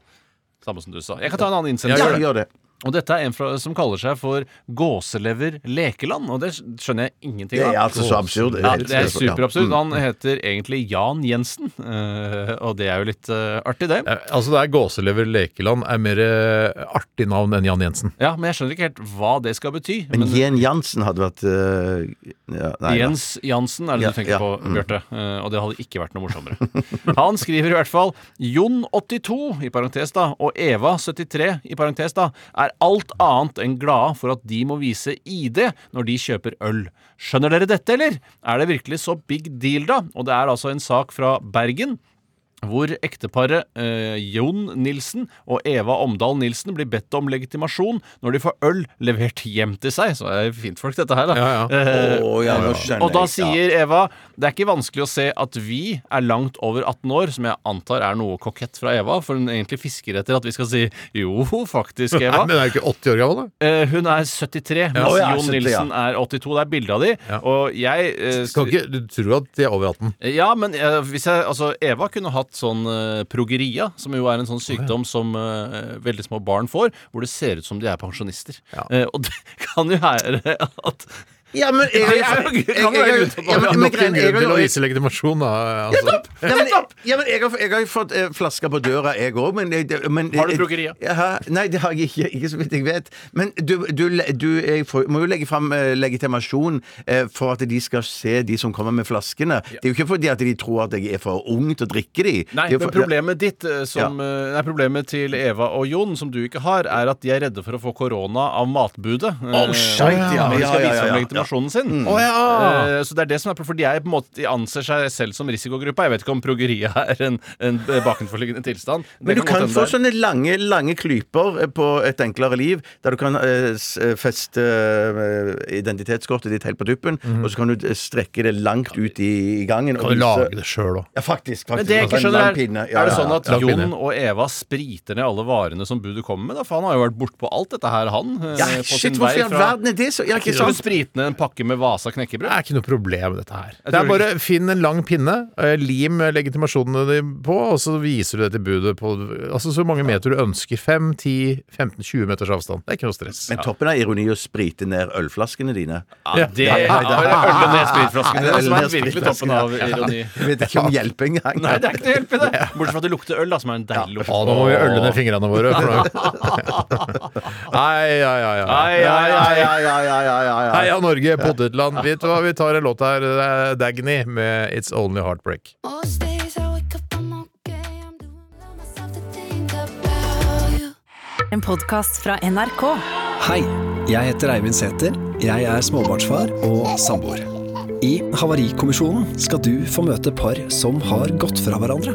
S5: Samme som du sa. Jeg kan ta en annen
S6: Ja,
S5: innsendelse.
S6: gjør det. Gjør det.
S5: Og dette er en fra, som kaller seg for Gåselever Lekeland, og det skjønner jeg ingenting
S6: Det
S5: av.
S6: er altså så absurd. Mm.
S5: Ja, det er superabsurd. Han heter egentlig Jan Jensen, eh, og det er jo litt eh, artig, det.
S4: Eh, Altså, det er Gåselever Lekeland er mer eh, artig navn enn Jan Jensen.
S5: Ja, men jeg skjønner ikke helt hva det skal bety.
S6: Men
S5: Men
S6: Jen Jansen hadde vært eh, ja, nei, ja.
S5: Jens Jansen er det
S6: Ja,
S5: du tenker
S6: ja, Mm.
S5: på, Bjarte. eh, Og det hadde ikke vært noe morsommere. Han skriver i hvert fall Jon82 i parentes da, og Eva73 i parentes da, er alt annet enn glade for at de må vise ID når de kjøper øl. Skjønner dere dette, eller? Er det virkelig så big deal, da? Og det er altså en sak fra Bergen hvor ekteparet eh, Jon Nilsen og Eva Omdal Nilsen blir bedt om legitimasjon når de får øl levert hjem til seg. Så er det fint folk, dette her, da.
S4: Ja, ja.
S5: Eh,
S6: Å, ja, nå skjønner
S5: og da
S6: jeg, ja.
S5: sier Eva det er ikke vanskelig å se at vi er langt over 18 år, som jeg antar er noe kokett fra Eva, for hun egentlig fisker etter at vi skal si jo, faktisk,
S4: Nei,
S5: Eva.
S4: men er du ikke 80 år gammel, da?
S5: Eh, hun er 73, mens
S6: Å, ja,
S5: Jon
S6: 70, ja.
S5: Nilsen er 82. Det er bilde av de. Og jeg eh,
S4: Skal ikke, du tror at de er over 18?
S5: ja, men eh, hvis jeg, altså, Eva kunne hatt sånn eh, progeria, som jo er en sånn sykdom som eh, veldig små barn får, hvor det ser ut som de er pensjonister. Eh, og det kan jo være at
S6: Ja, men jeg,
S5: Det er jo- det kan jo være grunn til å-
S6: ja, men-
S4: Ja,
S6: men
S4: Nok
S6: greien-
S4: en
S6: jeg-
S4: grunn til å
S6: jeg-
S4: vise legitimasjon, da. Altså.
S6: Ja, men, ja, men jeg, har, jeg har jo fått eh, flasker på døra, jeg òg. Men, jeg- det- men
S5: Har du
S6: jeg-
S5: progeria?
S6: Jaha, Nei, det har jeg ikke. Ikke så vidt jeg vet. Men du, du, du jeg får, må jo legge fram eh, legitimasjon eh, for at de skal se de som kommer med flaskene. Det er jo ikke fordi at de tror at jeg er for ung til å drikke de.
S5: Nei,
S6: Det er jo
S5: men
S6: for-
S5: problemet ditt eh, som, eh, Nei, problemet til Eva og Jon, som du ikke har, er at de er redde for å få korona av matbudet.
S6: Oh,
S5: Når de skal
S6: shit, ja, ja, Mm. ja,
S5: vise
S6: ja,
S5: frem
S6: ja.
S5: legitimasjonen sin.
S4: Å, ja.
S5: Eh, så det er det som er For de, er på en måte, de anser seg selv som risikogruppa. Jeg vet ikke om progeria er en, en bakenforliggende tilstand.
S6: Men du
S5: Det godt
S6: kan
S5: hende
S6: få sånn-
S5: det er.
S6: sånne lange lange klyper eh, på et enklere liv, der du kan eh, s- eh, feste eh, identitetskortet ditt helt på tuppen,
S5: Mhm.
S6: og så kan du eh, strekke det langt ut i, i gangen. og
S4: Kan du
S6: vise-
S4: lage det sjøl òg?
S6: Ja, faktisk. faktisk.
S5: Men det jeg ikke
S6: Altså, en
S5: skjønner
S6: lang
S5: Er
S6: pinne. Ja,
S5: er det
S6: ja,
S5: sånn
S6: ja.
S5: at
S4: Lang pinne.
S5: Jon og Eva spriter ned alle varene som budet kommer med? Da? For han har jo vært bortpå alt dette her, han. eh,
S6: ja,
S5: på sin
S6: Shit,
S5: vei
S6: hvorfor i all
S5: fra-
S6: verden er det så? Ja, ikke
S5: Skal du
S6: sant?
S5: sprite ned en pakke med Vasa
S4: Det
S5: knekkebrød?
S4: er ikke noe problem, dette her.
S5: Jeg
S4: Det er
S5: tror
S4: bare Finn en lang pinne, eh, lim legitimasjonene dine på, og så viser du det til budet på altså så mange meter du ønsker. 5, 10, 15, 20 meters avstand. Det er ikke noe stress.
S6: Men toppen av ironi å sprite ned ølflaskene dine.
S5: Ja, det er øl og nedspritflasken. Ah, Det er det som
S6: Øl
S5: er
S6: og
S5: virkelig toppen av ironi.
S6: Jeg vet ikke om hjelp engang.
S5: Nei, det er ikke noe hjelp i det. Bortsett fra at det lukter øl, da, som er en deilig lukt.
S4: Å, nå må vi øle ned fingrene våre. For nå- Ai, ai, ai, ai.
S5: Ai, ai, ai.
S6: ja, ja, ja, ja, ja, ja.
S4: Heia Norge, potetland. Vet du hva, vi tar en låt her. Det er Dagny med It's Only Heartbreak.
S10: Most days I wake up, I'm okay. I'm doing well myself to think about you.
S1: En podkast fra NRK.
S11: Hei, jeg heter Eivind Sæther. Jeg er småbarnsfar og samboer. I Havarikommisjonen skal du få møte par som har gått fra hverandre.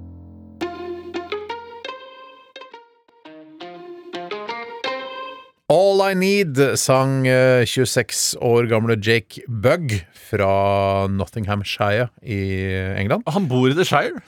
S4: All I Need sang eh, 26 år gamle Jake Bugg fra Nottinghamshire i England.
S5: Han bor i The Shire?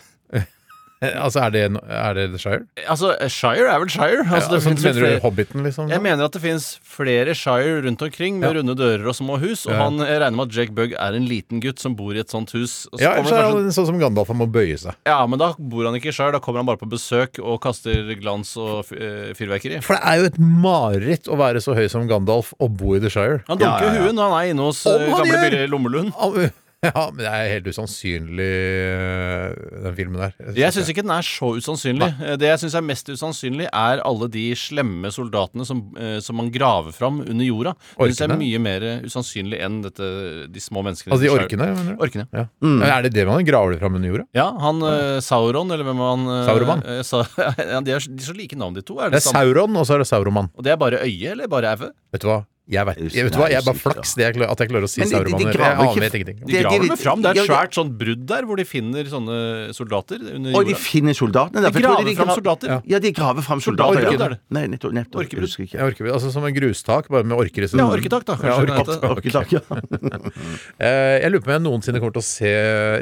S4: altså, er det, er det The Shire?
S5: Altså, Shire er vel Shire? Altså,
S4: Ja,
S5: det
S4: altså,
S5: finnes vel
S4: mener du
S5: flere-
S4: Hobbiten, liksom?
S5: Jeg mener at det fins flere Shire rundt omkring med
S4: Ja.
S5: runde dører og små hus, og
S4: Ja.
S5: han jeg regner med at Jake Bugg er en liten gutt som bor i et sånt hus. Og så
S4: Ja,
S5: kommer
S4: ellers
S5: det
S4: er
S5: kanskje-
S4: han sånn som Gandalf, han må bøye seg.
S5: ja, men da bor han ikke i Shire, da kommer han bare på besøk og kaster glans og f- eh, fyrverkeri.
S4: For det er jo et mareritt å være så høy som Gandalf og bo i The Shire.
S5: Han dunker jo huet når han er inne hos
S4: Om
S5: eh,
S4: han
S5: gamle
S4: gjør!
S5: Birre Lommelund.
S4: Ja, men det er helt usannsynlig, eh, den filmen der.
S5: Jeg syns ikke den er så usannsynlig. Eh, Det jeg syns er mest usannsynlig, er alle de slemme soldatene som, eh, som man graver fram under jorda. Det syns jeg er
S4: Orkene?
S5: mye mer eh, usannsynlig enn dette, de små menneskene.
S4: Altså de
S5: i Shire. Mm.
S4: orkene? mener du?
S5: Orkene.
S4: Ja. Men Er det det man graver fram under jorda?
S5: Ja, han eh, Sauron, eller hvem han eh,
S4: Sauroman.
S5: eh, sa, ja, de, er, de er så like navn, de to. Er
S4: Det
S5: det,
S4: er
S5: samme?
S4: Sauron, og så er det Sauroman.
S5: Og det er bare øye, eller bare æve?
S4: Vet du hva? Jeg vet, jeg vet du hva, jeg er bare flaks det jeg, klar- at jeg klarer å si
S5: Men de- de
S4: Sauroman. Jeg
S5: graver ikke-
S4: aner ingenting.
S5: De graver dem fram. Det er
S6: Ja,
S5: et
S6: ja.
S5: svært sånn brudd der, hvor de finner sånne soldater under
S6: Og de
S5: jorda.
S6: finner soldatene. der,
S5: De
S6: for jeg tror
S5: graver fram
S6: gra-
S5: soldater.
S6: Ja. ja, de graver fram soldater.
S5: Soldater,
S6: ja.
S5: er det.
S6: Nei, nettopp. nettopp. Jeg husker ikke.
S4: Jeg orker, altså som en grustak, bare med orker i stedet.
S5: Ja, orketak da, kanskje
S4: Ja,
S5: det
S4: orketak.
S5: heter.
S6: Orketak,
S4: Eh, jeg lurer på om jeg noensinne kommer til å se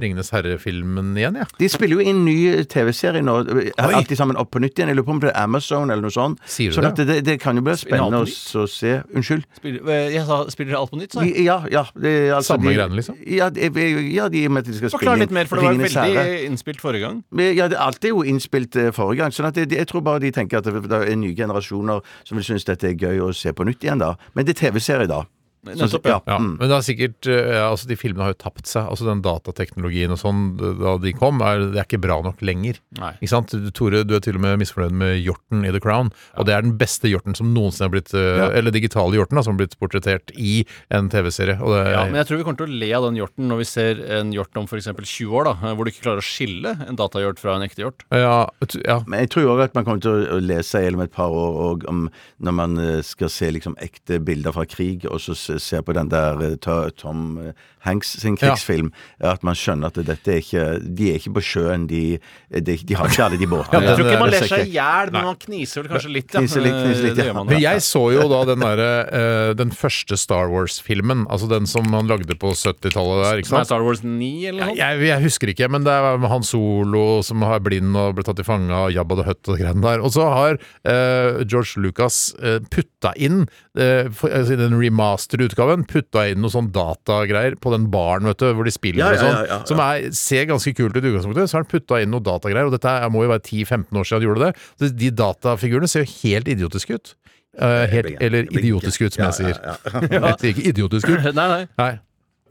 S4: Ringenes herre-filmen igjen, jeg.
S6: De spiller jo i en ny TV-serie nå, alt de sammen opp på nytt igjen. Jeg lurer på om det er Amazon eller noe sånt.
S4: Sier du
S6: sånn
S4: det?
S6: at det, det kan jo bli
S5: Spiller alt
S6: spennende
S5: på
S6: å s- å se. Unnskyld?
S5: Spiller, eh, jeg sa, spiller alt på nytt, sa jeg.
S6: Ja, ja. Det, er altså,
S4: Samme
S6: de-
S4: greiene, liksom?
S6: Ja, de, ja, de, i og med at de skal spille
S5: Forklar
S6: inn
S5: litt mer, for det var
S6: Ringenes
S5: veldig
S6: herre.
S5: innspilt forrige gang.
S6: Men Ja, det, alt er jo innspilt eh, forrige gang, sånn at det, det- jeg tror bare de tenker at det, det er nye generasjoner som vil synes dette er gøy å se på nytt igjen, da. Men det er TV-serie, da. Sånn
S5: Nettopp,
S6: som-
S5: ja.
S4: Ja,
S6: mm.
S4: Men det er sikkert eh, altså De filmene har jo tapt seg. Altså Den datateknologien og sånn da de kom, er, det er ikke bra nok lenger.
S5: Nei.
S4: Ikke sant? Du, Tore, du er til og med misfornøyd med hjorten i The Crown. Og det er den beste hjorten som noensinne har blitt eh,
S6: Ja.
S4: Eller digitale hjorten da, som har blitt portrettert i en TV-serie. Og det,
S5: Ja, men jeg tror vi kommer til å le av den hjorten når vi ser en hjort om f.eks. 20 år, da, hvor du ikke klarer å skille en datahjort fra en ekte hjort.
S4: Ja, t- ja.
S6: Men jeg tror òg at man kommer til å- å lese gjennom et par år og om, når man eh, skal se liksom ekte bilder fra krig, og så se se på den der eh, Ta- Tom eh, Hanks sin krigsfilm, at man skjønner at dette er ikke De er ikke på sjøen, de, de, de har ikke alle de båtene.
S5: Jeg tror ikke man
S6: Det
S5: ler
S6: ser
S5: seg
S6: ikke-
S5: i hjel, men man kniser vel kanskje litt, ja.
S6: Kniser litt, kniser litt,
S5: Det
S6: ja.
S5: gjør man,
S4: Men jeg så jo da den derre eh, Den første Star Wars-filmen. Altså den som han lagde på 70-tallet der, ikke
S5: Som er
S4: sant?
S5: Star Wars 9, eller noe sånt?
S4: Jeg, jeg husker ikke, men det er han Solo som er blind og ble tatt til fange av Jabba the Hutt og de greiene der. Og så har eh, George Lucas eh, putta inn, eh, for, altså, i den remaster-utgaven, putta inn noe sånn datagreier på den baren, vet du, hvor de spiller
S6: Ja,
S4: og
S6: ja,
S4: sånn,
S6: ja, ja, ja.
S4: som er, ser ganske kult ut i utgangspunktet. Så har han putta inn noe datagreier, og dette er, må jo være 10-15 år siden han gjorde det. Så de datafigurene ser jo helt idiotiske ut. Eh, helt, eller idiotiske ut, som jeg sier. Jeg sier ikke idiotisk ut.
S5: Nei, nei.
S4: Nei.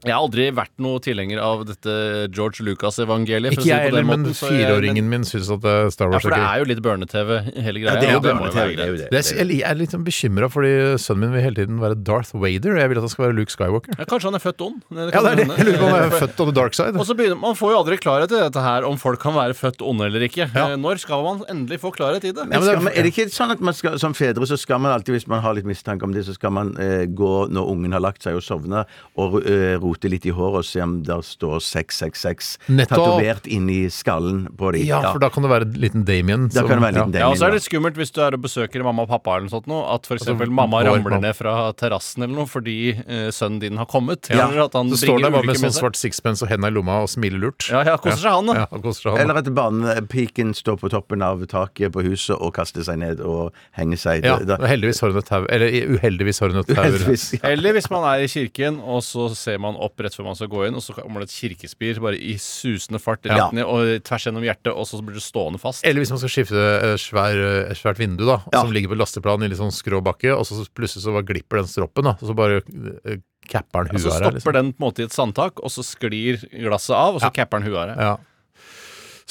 S5: Jeg har aldri vært noe tilhenger av dette George Lucas-evangeliet. for å
S4: Ikke
S5: si det
S4: jeg
S5: på den
S4: heller, men
S5: måten, så jeg-
S4: fireåringen min syns at eh, Star
S5: Ja,
S4: Wars
S5: for
S4: er
S5: det
S4: gøy.
S5: er jo litt børne-TV, hele greia.
S6: det er jo
S5: og må
S6: børne-TV,
S5: være
S6: det er jo
S5: greit.
S4: Det er, jeg er litt sånn bekymra, fordi sønnen min vil hele tiden være Darth Vader. og Jeg vil at han skal være Luke Skywalker.
S5: Ja, kanskje han er født ond. Det
S4: Ja,
S5: kan
S4: det er det.
S5: hende.
S4: Jeg lurer på om jeg er født on the dark side.
S5: Og så begynner, Man får jo aldri klarhet i dette her, om folk kan være født onde eller ikke. Eh, Når skal man endelig få klarhet i det?
S6: Men skal man, er det ikke sånn at man skal, som fedre så skal man alltid, hvis man har litt mistanke om det, så skal man eh, gå når ungen har lagt seg og sovna, og eh, rote litt i håret og se om der står 666
S4: Nettopp.
S6: tatovert inni skallen på dem.
S4: Ja, for da kan det være en liten Damien.
S6: Da
S4: som-
S6: kan det være en liten
S4: ja.
S5: Ja, og så er
S6: Damien,
S5: det skummelt hvis du er og besøker mamma og pappa eller noe sånt nå, at f.eks.
S4: Altså,
S5: mamma
S4: går
S5: ramler
S4: man-
S5: ned fra terrassen eller noe fordi eh, sønnen din har kommet.
S6: Ja.
S5: Eller at han
S4: Så står han der
S5: bringer
S4: bare med
S5: ulykke
S4: sånn
S5: med seg.
S4: svart sixpence og henda i lomma og smiler lurt.
S5: Ja, ja, koser seg han, da.
S4: Ja, han koser seg
S6: da.
S4: han.
S6: Eller at barnepiken står på toppen av taket på huset og kaster seg ned og henger seg.
S4: Ja,
S6: Det- det-
S4: og heldigvis har hun et tau. Eller i- uheldigvis har hun et tau.
S6: Heldigvis, ja.
S5: Eller hvis man er i kirken, og så ser man opp rett før man skal gå inn, og så kommer det et kirkespir bare i susende fart rett
S6: Ja.
S5: ned og tvers gjennom hjertet, og så blir du stående fast.
S4: Eller hvis man skal skifte eh, svær, eh, svært vindu, da,
S6: Ja.
S4: som ligger på lasteplanen i litt sånn skrå bakke, og så plutselig så bare glipper den stroppen, da, og så bare eh, capper han
S5: Ja,
S4: huet
S5: så
S4: her.
S5: stopper
S4: liksom.
S5: den på en måte i et sandtak, og så sklir glasset av, og så capper den huet av deg.
S4: Ja.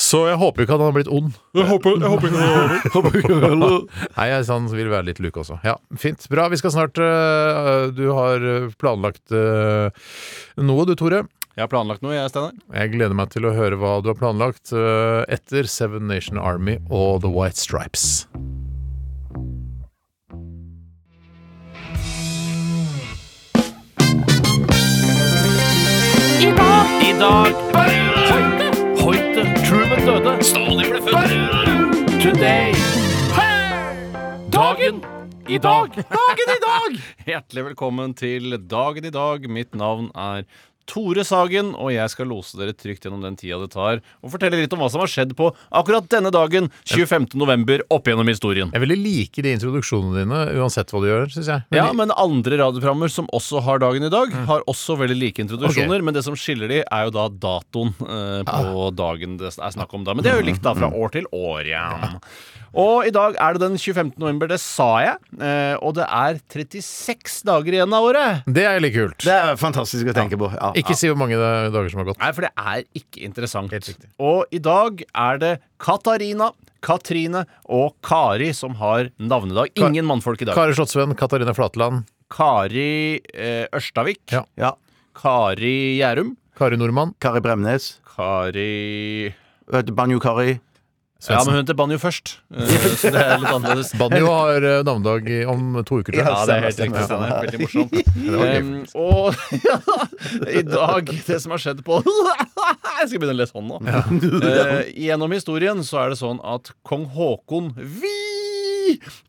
S4: Så jeg håper ikke at han har blitt ond.
S5: Jeg håper, jeg håper ikke
S4: Nei, jeg sånn, vil være litt luke også. Ja, Fint. Bra. Vi skal snart øh, Du har øh, planlagt øh, noe, du Tore.
S5: Jeg har planlagt noe, jeg, Steinar.
S4: Jeg gleder meg til å høre hva du har planlagt øh, etter Seven Nation Army og The White Stripes.
S9: I dag. I dag.
S8: Stalin ble født. Today.
S5: Dagen i dag!
S4: Dagen i dag!
S5: Hjertelig velkommen til Dagen i dag. Mitt navn er Tore Sagen, og jeg skal lose dere trygt gjennom den tida det tar, og fortelle litt om hva som har skjedd på akkurat denne dagen, 25. november, opp gjennom historien.
S4: Jeg ville like de introduksjonene dine, uansett hva du gjør, syns jeg.
S5: Ja, men andre radioprogrammer som også har dagen i dag, har også veldig like introduksjoner. Men det som skiller de, er jo da datoen eh, på dagen det er snakk om da. Men det er jo likt da fra år til år igjen. Og i dag er det den 25. november, det sa jeg. eh, Og det er 36 dager igjen av året.
S4: Det er litt kult.
S6: Det er fantastisk å tenke på. Ja,
S4: Ikke si hvor mange det- dager som har gått.
S5: Nei, for det er ikke interessant. Og i dag er det Katarina, Katrine og Kari som har navnedag. Ingen mannfolk i dag.
S4: Kari Slottsvenn, Katarina Flatland,
S5: Kari eh, Ørstavik. Kari Gjærum.
S4: Kari Nordmann.
S6: Kari Bremnes.
S5: Kari
S6: Banjo-Kari.
S5: Ja, men hun heter Banjo først. Eh, Så det er litt annerledes.
S4: Banjo har eh, navnedag i- om to uker, tror jeg.
S5: Ja, det er helt riktig. Steinar. Veldig morsomt. Em, og i dag Det som har skjedd på Jeg skal begynne å lese hånden nå. Eh, gjennom historien så er det sånn at kong Haakon vi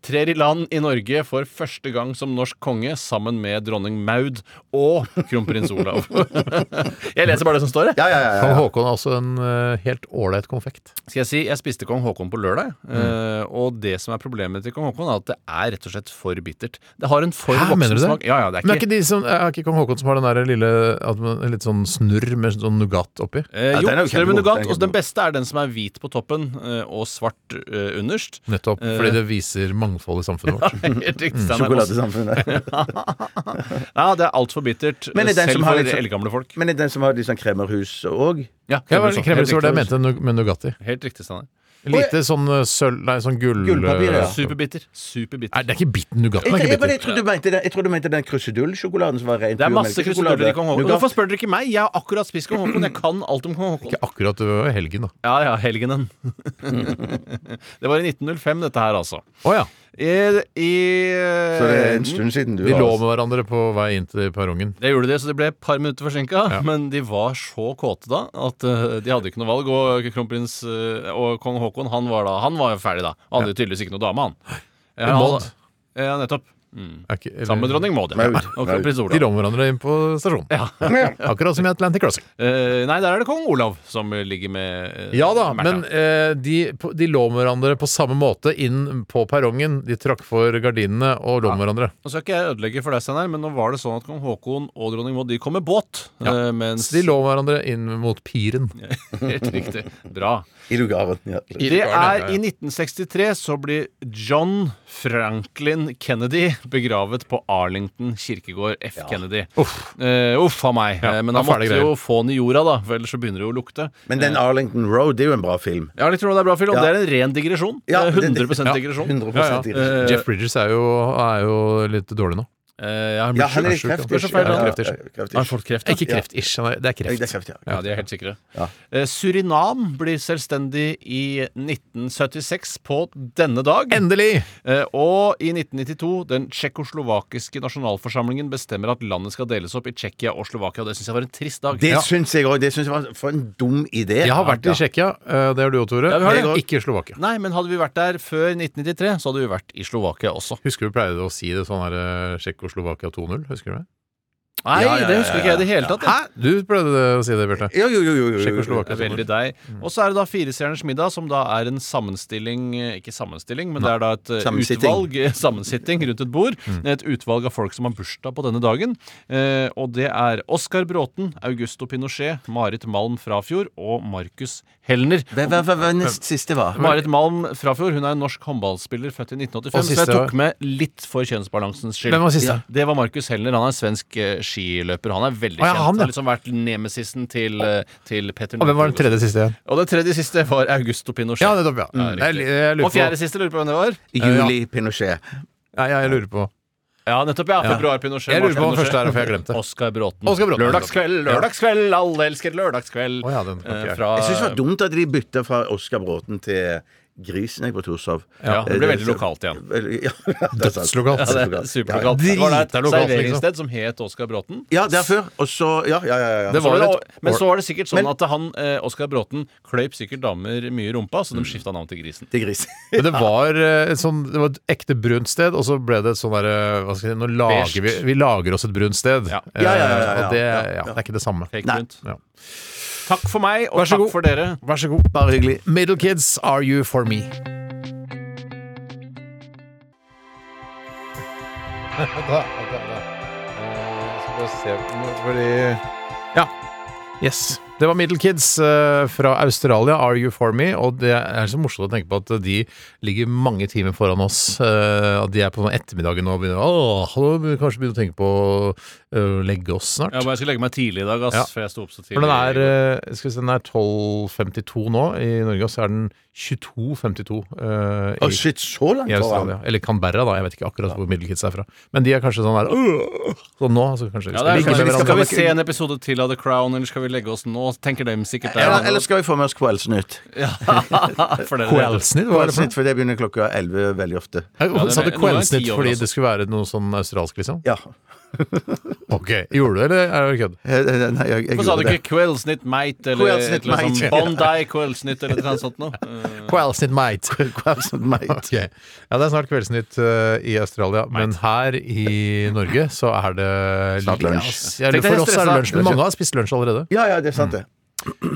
S5: trer i land i Norge for første gang som norsk konge sammen med dronning Maud og kronprins Olav. jeg leser bare det som står, jeg.
S4: Kong Haakon er også en eh, helt ålreit konfekt.
S5: Skal jeg si, jeg spiste kong Haakon på lørdag, eh, og det som er problemet til kong Haakon, er at det er rett og slett for bittert. Det har en for
S4: Hæ, mener du
S5: voksen
S4: det?
S5: smak. Ja, ja, det er
S4: Men er
S5: ikke,
S4: ikke, de som, er ikke kong Haakon som har den der lille at man- litt sånn snurr med sånn nougat oppi?
S5: Eh, jo,
S6: den er jo
S5: større med
S6: kjempegod.
S5: nougat.
S6: Den er
S5: Og den beste er den som er hvit på toppen eh, og svart eh, underst.
S4: Nettopp. Fordi det viser mangfold i samfunnet vårt.
S5: Helt riktig, Steinar.
S6: Sjokoladesamfunnet.
S5: Ja, det er altfor bittert.
S6: Men er den
S5: selv
S6: som har
S5: for
S6: litt sånn-
S5: eldgamle folk.
S6: Men er det den som har litt sånn kremmerhus òg?
S5: Ja,
S4: Ja, det var
S5: Helt
S4: kremmerhus, det var det jeg
S5: riktig.
S4: mente nu- med Nugatti.
S5: Helt riktig, Steinar.
S4: Lite sånn eh, sølv Nei, sånn gull...
S6: Gullpapir, ja.
S5: Superbitter. Superbitter.
S4: Nei, det er ikke bitten Nugatti.
S6: Jeg,
S4: den er ikke
S6: jeg, jeg,
S4: bitter.
S6: jeg, trodde du mente den, jeg trodde du mente den krusedullsjokoladen som var ren
S5: Det er masse
S6: melkesjokolade.
S5: kruseduller i kong Haakon.
S6: Nougat.
S5: Hvorfor spør dere ikke meg? Jeg har akkurat spist kong Haakon. Jeg kan alt om kong Haakon.
S4: Ikke akkurat det var jo helgen, da.
S5: Ja, ja, helgenen. det var i 1905, dette her, altså.
S4: Å ja.
S5: I, i eh,
S6: Så det er en
S5: Mm.
S6: stund siden du
S4: De
S5: altså.
S4: lå
S6: var
S4: med hverandre på vei inn til perrongen.
S5: Det gjorde de, så de ble et par minutter forsinka. Men de var så kåte da at eh, de hadde ikke noe valg. Og kronprins eh, og kong Haakon han var da Han var jo ferdig da. Han hadde tydeligvis ikke noe dame, han. Eh, han-
S4: Maud.
S5: Ja, nettopp. Mm.
S4: Er ikke- eller-
S5: Sammen med dronning Maud. ja.
S6: Maud.
S5: Og kronprins
S4: De
S5: Olav.
S4: lå med hverandre inn på stasjonen. Akkurat som i Atlantic Crossing.
S5: Eh, nei, der er det kong Olav som ligger med eh,
S4: Ja da,
S5: Märtha.
S4: men eh, de, på- de lå med hverandre på samme måte inn på perrongen. De trakk for gardinene og lå med hverandre.
S5: Nå skal ikke jeg ødelegge for deg, Steinar, men nå var det sånn at kong Haakon og dronning Maud de kom med båt. eh, mens
S4: Så de lå med hverandre inn mot piren.
S5: Helt riktig. Bra.
S6: i lugaren. Ja.
S5: Det er I 1963 så blir John Franklin Kennedy begravet på Arlington kirkegård. F. Kennedy.
S4: Uff.
S5: Eh, uff a meg. Eh, Men
S4: da
S5: han
S4: får det
S5: måtte
S4: greier.
S5: jo få den i jorda, da, for ellers så begynner det jo å lukte.
S6: Men den Arlington Road det er jo en bra film.
S5: Ja, litt tror det er bra, Phil, og
S6: Ja.
S5: Det er en ren digresjon.
S6: Ja,
S5: Eh,
S6: det-
S5: 100
S6: det- ja,
S5: digresjon.
S6: 100%
S5: Eh,
S6: digresjon.
S4: Jeff Bridges er jo, er jo litt dårlig nå.
S5: eh, ja, han
S6: Ja,
S5: blir
S6: han
S5: sjuk,
S6: er litt
S5: han.
S6: kreftig.
S5: Det er så feil,
S6: Ja,
S5: han.
S6: ja,
S4: kreftig.
S6: ja, kreftig.
S5: Har han fått kreft? da?
S4: Ikke kreft-ish, han er- det er
S6: Ja, det er
S4: kreft.
S6: kreftig, ja.
S5: Ja, de er helt sikre.
S6: Ja.
S5: Eh, Surinam blir selvstendig i 1976 på denne dag.
S4: Endelig!
S5: Eh, Og i 1992, den tsjekkoslovakiske nasjonalforsamlingen bestemmer at landet skal deles opp i Tsjekkia og Slovakia. Det syns jeg var en trist dag.
S6: Det
S5: Ja.
S6: syns jeg òg. Det syns jeg var for en dum idé.
S4: Jeg har vært i
S6: Ja.
S4: Tsjekkia. eh, Det har du òg, Tore.
S5: Ja, vi har det.
S4: Jeg Ikke i Slovakia.
S5: Nei, men hadde vi vært der før 1993, så hadde vi vært i Slovakia også.
S4: Husker du pleide å si det sånn her eh, Tsjekkoslovakia 2-0? Husker du det?
S5: Nei,
S6: Ja, ja,
S5: det husker
S6: ja,
S5: ikke
S6: ja.
S5: jeg i det hele tatt. jeg.
S4: Hæ? Du pleide det å si det, Bjarte.
S6: Jo, jo, jo. jo, jo, jo.
S4: Tsjekkoslovakia
S5: Det er
S4: 2-0.
S5: Veldig deg.
S4: Mm.
S5: Og så er det da Firestjerners middag, som da er en sammenstilling eh, Ikke sammenstilling, men det er da et eh,
S6: Sammensitting.
S5: utvalg eh, Sammensitting rundt et bord.
S4: Mm.
S5: Et utvalg av folk som har bursdag på denne dagen. Eh, og det er Oskar Bråten, Augusto Pinochet, Marit Malm Frafjord og Markus Helner.
S6: Hvem hvem- hvem var nest siste, var?
S5: Marit Malm Frafjord hun er en norsk håndballspiller født i 1985.
S4: Og siste
S5: så jeg tok
S4: var-
S5: med litt for kjønnsbalansens skyld.
S4: Hvem var siste?
S5: Ja. Det var Markus Helner. Han er svensk eh, skiløper. Han er veldig
S4: Å, ja,
S5: kjent.
S4: han, ja.
S5: Har liksom vært nemesisen til, eh, til Petter
S4: Og hvem var den
S5: Northug.
S4: tredje siste igjen?
S5: Og den tredje siste var Augusto Pinochet.
S4: Ja, nettopp, ja. Jeg,
S5: riktig.
S4: jeg
S5: og
S4: lurer
S5: fjerde
S4: på
S5: siste lurer på hvem det var.
S6: Juli Pinochet.
S4: Nei, jeg lurer på
S5: Ja, nettopp. ja, Februar Pinochet.
S4: Jeg lurer
S5: mars
S4: på hva
S5: Pinochet.
S4: første er, for jeg har glemt det.
S5: Oscar Bråten.
S4: Oscar Bråten.
S5: Lørdagskveld, lørdagskveld, alle elsker lørdagskveld.
S4: Å,
S5: Eh,
S4: ja, den kan ikke jeg.
S5: fra,
S6: Jeg syns det var dumt at de bytta fra Oskar Bråten til Grisen jeg på Torshov.
S5: Ja, det ble
S6: Eh,
S5: veldig lokalt igjen.
S6: Vel- Ja, det er sant.
S5: Dødslokalt. Ja, det er superlokalt. Det var der et
S6: Dritlokalt, liksom.
S5: serveringssted som het Oskar Bråten.
S6: Ja, der før. Og så Ja, ja, ja. ja.
S5: Det
S6: Så
S5: var
S6: ble
S5: det, men så var det sikkert sånn
S6: Men-
S5: at han, eh, Oskar Bråten kløyp sikkert damer mye i rumpa,
S4: Mm.
S5: så de skifta navn til Grisen.
S6: Til grisen.
S4: Men det var, eh, et sånn, det var et ekte brunt sted, og så ble det et sånn derre Hva skal jeg si Nå lager vi,
S5: Beige.
S4: vi lager oss et brunt sted. Eh,
S5: Ja, ja, ja, ja, ja,
S4: og det,
S5: ja,
S4: ja,
S5: ja.
S4: det er ikke det samme.
S5: Fake
S4: Nei.
S5: brunt.
S4: Ja.
S5: Takk for meg, og takk for dere.
S4: Vær så god.
S6: Bare hyggelig.
S4: Middle Kids, are you for me? da, da, da. Eh, Skal bare se Ja. Yes. Det var Middle Kids eh, fra Australia, Are You For Me? Og det er så morsomt å tenke på at de ligger mange timer foran oss. eh, At de er på sånn ettermiddagen og begynner Åh, nå må vi kanskje begynne å tenke på å eh, legge oss snart.
S5: Ja, men jeg skal legge meg tidlig i dag, ass,
S4: Ja.
S5: for jeg sto opp så
S4: For
S5: tidlig.
S4: den er, eh, skal vi se, den er 12.52 nå i Norge, og så er den 22.52 eh, i,
S6: Å, shit, så langt
S4: i
S6: foran.
S4: Australia. Eller Canberra, da. Jeg vet ikke akkurat hvor Middle Kids er fra. Men de er kanskje sånn der «Åh!» Sånn nå, så kanskje
S5: Ja, det er,
S4: ligge med
S5: sånn,
S4: hverandre.
S5: skal vi se en episode til av The Crown, eller skal vi legge oss nå? Tenker de sikkert der.
S6: Eller, eller skal vi få med oss Kveldsnytt?
S5: for det,
S4: Kveldsnytt? Hva er det for
S6: Kveldsnytt, for det begynner klokka 11 veldig ofte.
S4: Nei, hvorfor
S5: Ja, den
S4: Sa
S5: er-
S4: du
S5: nå er den
S4: kveldsnytt
S5: ti over
S4: fordi
S5: også.
S4: det skulle være noe sånn australsk, liksom?
S6: Ja.
S4: Ok, Gjorde du det, eller er det kødd?
S6: Eh, eh, Nei, jeg, jeg
S5: Hvorfor sa du
S6: gjorde det.
S5: ikke Kveldsnytt Meit eller,
S6: Kveldsnytt,
S5: eller sånn
S6: mate.
S5: Bondi Kveldsnytt eller noe sånt noe? Eh,
S4: Kveldsnytt, mate.
S6: Kveldsnytt, Altså, mate.
S4: Ok. Ja, det er snart Kveldsnytt eh, i Australia, men her i Norge så er det
S6: Snart lunsj.
S4: Ja, eller
S5: Tenk deg,
S4: for
S5: jeg
S4: oss er det
S5: stressa.
S4: lunsj, men mange har spist lunsj allerede.
S6: Ja, ja, det er sant, det.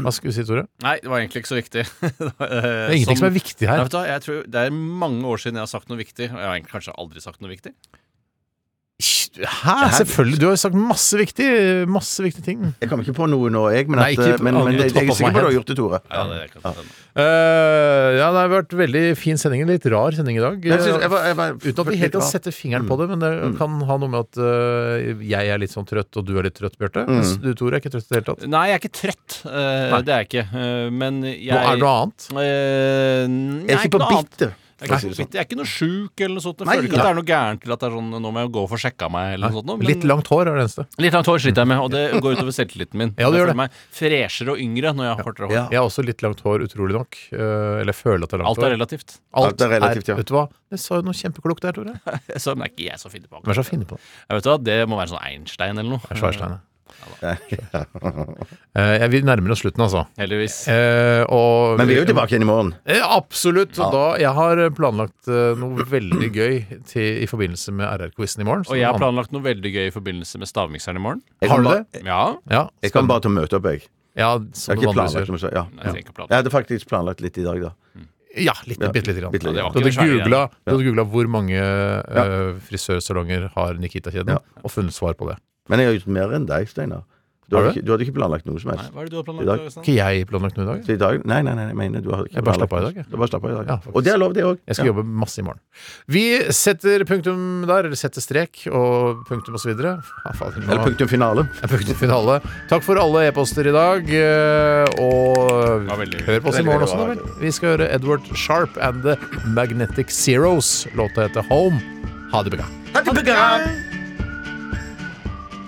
S4: Hva skulle du si, Tore?
S5: Nei, det var egentlig ikke så viktig. det er
S4: ingenting som er viktig her.
S5: Nei, vet du, hva, jeg tror det er mange år siden jeg har sagt noe viktig, og jeg har egentlig kanskje aldri sagt noe viktig.
S4: Hæ? Selvfølgelig. Du har jo sagt masse viktig, masse viktige ting.
S6: Jeg kommer ikke på noe nå, jeg. Men,
S4: Nei,
S6: at, eh,
S4: ikke-
S6: men, men,
S4: aldri
S6: jeg
S4: top
S6: er
S4: of my
S6: sikker på at du har
S4: head.
S6: gjort det, Tore.
S5: Ja, det kan jeg skjønne.
S4: Eh, ja, det har vært veldig fin sending. En Litt rar sending i dag.
S6: Jeg synes- jeg var- jeg var-
S4: Uten at vi helt kan sette fingeren på det, men det kan ha noe med at eh, jeg er litt sånn trøtt, og du er litt trøtt, Bjarte. Mens du, Tore, er ikke trøtt i det hele tatt.
S5: Nei, jeg er ikke trøtt. eh,
S4: Nei.
S5: Det er jeg ikke. Eh, men jeg
S4: Nå er det noe annet.
S5: Eh, nei,
S6: Jeg er ikke på
S5: noe annet.
S6: bittet.
S5: Jeg er ikke,
S4: sånn.
S5: på bitte, jeg er ikke noe sjuk eller noe sånt. Jeg
S6: Nei,
S5: føler ikke at det er noe gærent til at det er sånn Nå må jeg gå og få sjekka meg eller noe sånt. nå, men-
S4: Litt langt hår er det eneste.
S5: Litt langt hår sliter jeg med, og det går utover selvtilliten min.
S4: Ja, det
S5: jeg
S4: gjør
S5: føler meg freshere og yngre når jeg har kortere hår.
S6: Ja.
S4: Jeg har også litt langt hår, utrolig nok. Eh, eller jeg føler at det er langt
S5: Alt er
S4: hår.
S5: relativt.
S6: Alt er relativt, ja.
S4: Vet du hva? Jeg sa jo noe kjempeklokt der, Tore. Hvem
S5: Så, men det er ikke jeg som finner på
S4: er det som finner på det?
S5: Jeg vet hva, Det må være sånn Einstein eller noe.
S4: Svarstein, ja. Eh, jeg- vi nærmer oss slutten, altså.
S5: Heldigvis.
S4: Eh, og
S6: Men vi er jo tilbake igjen i morgen.
S4: Eh, Absolutt. Og da, jeg har planlagt eh, noe veldig gøy til, i forbindelse med RR-quizen i morgen. så
S5: Og jeg har
S4: an-
S5: planlagt noe veldig gøy i forbindelse med stavmikseren i morgen.
S6: Jeg
S4: Har
S6: kan
S4: du
S6: bare-
S4: det?
S5: Ja.
S4: Ja.
S6: Jeg kommer bare til å møte opp, jeg.
S4: ja
S6: Jeg
S4: som
S6: har
S4: det
S6: ikke
S4: vanligvis
S6: planlagt
S4: gjør.
S6: noe så- ja.
S5: Nei, jeg trenger ikke planlagt.
S6: Jeg hadde faktisk planlagt litt i dag, da.
S4: Ja, litt,
S6: Ja,
S4: bitte lite grann.
S6: bitte
S4: Du
S6: lite grann.
S5: Ja, det var
S4: hadde
S5: ikke svære
S4: googla, du hadde googla hvor mange eh, frisørsalonger har Nikita-kjeden,
S6: Ja.
S4: og funnet svar på det.
S6: Men jeg har gjort mer enn deg, Steinar. Du
S4: Har
S6: hadde
S4: du?
S6: ikke, du hadde ikke planlagt noe som
S5: Nei,
S6: helst.
S5: hva er det du har
S6: I dag.
S5: planlagt? Øystein?
S4: Har ikke jeg planlagt noe i dag?
S6: Så i dag Nei, nei, nei, jeg mener du hadde ikke
S4: Jeg bare
S6: planlagt
S4: slapp av i
S6: noe.
S4: dag, jeg.
S6: Du bare slapp av i dag.
S4: Ja, faktisk.
S6: og det er lov, det òg.
S4: Jeg skal jobbe masse i morgen. Vi setter punktum der, eller setter strek og Ah, punktum osv.
S6: Eller punktum finale.
S4: Det er punktum finale. Takk for alle e-poster i dag. eh, Og
S5: var veldig-
S4: hør på oss i
S6: veldig,
S4: morgen
S6: veldig
S4: også, da
S6: bra.
S4: vel. Vi skal høre Edward Sharp and The Magnetic Zeros. Låta heter Home. Ha det bra.